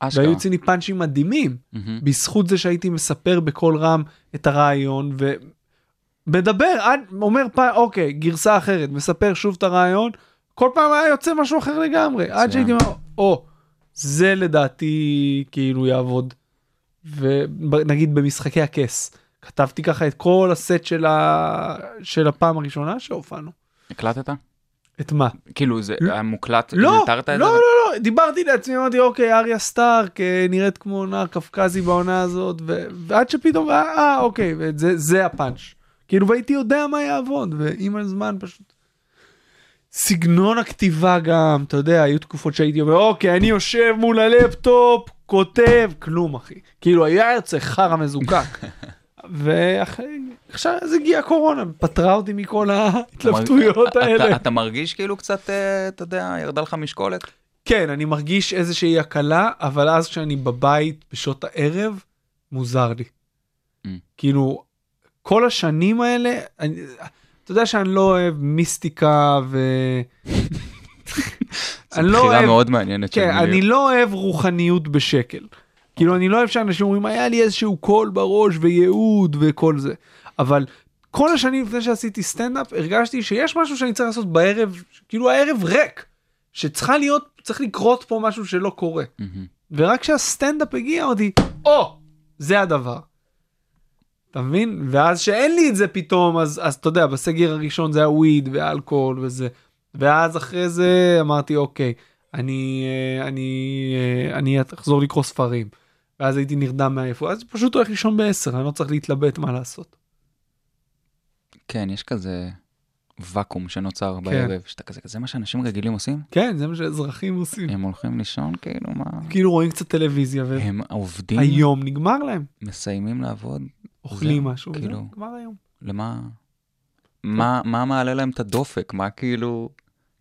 Speaker 5: אשכרה.
Speaker 4: והיו יוצאים לי פאנצ'ים מדהימים
Speaker 5: מהמם.
Speaker 4: בזכות זה שהייתי מספר בקול רם את הרעיון ומדבר עד אומר פעם אוקיי גרסה אחרת מספר שוב את הרעיון כל פעם היה יוצא משהו אחר לגמרי עד
Speaker 5: מצוין.
Speaker 4: שהייתי אומר או זה לדעתי כאילו יעבוד. ונגיד במשחקי הכס כתבתי ככה את כל הסט של, ה... של הפעם הראשונה שהופענו.
Speaker 5: הקלטת?
Speaker 4: את מה?
Speaker 5: כאילו זה היה מוקלט,
Speaker 4: לא,
Speaker 5: התרת
Speaker 4: לא,
Speaker 5: את
Speaker 4: לא,
Speaker 5: זה?
Speaker 4: לא, דיברתי לעצמי, אמרתי, אוקיי, אריה סטארק אה, נראית כמו נער קפקזי בעונה הזאת, ו- ועד שפתאום, אה, אה, אוקיי, וזה, זה הפאנץ'. כאילו, והייתי יודע מה יעבוד, ועם הזמן פשוט... סגנון הכתיבה גם, אתה יודע, היו תקופות שהייתי אומר, אוקיי, אני יושב מול הלפטופ, כותב, כלום, אחי. כאילו, היה יוצא חרא מזוקק. ואחרי, עכשיו אז הגיעה הקורונה, פטרה אותי מכל ההתלבטויות
Speaker 5: אתה-
Speaker 4: האלה.
Speaker 5: אתה- אתה מרגיש כאילו קצת, אה, אתה יודע, ירדה לך משקולת?
Speaker 4: כן, אני מרגיש איזושהי הקלה, אבל אז כשאני בבית בשעות הערב, מוזר לי.
Speaker 5: Mm.
Speaker 4: כאילו, כל השנים האלה, אני, אתה יודע שאני לא אוהב מיסטיקה ו... אני לא
Speaker 5: זו בחירה
Speaker 4: אוהב,
Speaker 5: מאוד מעניינת של
Speaker 4: כן,
Speaker 5: מילים.
Speaker 4: אני לא אוהב רוחניות בשקל. כאילו, אני לא אוהב שאנשים אומרים, היה לי איזשהו קול בראש וייעוד וכל זה. אבל כל השנים לפני שעשיתי סטנדאפ, הרגשתי שיש משהו שאני צריך לעשות בערב, כאילו הערב ריק. שצריכה להיות, צריך לקרות פה משהו שלא קורה.
Speaker 5: מהמם.
Speaker 4: ורק כשהסטנדאפ הגיע אמרתי, או, זה הדבר. אתה מבין? ואז שאין לי את זה פתאום, אז, אז אתה יודע, בסגר הראשון זה היה וויד ואלכוהול וזה. ואז אחרי זה אמרתי, אוקיי, אני, אה, אני, אה, אני אחזור לקרוא ספרים. ואז הייתי נרדם מעייפות, אז פשוט הולך לישון בעשר, אני לא צריך להתלבט מה לעשות. לא-
Speaker 5: כן, יש כזה ואקום שנוצר בערב, שאתה כזה, זה מה שאנשים רגילים עושים?
Speaker 4: כן, זה מה שאזרחים עושים.
Speaker 5: הם הולכים לישון, כאילו, מה?
Speaker 4: כאילו רואים קצת טלוויזיה,
Speaker 5: הם עובדים,
Speaker 4: והיום נגמר להם,
Speaker 5: מסיימים לעבוד,
Speaker 4: אוכלים
Speaker 5: זהו,
Speaker 4: משהו,
Speaker 5: כאילו.
Speaker 4: וזהו, נגמר היום.
Speaker 5: למה... מה, מה מעלה להם את הדופק? מה כאילו...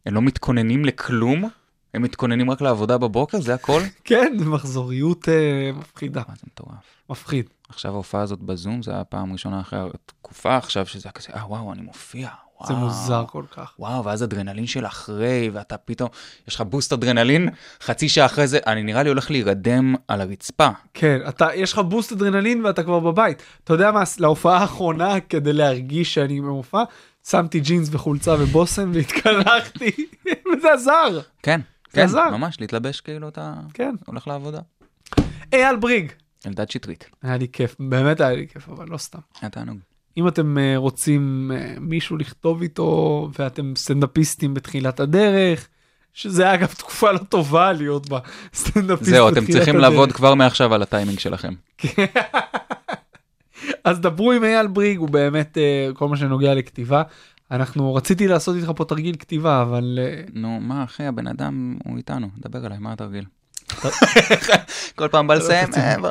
Speaker 5: הם לא מתכוננים לכלום? הם מתכוננים רק לעבודה בבוקר? זה הכל?
Speaker 4: כן, זה מחזוריות אה, מפחידה,
Speaker 5: מה זה מטורף.
Speaker 4: מפחיד.
Speaker 5: עכשיו ההופעה הזאת בזום, זה היה פעם ראשונה אחרי התקופה עכשיו, שזה היה כזה, אה וואו, אני מופיע. וואו.
Speaker 4: זה מוזר כל כך.
Speaker 5: וואו, ואז אדרנלין של אחרי, ואתה פתאום, יש לך בוסט אדרנלין, חצי שעה אחרי זה, אני נראה לי הולך להירדם על הרצפה.
Speaker 4: כן, אתה, יש לך בוסט אדרנלין ואתה כבר בבית. אתה יודע מה, להופעה האחרונה, כדי להרגיש שאני במופע, שמתי ג'ינס וחולצה ובושם והתקלחתי, וזה עזר.
Speaker 5: כן, כן,
Speaker 4: עזר.
Speaker 5: ממש, להתלבש כאילו אתה
Speaker 4: כן. אה,
Speaker 5: הולך לעבודה.
Speaker 4: אייל בריג.
Speaker 5: אלדד שטרית,
Speaker 4: היה לי כיף, באמת היה לי כיף, אבל לא סתם.
Speaker 5: היה תענוג.
Speaker 4: אם אתם אה, רוצים אה, מישהו לכתוב איתו ואתם סטנדאפיסטים בתחילת הדרך, שזה אגב תקופה לא טובה להיות בה סטנדאפיסט
Speaker 5: זהו, אתם
Speaker 4: בתחילת
Speaker 5: צריכים
Speaker 4: הדרך.
Speaker 5: לעבוד כבר מעכשיו על הטיימינג שלכם.
Speaker 4: אז דברו עם אייל בריג, הוא באמת אה, כל מה שנוגע לכתיבה. אנחנו רציתי לעשות איתך פה תרגיל כתיבה, אבל אה,
Speaker 5: נו, מה אחי, הבן אדם הוא איתנו, דבר אליי, מה התרגיל? כל פעם בא לסיים,
Speaker 4: לא
Speaker 5: אה, בוא.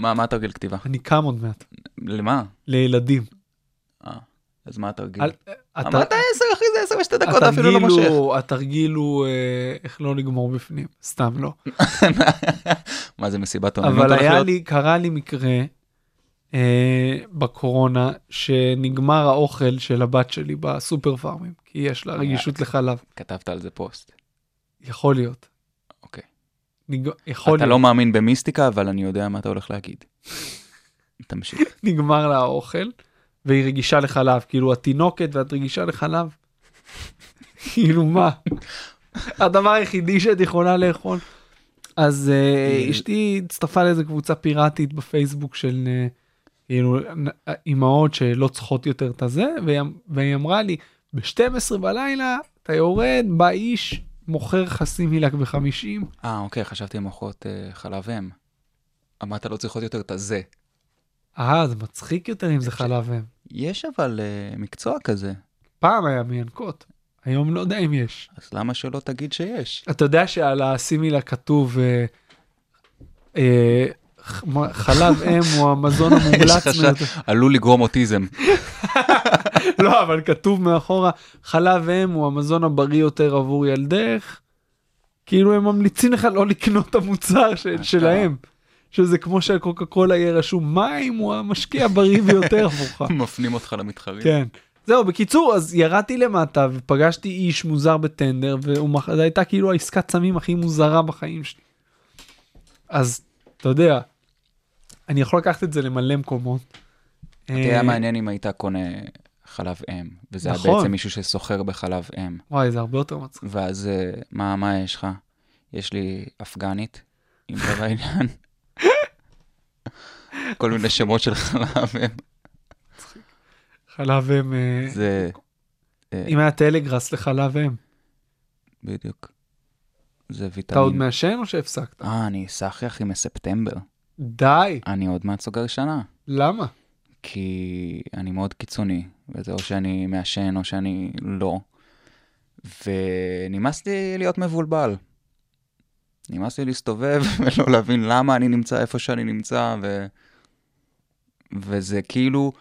Speaker 5: מה, מה התרגיל כתיבה?
Speaker 4: אני קם עוד מעט.
Speaker 5: למה?
Speaker 4: לילדים.
Speaker 5: אה, אז מה התרגיל?
Speaker 4: אל- אתה- כאילו-
Speaker 5: אמרת עשר, אחי, זה עשר ושתי אה, דקות, אפילו
Speaker 4: התרגיל
Speaker 5: לא מושך.
Speaker 4: הוא- התרגיל הוא אה, איך לא לגמור בפנים, סתם לא.
Speaker 5: מה זה מסיבת עוננות?
Speaker 4: אבל
Speaker 5: הולך
Speaker 4: היה
Speaker 5: להיות?
Speaker 4: לי, קרה לי מקרה אה, בקורונה שנגמר האוכל של הבת שלי בסופר פארמים, כי יש
Speaker 5: אה,
Speaker 4: לה
Speaker 5: אוקיי.
Speaker 4: רגישות לחלב.
Speaker 5: כתבת על זה פוסט.
Speaker 4: יכול להיות.
Speaker 5: אוקיי.
Speaker 4: נג... יכול
Speaker 5: אתה
Speaker 4: להיות.
Speaker 5: לא מאמין במיסטיקה, אבל אני יודע מה אתה הולך להגיד. תמשיך.
Speaker 4: נגמר לה האוכל, והיא רגישה לחלב, כאילו התינוקת ואת רגישה לחלב. כאילו מה? הדבר היחידי שאת יכולה לאכול. אז אה, אשתי הצטרפה לאיזה קבוצה פיראטית בפייסבוק של אה, כאילו נ- אימהות שלא צריכות יותר את הזה, והיא אמ- והיא אמרה לי, ב-12 בלילה אתה יורד, בא איש, מוכר חסים מילק ב-50,
Speaker 5: אה, אוקיי, חשבתי מוחות חלב אם. אמרת לא צריכות יותר את הזה.
Speaker 4: אה, זה מצחיק יותר אם זה חלב אם.
Speaker 5: יש אבל אה, מקצוע כזה,
Speaker 4: פעם היה מינקות, היום לא יודע אם יש.
Speaker 5: אז למה שלא תגיד שיש?
Speaker 4: אתה יודע שעל הסימילה כתוב אה, אה, ח- מה- חלב אם הוא המזון המומלץ.
Speaker 5: יש חשש-
Speaker 4: ביותר.
Speaker 5: עלול לגרום אוטיזם.
Speaker 4: לא, אבל כתוב מאחורה, חלב אם הוא המזון הבריא יותר עבור ילדך. כאילו הם ממליצים לך לא לקנות את המוצר ש- שלהם. שזה כמו שהקוקה קולה יהיה רשום מים הוא המשקיע הבריא ביותר עבורך.
Speaker 5: מפנים אותך למתחרים.
Speaker 4: נכון. כן. זהו, בקיצור, אז ירדתי למטה ופגשתי איש מוזר בטנדר, וזו הייתה כאילו העסקת סמים הכי מוזרה בחיים שלי. אז, אתה יודע, אני יכול לקחת את זה למלא מקומות. אה,
Speaker 5: זה היה מעניין אם היית קונה חלב אם, וזה היה
Speaker 4: נכון.
Speaker 5: בעצם מישהו שסוחר בחלב אם.
Speaker 4: וואי, זה הרבה יותר מצחיק.
Speaker 5: ואז אה, מה, מה יש לך? יש לי אפגנית, אם זה בעניין. כל מיני שמות של חלב אם.
Speaker 4: חלב אם, אה,
Speaker 5: זה אה,
Speaker 4: אם היה טלגרס לחלב אם,
Speaker 5: בדיוק. זה
Speaker 4: אתה עוד
Speaker 5: ויטמין.
Speaker 4: מעשן או שהפסקת?
Speaker 5: אה, אני סחי אחי מספטמבר.
Speaker 4: די,
Speaker 5: אני עוד מעט סוגר שנה.
Speaker 4: למה?
Speaker 5: כי אני מאוד קיצוני, וזה או שאני מעשן או שאני לא. ונמאס לי להיות מבולבל. נמאס לי להסתובב ולא להבין למה אני נמצא איפה שאני נמצא, ו... וזה כאילו,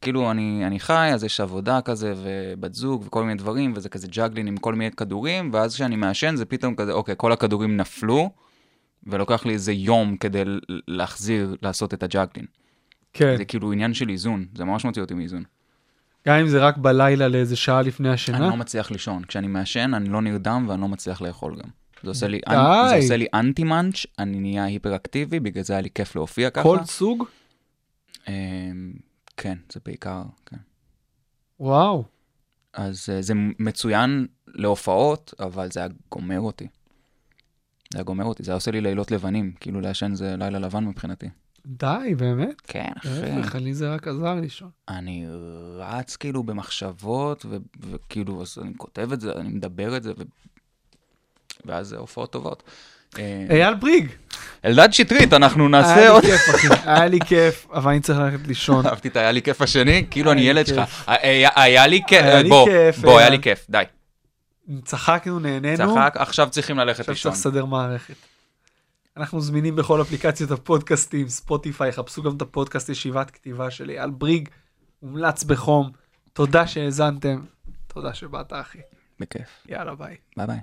Speaker 5: כאילו אני, אני חי, אז יש עבודה כזה, ובת זוג, וכל מיני דברים, וזה כזה ג'אגלין עם כל מיני כדורים, ואז כשאני מעשן זה פתאום כזה, אוקיי, כל הכדורים נפלו, ולוקח לי איזה יום כדי להחזיר, לעשות את הג'אגלין.
Speaker 4: כן,
Speaker 5: זה כאילו עניין של איזון, זה ממש מוציא אותי מאיזון.
Speaker 4: גם אם זה רק בלילה לאיזה שעה לפני
Speaker 5: אני
Speaker 4: השינה,
Speaker 5: לא מצליח לישון, כשאני מעשן אני לא נרדם ואני לא מצליח לאכול גם. זה עושה לי,
Speaker 4: די.
Speaker 5: אנ- זה עושה לי אנטי מאנץ', אני נהיה היפראקטיבי, בגלל זה היה לי כיף להופיע ככה.
Speaker 4: כל סוג?
Speaker 5: אמ, כן, זה בעיקר, כן.
Speaker 4: וואו.
Speaker 5: אז אה, זה מצוין להופעות, אבל זה היה גומר אותי. זה היה גומר אותי, זה היה עושה לי לילות לבנים, כאילו לעשן זה לילה לבן מבחינתי.
Speaker 4: די, באמת?
Speaker 5: כן, אחי.
Speaker 4: להפך, לי זה רק עזר לישון.
Speaker 5: אני רץ כאילו במחשבות, ו- וכאילו, אז אני כותב את זה, אני מדבר את זה, ו- ואז זה הופעות טובות. אה,
Speaker 4: אייל בריג!
Speaker 5: אלדד שטרית, אנחנו נעשה
Speaker 4: אה, היה
Speaker 5: עוד...
Speaker 4: לי כיף, אחי. היה לי כיף, אבל אני צריך ללכת לישון.
Speaker 5: אהבתי את היה לי כיף השני, כאילו אני
Speaker 4: היה לי
Speaker 5: ילד שלך.
Speaker 4: כיף.
Speaker 5: היה היה לי כיף,
Speaker 4: היה לי
Speaker 5: בוא,
Speaker 4: כיף, אה.
Speaker 5: בוא, היה
Speaker 4: אייל.
Speaker 5: לי כיף, די.
Speaker 4: צחקנו, נהנינו,
Speaker 5: צחק, עכשיו צריכים ללכת
Speaker 4: עכשיו
Speaker 5: לישון.
Speaker 4: צריך לסדר מערכת. אנחנו זמינים בכל אפליקציות הפודקאסטים, ספוטיפיי, חפשו גם את הפודקאסט ישיבת כתיבה של אייל בריג, מומלץ בחום. תודה שהאזנתם, תודה שבאת אחי,
Speaker 5: בכיף,
Speaker 4: יאללה ביי.
Speaker 5: ביי ביי.